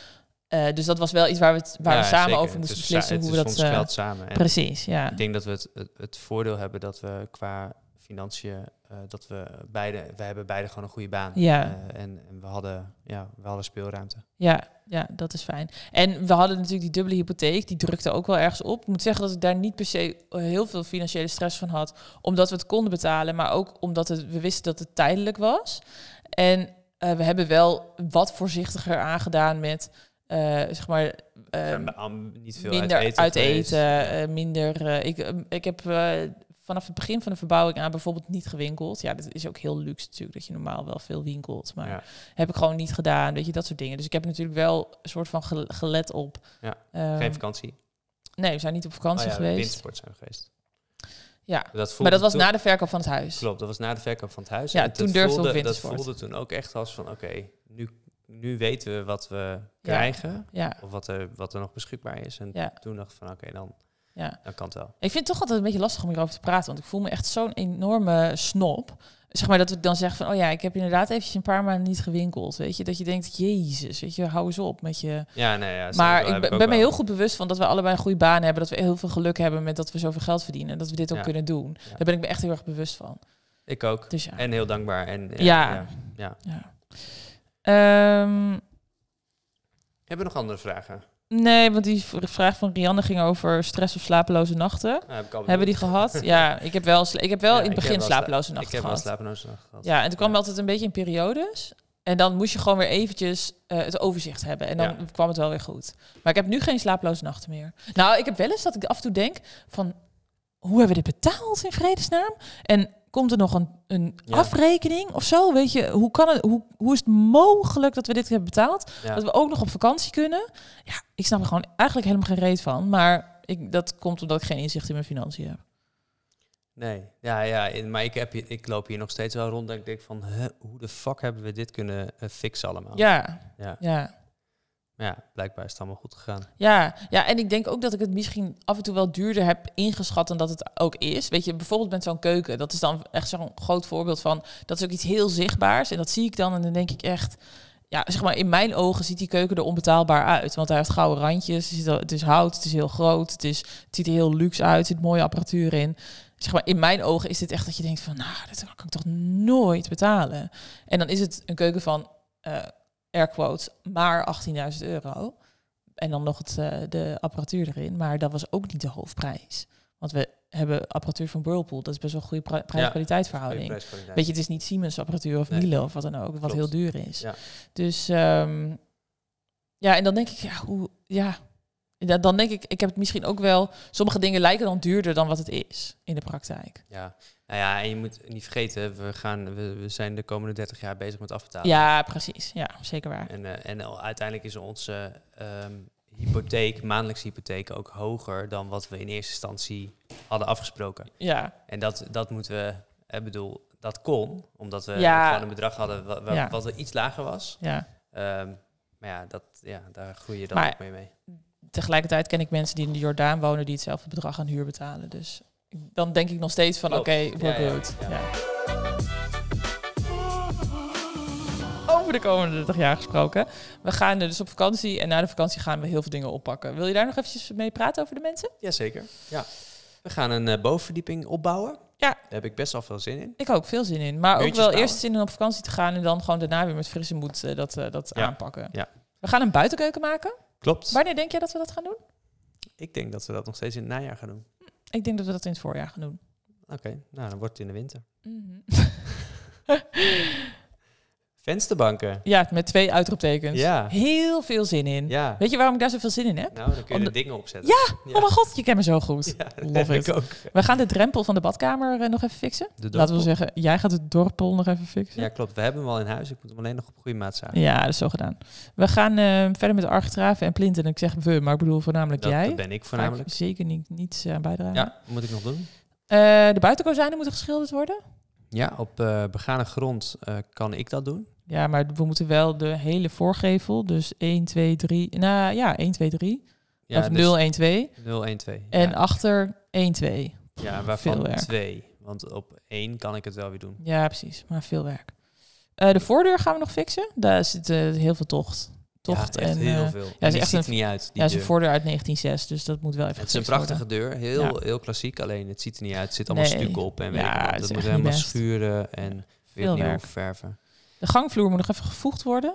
[SPEAKER 2] Eh, dus dat was wel iets waar we, het- waar
[SPEAKER 1] ja,
[SPEAKER 2] we samen
[SPEAKER 1] zeker.
[SPEAKER 2] over
[SPEAKER 1] Het
[SPEAKER 2] moesten
[SPEAKER 1] is sa-
[SPEAKER 2] beslissen
[SPEAKER 1] het
[SPEAKER 2] hoe
[SPEAKER 1] is
[SPEAKER 2] we dat...
[SPEAKER 1] ons
[SPEAKER 2] eh,
[SPEAKER 1] geld samen. En
[SPEAKER 2] precies, ja.
[SPEAKER 1] Ik denk dat we het, het, het voordeel hebben dat we qua financiën, eh, dat we beide, we hebben beide gewoon een goede baan.
[SPEAKER 2] Ja. Ehm,
[SPEAKER 1] Eh, en, en we hadden, ja, we hadden speelruimte.
[SPEAKER 2] Ja, ja, dat is fijn. En we hadden natuurlijk die dubbele hypotheek, die drukte ook wel ergens op. Ik moet zeggen dat ik daar niet per se eh, heel veel financiële stress van had, omdat we het konden betalen, maar ook omdat het, we wisten dat het tijdelijk was. En eh, we hebben wel wat voorzichtiger aangedaan met, eh, zeg maar, eh,
[SPEAKER 1] We zijn am- niet veel
[SPEAKER 2] minder
[SPEAKER 1] uit eten. geweest.
[SPEAKER 2] eten, eh, minder. eh, ik, eh, ik heb eh, vanaf het begin van de verbouwing aan bijvoorbeeld niet gewinkeld. Ja, dat is ook heel luxe natuurlijk, dat je normaal wel veel winkelt. Maar
[SPEAKER 1] Ja.
[SPEAKER 2] heb ik gewoon niet gedaan, weet je, dat soort dingen. Dus ik heb natuurlijk wel een soort van gel- gelet op.
[SPEAKER 1] Ja,
[SPEAKER 2] Ehm,
[SPEAKER 1] Geen vakantie.
[SPEAKER 2] nee, we zijn niet op vakantie
[SPEAKER 1] Oh ja,
[SPEAKER 2] geweest.
[SPEAKER 1] Wintersport zijn we geweest.
[SPEAKER 2] Ja,
[SPEAKER 1] Dat
[SPEAKER 2] maar dat was
[SPEAKER 1] toen-
[SPEAKER 2] na de verkoop van het huis.
[SPEAKER 1] Klopt, dat was na de verkoop van het huis.
[SPEAKER 2] Ja,
[SPEAKER 1] En dat
[SPEAKER 2] toen durfde
[SPEAKER 1] voelde-
[SPEAKER 2] ook
[SPEAKER 1] Dat
[SPEAKER 2] wintersport.
[SPEAKER 1] voelde toen ook echt als van, oké, nu, nu weten we wat we krijgen.
[SPEAKER 2] Ja,
[SPEAKER 1] Of wat er, wat er nog beschikbaar is. En
[SPEAKER 2] Ja.
[SPEAKER 1] toen dacht ik van, oké, dan,
[SPEAKER 2] ja.
[SPEAKER 1] dan kan het wel.
[SPEAKER 2] Ik vind het toch altijd een beetje lastig om hierover te praten, want ik voel me echt zo'n enorme snob. Zeg maar dat ik dan zeg van, oh ja, ik heb inderdaad eventjes een paar maanden niet gewinkeld, weet je. Dat je denkt, jezus, weet je, hou eens op met je...
[SPEAKER 1] Ja, nee, ja, snap
[SPEAKER 2] Maar
[SPEAKER 1] wel,
[SPEAKER 2] ik
[SPEAKER 1] heb
[SPEAKER 2] ben,
[SPEAKER 1] ook
[SPEAKER 2] ben me
[SPEAKER 1] wel.
[SPEAKER 2] heel goed bewust van dat we allebei een goede baan hebben. Dat we heel veel geluk hebben met dat we zoveel geld verdienen. En dat we dit ook
[SPEAKER 1] Ja.
[SPEAKER 2] kunnen doen.
[SPEAKER 1] Ja.
[SPEAKER 2] Daar ben ik me echt heel erg bewust van.
[SPEAKER 1] Ik ook.
[SPEAKER 2] Dus ja.
[SPEAKER 1] En heel dankbaar. En, ja,
[SPEAKER 2] Ja.
[SPEAKER 1] ja.
[SPEAKER 2] ja. Ehm,
[SPEAKER 1] Hebben we nog andere vragen?
[SPEAKER 2] nee, want die v- vraag van Rianne ging over stress of slapeloze nachten.
[SPEAKER 1] Ah, heb ik al
[SPEAKER 2] Hebben we
[SPEAKER 1] bedoeld.
[SPEAKER 2] die gehad? Ja, ik heb wel, sla- ik heb wel
[SPEAKER 1] Ja,
[SPEAKER 2] in het
[SPEAKER 1] ik heb
[SPEAKER 2] begin
[SPEAKER 1] wel
[SPEAKER 2] slapeloze
[SPEAKER 1] Ik
[SPEAKER 2] nachten
[SPEAKER 1] heb wel
[SPEAKER 2] gehad.
[SPEAKER 1] slapeloze nachten gehad.
[SPEAKER 2] Ja, en toen kwam het altijd een beetje in periodes. En dan moest je gewoon weer eventjes eh, het overzicht hebben. En dan
[SPEAKER 1] Ja.
[SPEAKER 2] kwam het wel weer goed. Maar ik heb nu geen slaaploze nachten meer. Nou, ik heb wel eens dat ik af en toe denk van... Hoe hebben we dit betaald in vredesnaam? En komt er nog een, een
[SPEAKER 1] Ja.
[SPEAKER 2] afrekening of zo? Weet je, hoe, kan het, hoe, hoe is het mogelijk dat we dit hebben betaald?
[SPEAKER 1] Ja.
[SPEAKER 2] Dat we ook nog op vakantie kunnen? Ja, ik snap er gewoon eigenlijk helemaal geen reet van. Maar ik, dat komt omdat ik geen inzicht in mijn financiën heb.
[SPEAKER 1] Nee, ja, ja, in- maar ik, heb, hier- ik loop hier nog steeds wel rond en ik denk van, huh, hoe de fuck hebben we dit kunnen eh, fixen allemaal?
[SPEAKER 2] Ja,
[SPEAKER 1] Ja.
[SPEAKER 2] ja.
[SPEAKER 1] Maar ja, blijkbaar is het allemaal goed gegaan.
[SPEAKER 2] Ja, ja, en ik denk ook dat ik het misschien af en toe wel duurder heb ingeschat dan dat het ook is. Weet je, bijvoorbeeld met zo'n keuken, dat is dan echt zo'n groot voorbeeld van, dat is ook iets heel zichtbaars. En dat zie ik dan en dan denk ik echt, ja, zeg maar, in mijn ogen ziet die keuken er onbetaalbaar uit. Want hij heeft gouden randjes, er zit al- het is hout, het is heel groot, het, is, het ziet er heel luxe uit, er zit mooie apparatuur in. Zeg maar, in mijn ogen is dit echt dat je denkt van, nou, dat kan ik toch nooit betalen. En dan is het een keuken van, eh air quotes, maar 18.000 euro. En dan nog het, eh, de apparatuur erin. Maar dat was ook niet de hoofdprijs. Want we hebben apparatuur van Whirlpool. Dat is best wel een goede pri- prijs-kwaliteit verhouding.
[SPEAKER 1] Prijskwaliteit.
[SPEAKER 2] Weet je, het is niet Siemens apparatuur of
[SPEAKER 1] Nee.
[SPEAKER 2] Miele of wat dan ook. Wat
[SPEAKER 1] Klopt.
[SPEAKER 2] heel duur is.
[SPEAKER 1] Ja.
[SPEAKER 2] Dus ehm, ja, en dan denk ik, ja, hoe, ja. Ja, Dan denk ik, ik heb het misschien ook wel... Sommige dingen lijken dan duurder dan wat het is in de praktijk.
[SPEAKER 1] Ja, nou ja, en je moet niet vergeten, we, gaan, we, we zijn de komende 30 jaar bezig met afbetalen.
[SPEAKER 2] Ja, precies. Ja, zeker waar.
[SPEAKER 1] En, eh, en al- uiteindelijk is onze ehm, hypotheek, maandelijkse hypotheek, ook hoger dan wat we in eerste instantie hadden afgesproken.
[SPEAKER 2] Ja,
[SPEAKER 1] En dat, dat moeten we, ik bedoel, dat kon, omdat we
[SPEAKER 2] Ja.
[SPEAKER 1] gewoon een bedrag hadden wa- wa-
[SPEAKER 2] Ja.
[SPEAKER 1] wat er iets lager was.
[SPEAKER 2] ja.
[SPEAKER 1] Ehm, maar ja, dat, ja, daar groei je dan
[SPEAKER 2] Maar-
[SPEAKER 1] ook mee mee.
[SPEAKER 2] Tegelijkertijd ken ik mensen die in de Jordaan wonen... die hetzelfde bedrag aan huur betalen. Dus dan denk ik nog steeds van, oké,
[SPEAKER 1] Klopt.
[SPEAKER 2] we're
[SPEAKER 1] Ja, ja,
[SPEAKER 2] good.
[SPEAKER 1] ja.
[SPEAKER 2] Ja. over de komende 30 jaar gesproken. We gaan eh, dus op vakantie en na de vakantie gaan we heel veel dingen oppakken. Wil je daar nog eventjes mee praten over de mensen?
[SPEAKER 1] Jazeker. Ja. We gaan een eh, bovenverdieping opbouwen.
[SPEAKER 2] Ja.
[SPEAKER 1] Daar heb ik best wel veel zin in.
[SPEAKER 2] Ik heb ook veel zin in. Maar ook
[SPEAKER 1] Muurtjes
[SPEAKER 2] wel
[SPEAKER 1] bouwen.
[SPEAKER 2] eerst zin in om op vakantie te gaan en dan gewoon daarna weer met frisse moed eh, dat, eh, dat
[SPEAKER 1] Ja.
[SPEAKER 2] aanpakken.
[SPEAKER 1] Ja.
[SPEAKER 2] We gaan een buitenkeuken maken.
[SPEAKER 1] Klopt.
[SPEAKER 2] Wanneer denk jij dat we dat gaan doen?
[SPEAKER 1] Ik denk dat we dat nog steeds in het najaar gaan doen.
[SPEAKER 2] Ik denk dat we dat in het voorjaar gaan doen.
[SPEAKER 1] Oké, nou dan wordt het in de winter.
[SPEAKER 2] Mhm.
[SPEAKER 1] Vensterbanken.
[SPEAKER 2] Ja, met twee uitroeptekens.
[SPEAKER 1] Ja.
[SPEAKER 2] Heel veel zin in.
[SPEAKER 1] Ja.
[SPEAKER 2] Weet je waarom ik daar zoveel zin in heb?
[SPEAKER 1] Nou, dan kun je
[SPEAKER 2] Om
[SPEAKER 1] de...
[SPEAKER 2] de-
[SPEAKER 1] dingen opzetten. Ja,
[SPEAKER 2] Oh mijn god, je kent me zo goed.
[SPEAKER 1] Ja, dat
[SPEAKER 2] Love
[SPEAKER 1] heb
[SPEAKER 2] it.
[SPEAKER 1] ik ook.
[SPEAKER 2] We gaan de drempel van de badkamer eh, nog even fixen.
[SPEAKER 1] De
[SPEAKER 2] Laten
[SPEAKER 1] dorpel.
[SPEAKER 2] we zeggen, jij gaat de dorpel nog even fixen.
[SPEAKER 1] Ja, klopt. We hebben hem al in huis. Ik moet hem alleen nog op goede maat zagen.
[SPEAKER 2] Ja, dat is zo gedaan. We gaan eh, verder met de architraven en plinten. En ik zeg we, maar ik bedoel voornamelijk
[SPEAKER 1] Dat,
[SPEAKER 2] jij.
[SPEAKER 1] dat ben ik
[SPEAKER 2] Ga ik
[SPEAKER 1] voornamelijk.
[SPEAKER 2] zeker niet, niets aan bijdragen.
[SPEAKER 1] Ja, wat moet ik nog doen?
[SPEAKER 2] Eh, de buitenkozijnen moeten geschilderd worden.
[SPEAKER 1] Ja, op eh, begane grond eh, kan ik dat doen.
[SPEAKER 2] Ja, maar we moeten wel de hele voorgevel. Dus 1, 2, 3. Nou ja, 1, 2, 3.
[SPEAKER 1] Ja,
[SPEAKER 2] of
[SPEAKER 1] dus
[SPEAKER 2] 0, 1, 2.
[SPEAKER 1] 0, 1, 2.
[SPEAKER 2] En
[SPEAKER 1] ja.
[SPEAKER 2] achter 1, 2.
[SPEAKER 1] ja,
[SPEAKER 2] veel
[SPEAKER 1] waarvan
[SPEAKER 2] werk.
[SPEAKER 1] 2. Want op 1 kan ik het wel weer doen.
[SPEAKER 2] Ja, precies. Maar veel werk. Eh, de voordeur gaan we nog fixen. Daar zit eh, heel veel tocht. Tocht
[SPEAKER 1] ja,
[SPEAKER 2] en
[SPEAKER 1] echt heel
[SPEAKER 2] eh,
[SPEAKER 1] veel. Ja,
[SPEAKER 2] is
[SPEAKER 1] die
[SPEAKER 2] echt
[SPEAKER 1] ziet
[SPEAKER 2] een-
[SPEAKER 1] er niet uit. Die
[SPEAKER 2] ja, is een
[SPEAKER 1] deur.
[SPEAKER 2] voordeur uit 1906. Dus dat moet wel even
[SPEAKER 1] Het is een
[SPEAKER 2] gefixt
[SPEAKER 1] prachtige deur. Heel, heel klassiek. Alleen het ziet er niet uit. Het zit allemaal
[SPEAKER 2] Nee.
[SPEAKER 1] stukken op. En weet
[SPEAKER 2] Ja,
[SPEAKER 1] ik wat.
[SPEAKER 2] het is
[SPEAKER 1] Dat
[SPEAKER 2] echt
[SPEAKER 1] moet
[SPEAKER 2] niet
[SPEAKER 1] helemaal
[SPEAKER 2] best.
[SPEAKER 1] schuren. En weer
[SPEAKER 2] Veel
[SPEAKER 1] opnieuw
[SPEAKER 2] werk.
[SPEAKER 1] verven.
[SPEAKER 2] worden. De gangvloer moet nog even gevoegd worden.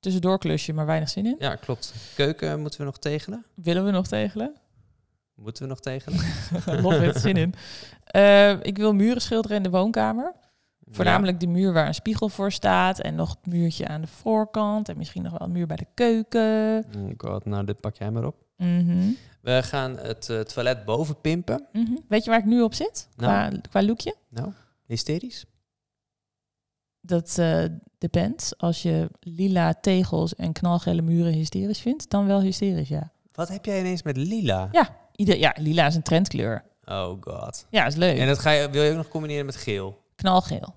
[SPEAKER 2] Tussendoor klusje, maar weinig zin in.
[SPEAKER 1] Ja, klopt. Keuken moeten we nog tegelen.
[SPEAKER 2] Willen we nog tegelen?
[SPEAKER 1] Moeten we nog tegelen.
[SPEAKER 2] Nog weer zin in. Eh, ik wil muren schilderen in de woonkamer. Voornamelijk de muur waar een spiegel voor staat. En nog het muurtje aan de voorkant. En misschien nog wel een muur bij de keuken.
[SPEAKER 1] Ja. Oh god, nou dit pak jij maar op.
[SPEAKER 2] Mhm,
[SPEAKER 1] We gaan het eh, toilet boven pimpen.
[SPEAKER 2] mhm. Weet je waar ik nu op zit? Qua,
[SPEAKER 1] Nou.
[SPEAKER 2] qua lookje?
[SPEAKER 1] Nou, hysterisch.
[SPEAKER 2] Dat eh depends. Als je lila tegels en knalgele muren hysterisch vindt, dan wel hysterisch, ja.
[SPEAKER 1] Wat heb jij ineens met lila?
[SPEAKER 2] Ieder, ja, lila is een trendkleur.
[SPEAKER 1] Oh god.
[SPEAKER 2] Ja, is leuk.
[SPEAKER 1] En dat ga je, wil je ook nog combineren met geel?
[SPEAKER 2] Knalgeel.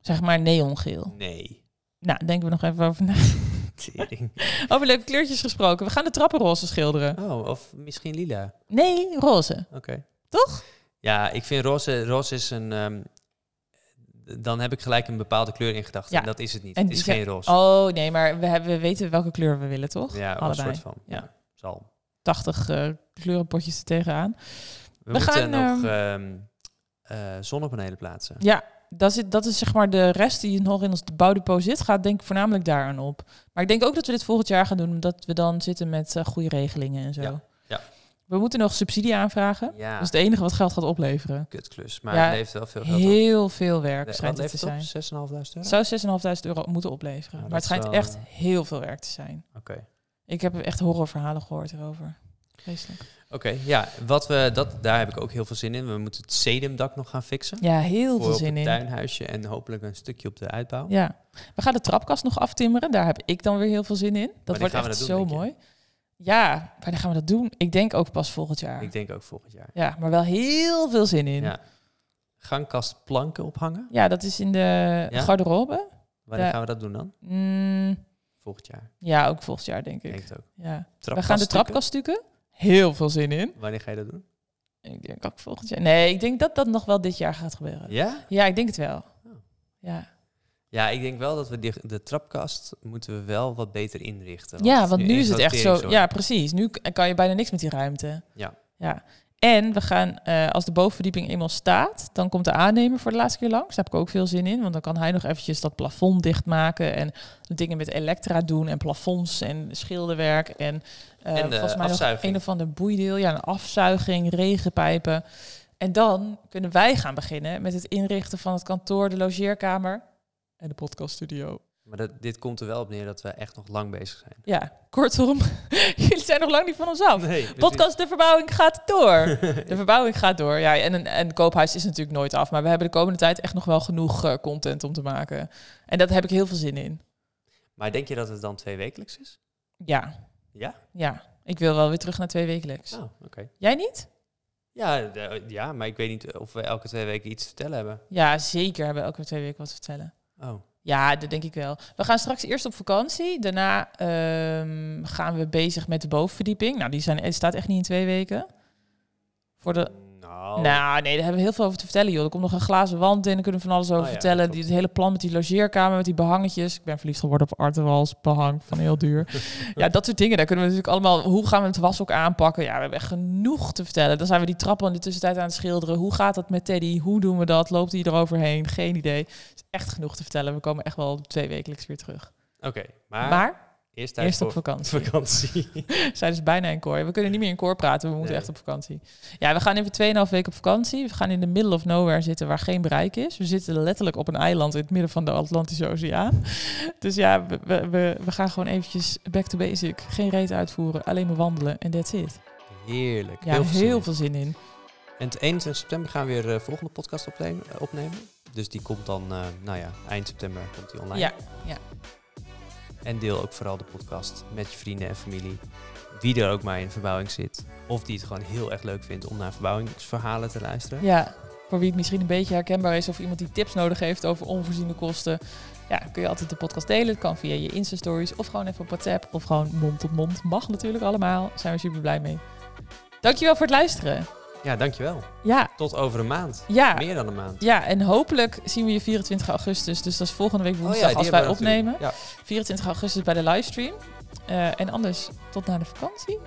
[SPEAKER 2] Zeg maar neongeel.
[SPEAKER 1] Nee.
[SPEAKER 2] Nou, denken we nog even over na.
[SPEAKER 1] Tering.
[SPEAKER 2] Over leuke kleurtjes gesproken. We gaan de trappen roze schilderen.
[SPEAKER 1] Oh, of misschien lila.
[SPEAKER 2] Nee, roze.
[SPEAKER 1] Oké.
[SPEAKER 2] Toch?
[SPEAKER 1] Ja, ik vind roze, roze is een... ehm, dan heb ik gelijk een bepaalde kleur in gedachten.
[SPEAKER 2] Ja.
[SPEAKER 1] En dat is het niet.
[SPEAKER 2] En
[SPEAKER 1] het is
[SPEAKER 2] die
[SPEAKER 1] geen roze.
[SPEAKER 2] Oh nee, maar we, hebben, we weten welke kleur we willen, toch?
[SPEAKER 1] ja, een
[SPEAKER 2] allebei.
[SPEAKER 1] soort van. Ja.
[SPEAKER 2] Ja.
[SPEAKER 1] Zal.
[SPEAKER 2] 80 eh, kleurenpotjes er tegenaan.
[SPEAKER 1] We,
[SPEAKER 2] We
[SPEAKER 1] moeten
[SPEAKER 2] gaan,
[SPEAKER 1] nog ehm eh, zonnepanelen plaatsen.
[SPEAKER 2] Ja, dat is, dat is zeg maar de rest die nog in ons bouwdepot zit, gaat denk ik voornamelijk daaraan op. Maar ik denk ook dat we dit volgend jaar gaan doen, omdat we dan zitten met eh, goede regelingen en zo.
[SPEAKER 1] Ja, ja.
[SPEAKER 2] We moeten nog subsidie aanvragen.
[SPEAKER 1] Ja,
[SPEAKER 2] Dat is het enige wat geld gaat opleveren.
[SPEAKER 1] kutklus. Maar
[SPEAKER 2] Dus- Ja,
[SPEAKER 1] het levert wel veel geld op.
[SPEAKER 2] Heel veel werk
[SPEAKER 1] Nee, Wat
[SPEAKER 2] schijnt het te
[SPEAKER 1] levert
[SPEAKER 2] zijn.
[SPEAKER 1] het op? 6.500 euro?
[SPEAKER 2] Het zou 6.500 euro moeten opleveren.
[SPEAKER 1] Ja, dat
[SPEAKER 2] maar het
[SPEAKER 1] is
[SPEAKER 2] schijnt
[SPEAKER 1] wel,
[SPEAKER 2] echt
[SPEAKER 1] eh,
[SPEAKER 2] heel veel werk te zijn.
[SPEAKER 1] Oké.
[SPEAKER 2] Ik heb echt horrorverhalen gehoord erover. Vreselijk.
[SPEAKER 1] Oké, ja. Wat we, dat, daar heb ik ook heel veel zin in. We moeten het sedumdak nog gaan fixen.
[SPEAKER 2] Ja, heel
[SPEAKER 1] voor
[SPEAKER 2] veel
[SPEAKER 1] op
[SPEAKER 2] zin
[SPEAKER 1] het
[SPEAKER 2] in.
[SPEAKER 1] tuinhuisje en hopelijk een stukje op de uitbouw.
[SPEAKER 2] Ja, we gaan de trapkast nog aftimmeren. Daar heb ik dan weer heel veel zin in. Dat
[SPEAKER 1] Wanneer
[SPEAKER 2] wordt
[SPEAKER 1] gaan
[SPEAKER 2] echt
[SPEAKER 1] we dat doen,
[SPEAKER 2] zo
[SPEAKER 1] denk je?
[SPEAKER 2] mooi. Ja, wanneer gaan we dat doen? Ik denk ook pas volgend jaar.
[SPEAKER 1] Ik denk ook volgend jaar.
[SPEAKER 2] Ja, maar wel heel veel zin in.
[SPEAKER 1] Ja.
[SPEAKER 2] Ja,
[SPEAKER 1] Gangkast planken ophangen.
[SPEAKER 2] dat is in de
[SPEAKER 1] Ja?
[SPEAKER 2] garderobe.
[SPEAKER 1] Wanneer
[SPEAKER 2] Ja.
[SPEAKER 1] gaan we dat doen dan?
[SPEAKER 2] Mm, volgend
[SPEAKER 1] Volgend jaar.
[SPEAKER 2] ja, ook volgend jaar denk
[SPEAKER 1] Ik
[SPEAKER 2] ik.
[SPEAKER 1] denk het ook.
[SPEAKER 2] Ja. We
[SPEAKER 1] Trapkast
[SPEAKER 2] gaan de
[SPEAKER 1] stukken.
[SPEAKER 2] trapkast stukken. Heel veel zin in.
[SPEAKER 1] Wanneer ga je dat doen?
[SPEAKER 2] Ik denk ook volgend jaar. Nee, ik denk dat dat nog wel dit jaar gaat gebeuren. Ja,
[SPEAKER 1] Ja? Oh.
[SPEAKER 2] ik denk het wel. Ja,
[SPEAKER 1] Ja, ik denk wel dat we die, de trapkast moeten we wel wat beter inrichten.
[SPEAKER 2] ja
[SPEAKER 1] het
[SPEAKER 2] want nu
[SPEAKER 1] één
[SPEAKER 2] is het echt zo.
[SPEAKER 1] sorteringsoord.
[SPEAKER 2] Ja, precies. Nu k- kan je bijna niks met die ruimte.
[SPEAKER 1] Ja.
[SPEAKER 2] Ja. En we gaan, eh, als de bovenverdieping eenmaal staat, dan komt de aannemer voor de laatste keer langs. Daar heb ik ook veel zin in, want dan kan hij nog eventjes dat plafond dichtmaken en dingen met elektra doen en plafonds en schilderwerk en, eh,
[SPEAKER 1] En de
[SPEAKER 2] volgens mij nog
[SPEAKER 1] afzuiging.
[SPEAKER 2] een of ander boeideel, ja, een afzuiging, regenpijpen. En dan kunnen wij gaan beginnen met het inrichten van het kantoor, de logeerkamer en de podcaststudio.
[SPEAKER 1] Maar dat, dit komt er wel op neer dat we echt nog lang bezig zijn.
[SPEAKER 2] Ja, kortom, jullie zijn nog lang niet van ons af.
[SPEAKER 1] Nee,
[SPEAKER 2] Podcast De Verbouwing gaat door. De verbouwing gaat door. Ja, en een en koophuis is natuurlijk nooit af. Maar we hebben de komende tijd echt nog wel genoeg eh, content om te maken. En daar heb ik heel veel zin in.
[SPEAKER 1] Maar denk je dat het dan twee wekelijks is?
[SPEAKER 2] Ja.
[SPEAKER 1] Ja?
[SPEAKER 2] Ja. Ik wil wel weer terug naar twee wekelijks.
[SPEAKER 1] Oh, oké.
[SPEAKER 2] Jij niet?
[SPEAKER 1] Ja, de- ja, maar ik weet niet of we elke twee weken iets te vertellen hebben.
[SPEAKER 2] Ja, zeker hebben we elke twee weken wat te vertellen.
[SPEAKER 1] Oh,
[SPEAKER 2] Ja, dat denk ik wel. We gaan straks eerst op vakantie. Daarna ehm, gaan we bezig met de bovenverdieping. Nou, die zijn, het staat echt niet in twee weken. Voor de
[SPEAKER 1] nou, Nou,
[SPEAKER 2] Nou, nee, daar hebben we heel veel over te vertellen, joh. Er komt nog een glazen wand in, daar kunnen we van alles over
[SPEAKER 1] Oh ja,
[SPEAKER 2] vertellen.
[SPEAKER 1] klopt.
[SPEAKER 2] Die, het hele plan met die logeerkamer, met die behangetjes. Ik ben verliefd geworden op Artewals, behang van heel duur. ja, dat soort dingen. Daar kunnen we natuurlijk allemaal... Hoe gaan we het was ook aanpakken? Ja, we hebben echt genoeg te vertellen. Dan zijn we die trappen in de tussentijd aan het schilderen. Hoe gaat dat met Teddy? Hoe doen we dat? Loopt hij eroverheen? Geen idee. Het is echt genoeg te vertellen. We komen echt wel twee wekelijks weer terug.
[SPEAKER 1] oké. maar,
[SPEAKER 2] maar
[SPEAKER 1] eerst tijd
[SPEAKER 2] eerst op
[SPEAKER 1] voor
[SPEAKER 2] vakantie.
[SPEAKER 1] vakantie.
[SPEAKER 2] We zijn dus bijna in koor. We kunnen niet meer in koor praten, we moeten
[SPEAKER 1] Nee.
[SPEAKER 2] echt op vakantie. Ja, we gaan even 2,5 weken op vakantie. We gaan in de middle of nowhere zitten waar geen bereik is. We zitten letterlijk op een eiland in het midden van de Atlantische Oceaan. Dus ja, we, we, we, we gaan gewoon eventjes back to basic. Geen reet uitvoeren, alleen maar wandelen en that's it.
[SPEAKER 1] Heerlijk.
[SPEAKER 2] Ja, heel veel,
[SPEAKER 1] zin in.
[SPEAKER 2] zin in.
[SPEAKER 1] En het 21 september gaan we weer de volgende podcast opnemen, eh, opnemen. Dus die komt dan, eh, nou ja, eind september komt die online.
[SPEAKER 2] Ja, ja.
[SPEAKER 1] En deel ook vooral de podcast met je vrienden en familie. Wie er ook maar in verbouwing zit. Of die het gewoon heel erg leuk vindt om naar verbouwingsverhalen te luisteren.
[SPEAKER 2] Ja, voor wie het misschien een beetje herkenbaar is of iemand die tips nodig heeft over onvoorziene kosten. Ja, kun je altijd de podcast delen. Het kan via je Insta-stories of gewoon even op WhatsApp of gewoon mond tot mond. Mag natuurlijk allemaal. Daar zijn we super blij mee. Dankjewel voor het luisteren.
[SPEAKER 1] Ja, dankjewel.
[SPEAKER 2] Ja,
[SPEAKER 1] Tot over een maand.
[SPEAKER 2] ja.
[SPEAKER 1] Meer dan een maand.
[SPEAKER 2] Ja, en hopelijk zien we je 24 augustus. Dus dat is volgende week woensdag
[SPEAKER 1] Oh die
[SPEAKER 2] als wij
[SPEAKER 1] hebben we
[SPEAKER 2] opnemen.
[SPEAKER 1] natuurlijk. Ja.
[SPEAKER 2] 24 augustus bij de livestream. Eh, en anders tot na de vakantie.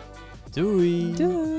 [SPEAKER 1] Doei.
[SPEAKER 2] Doei!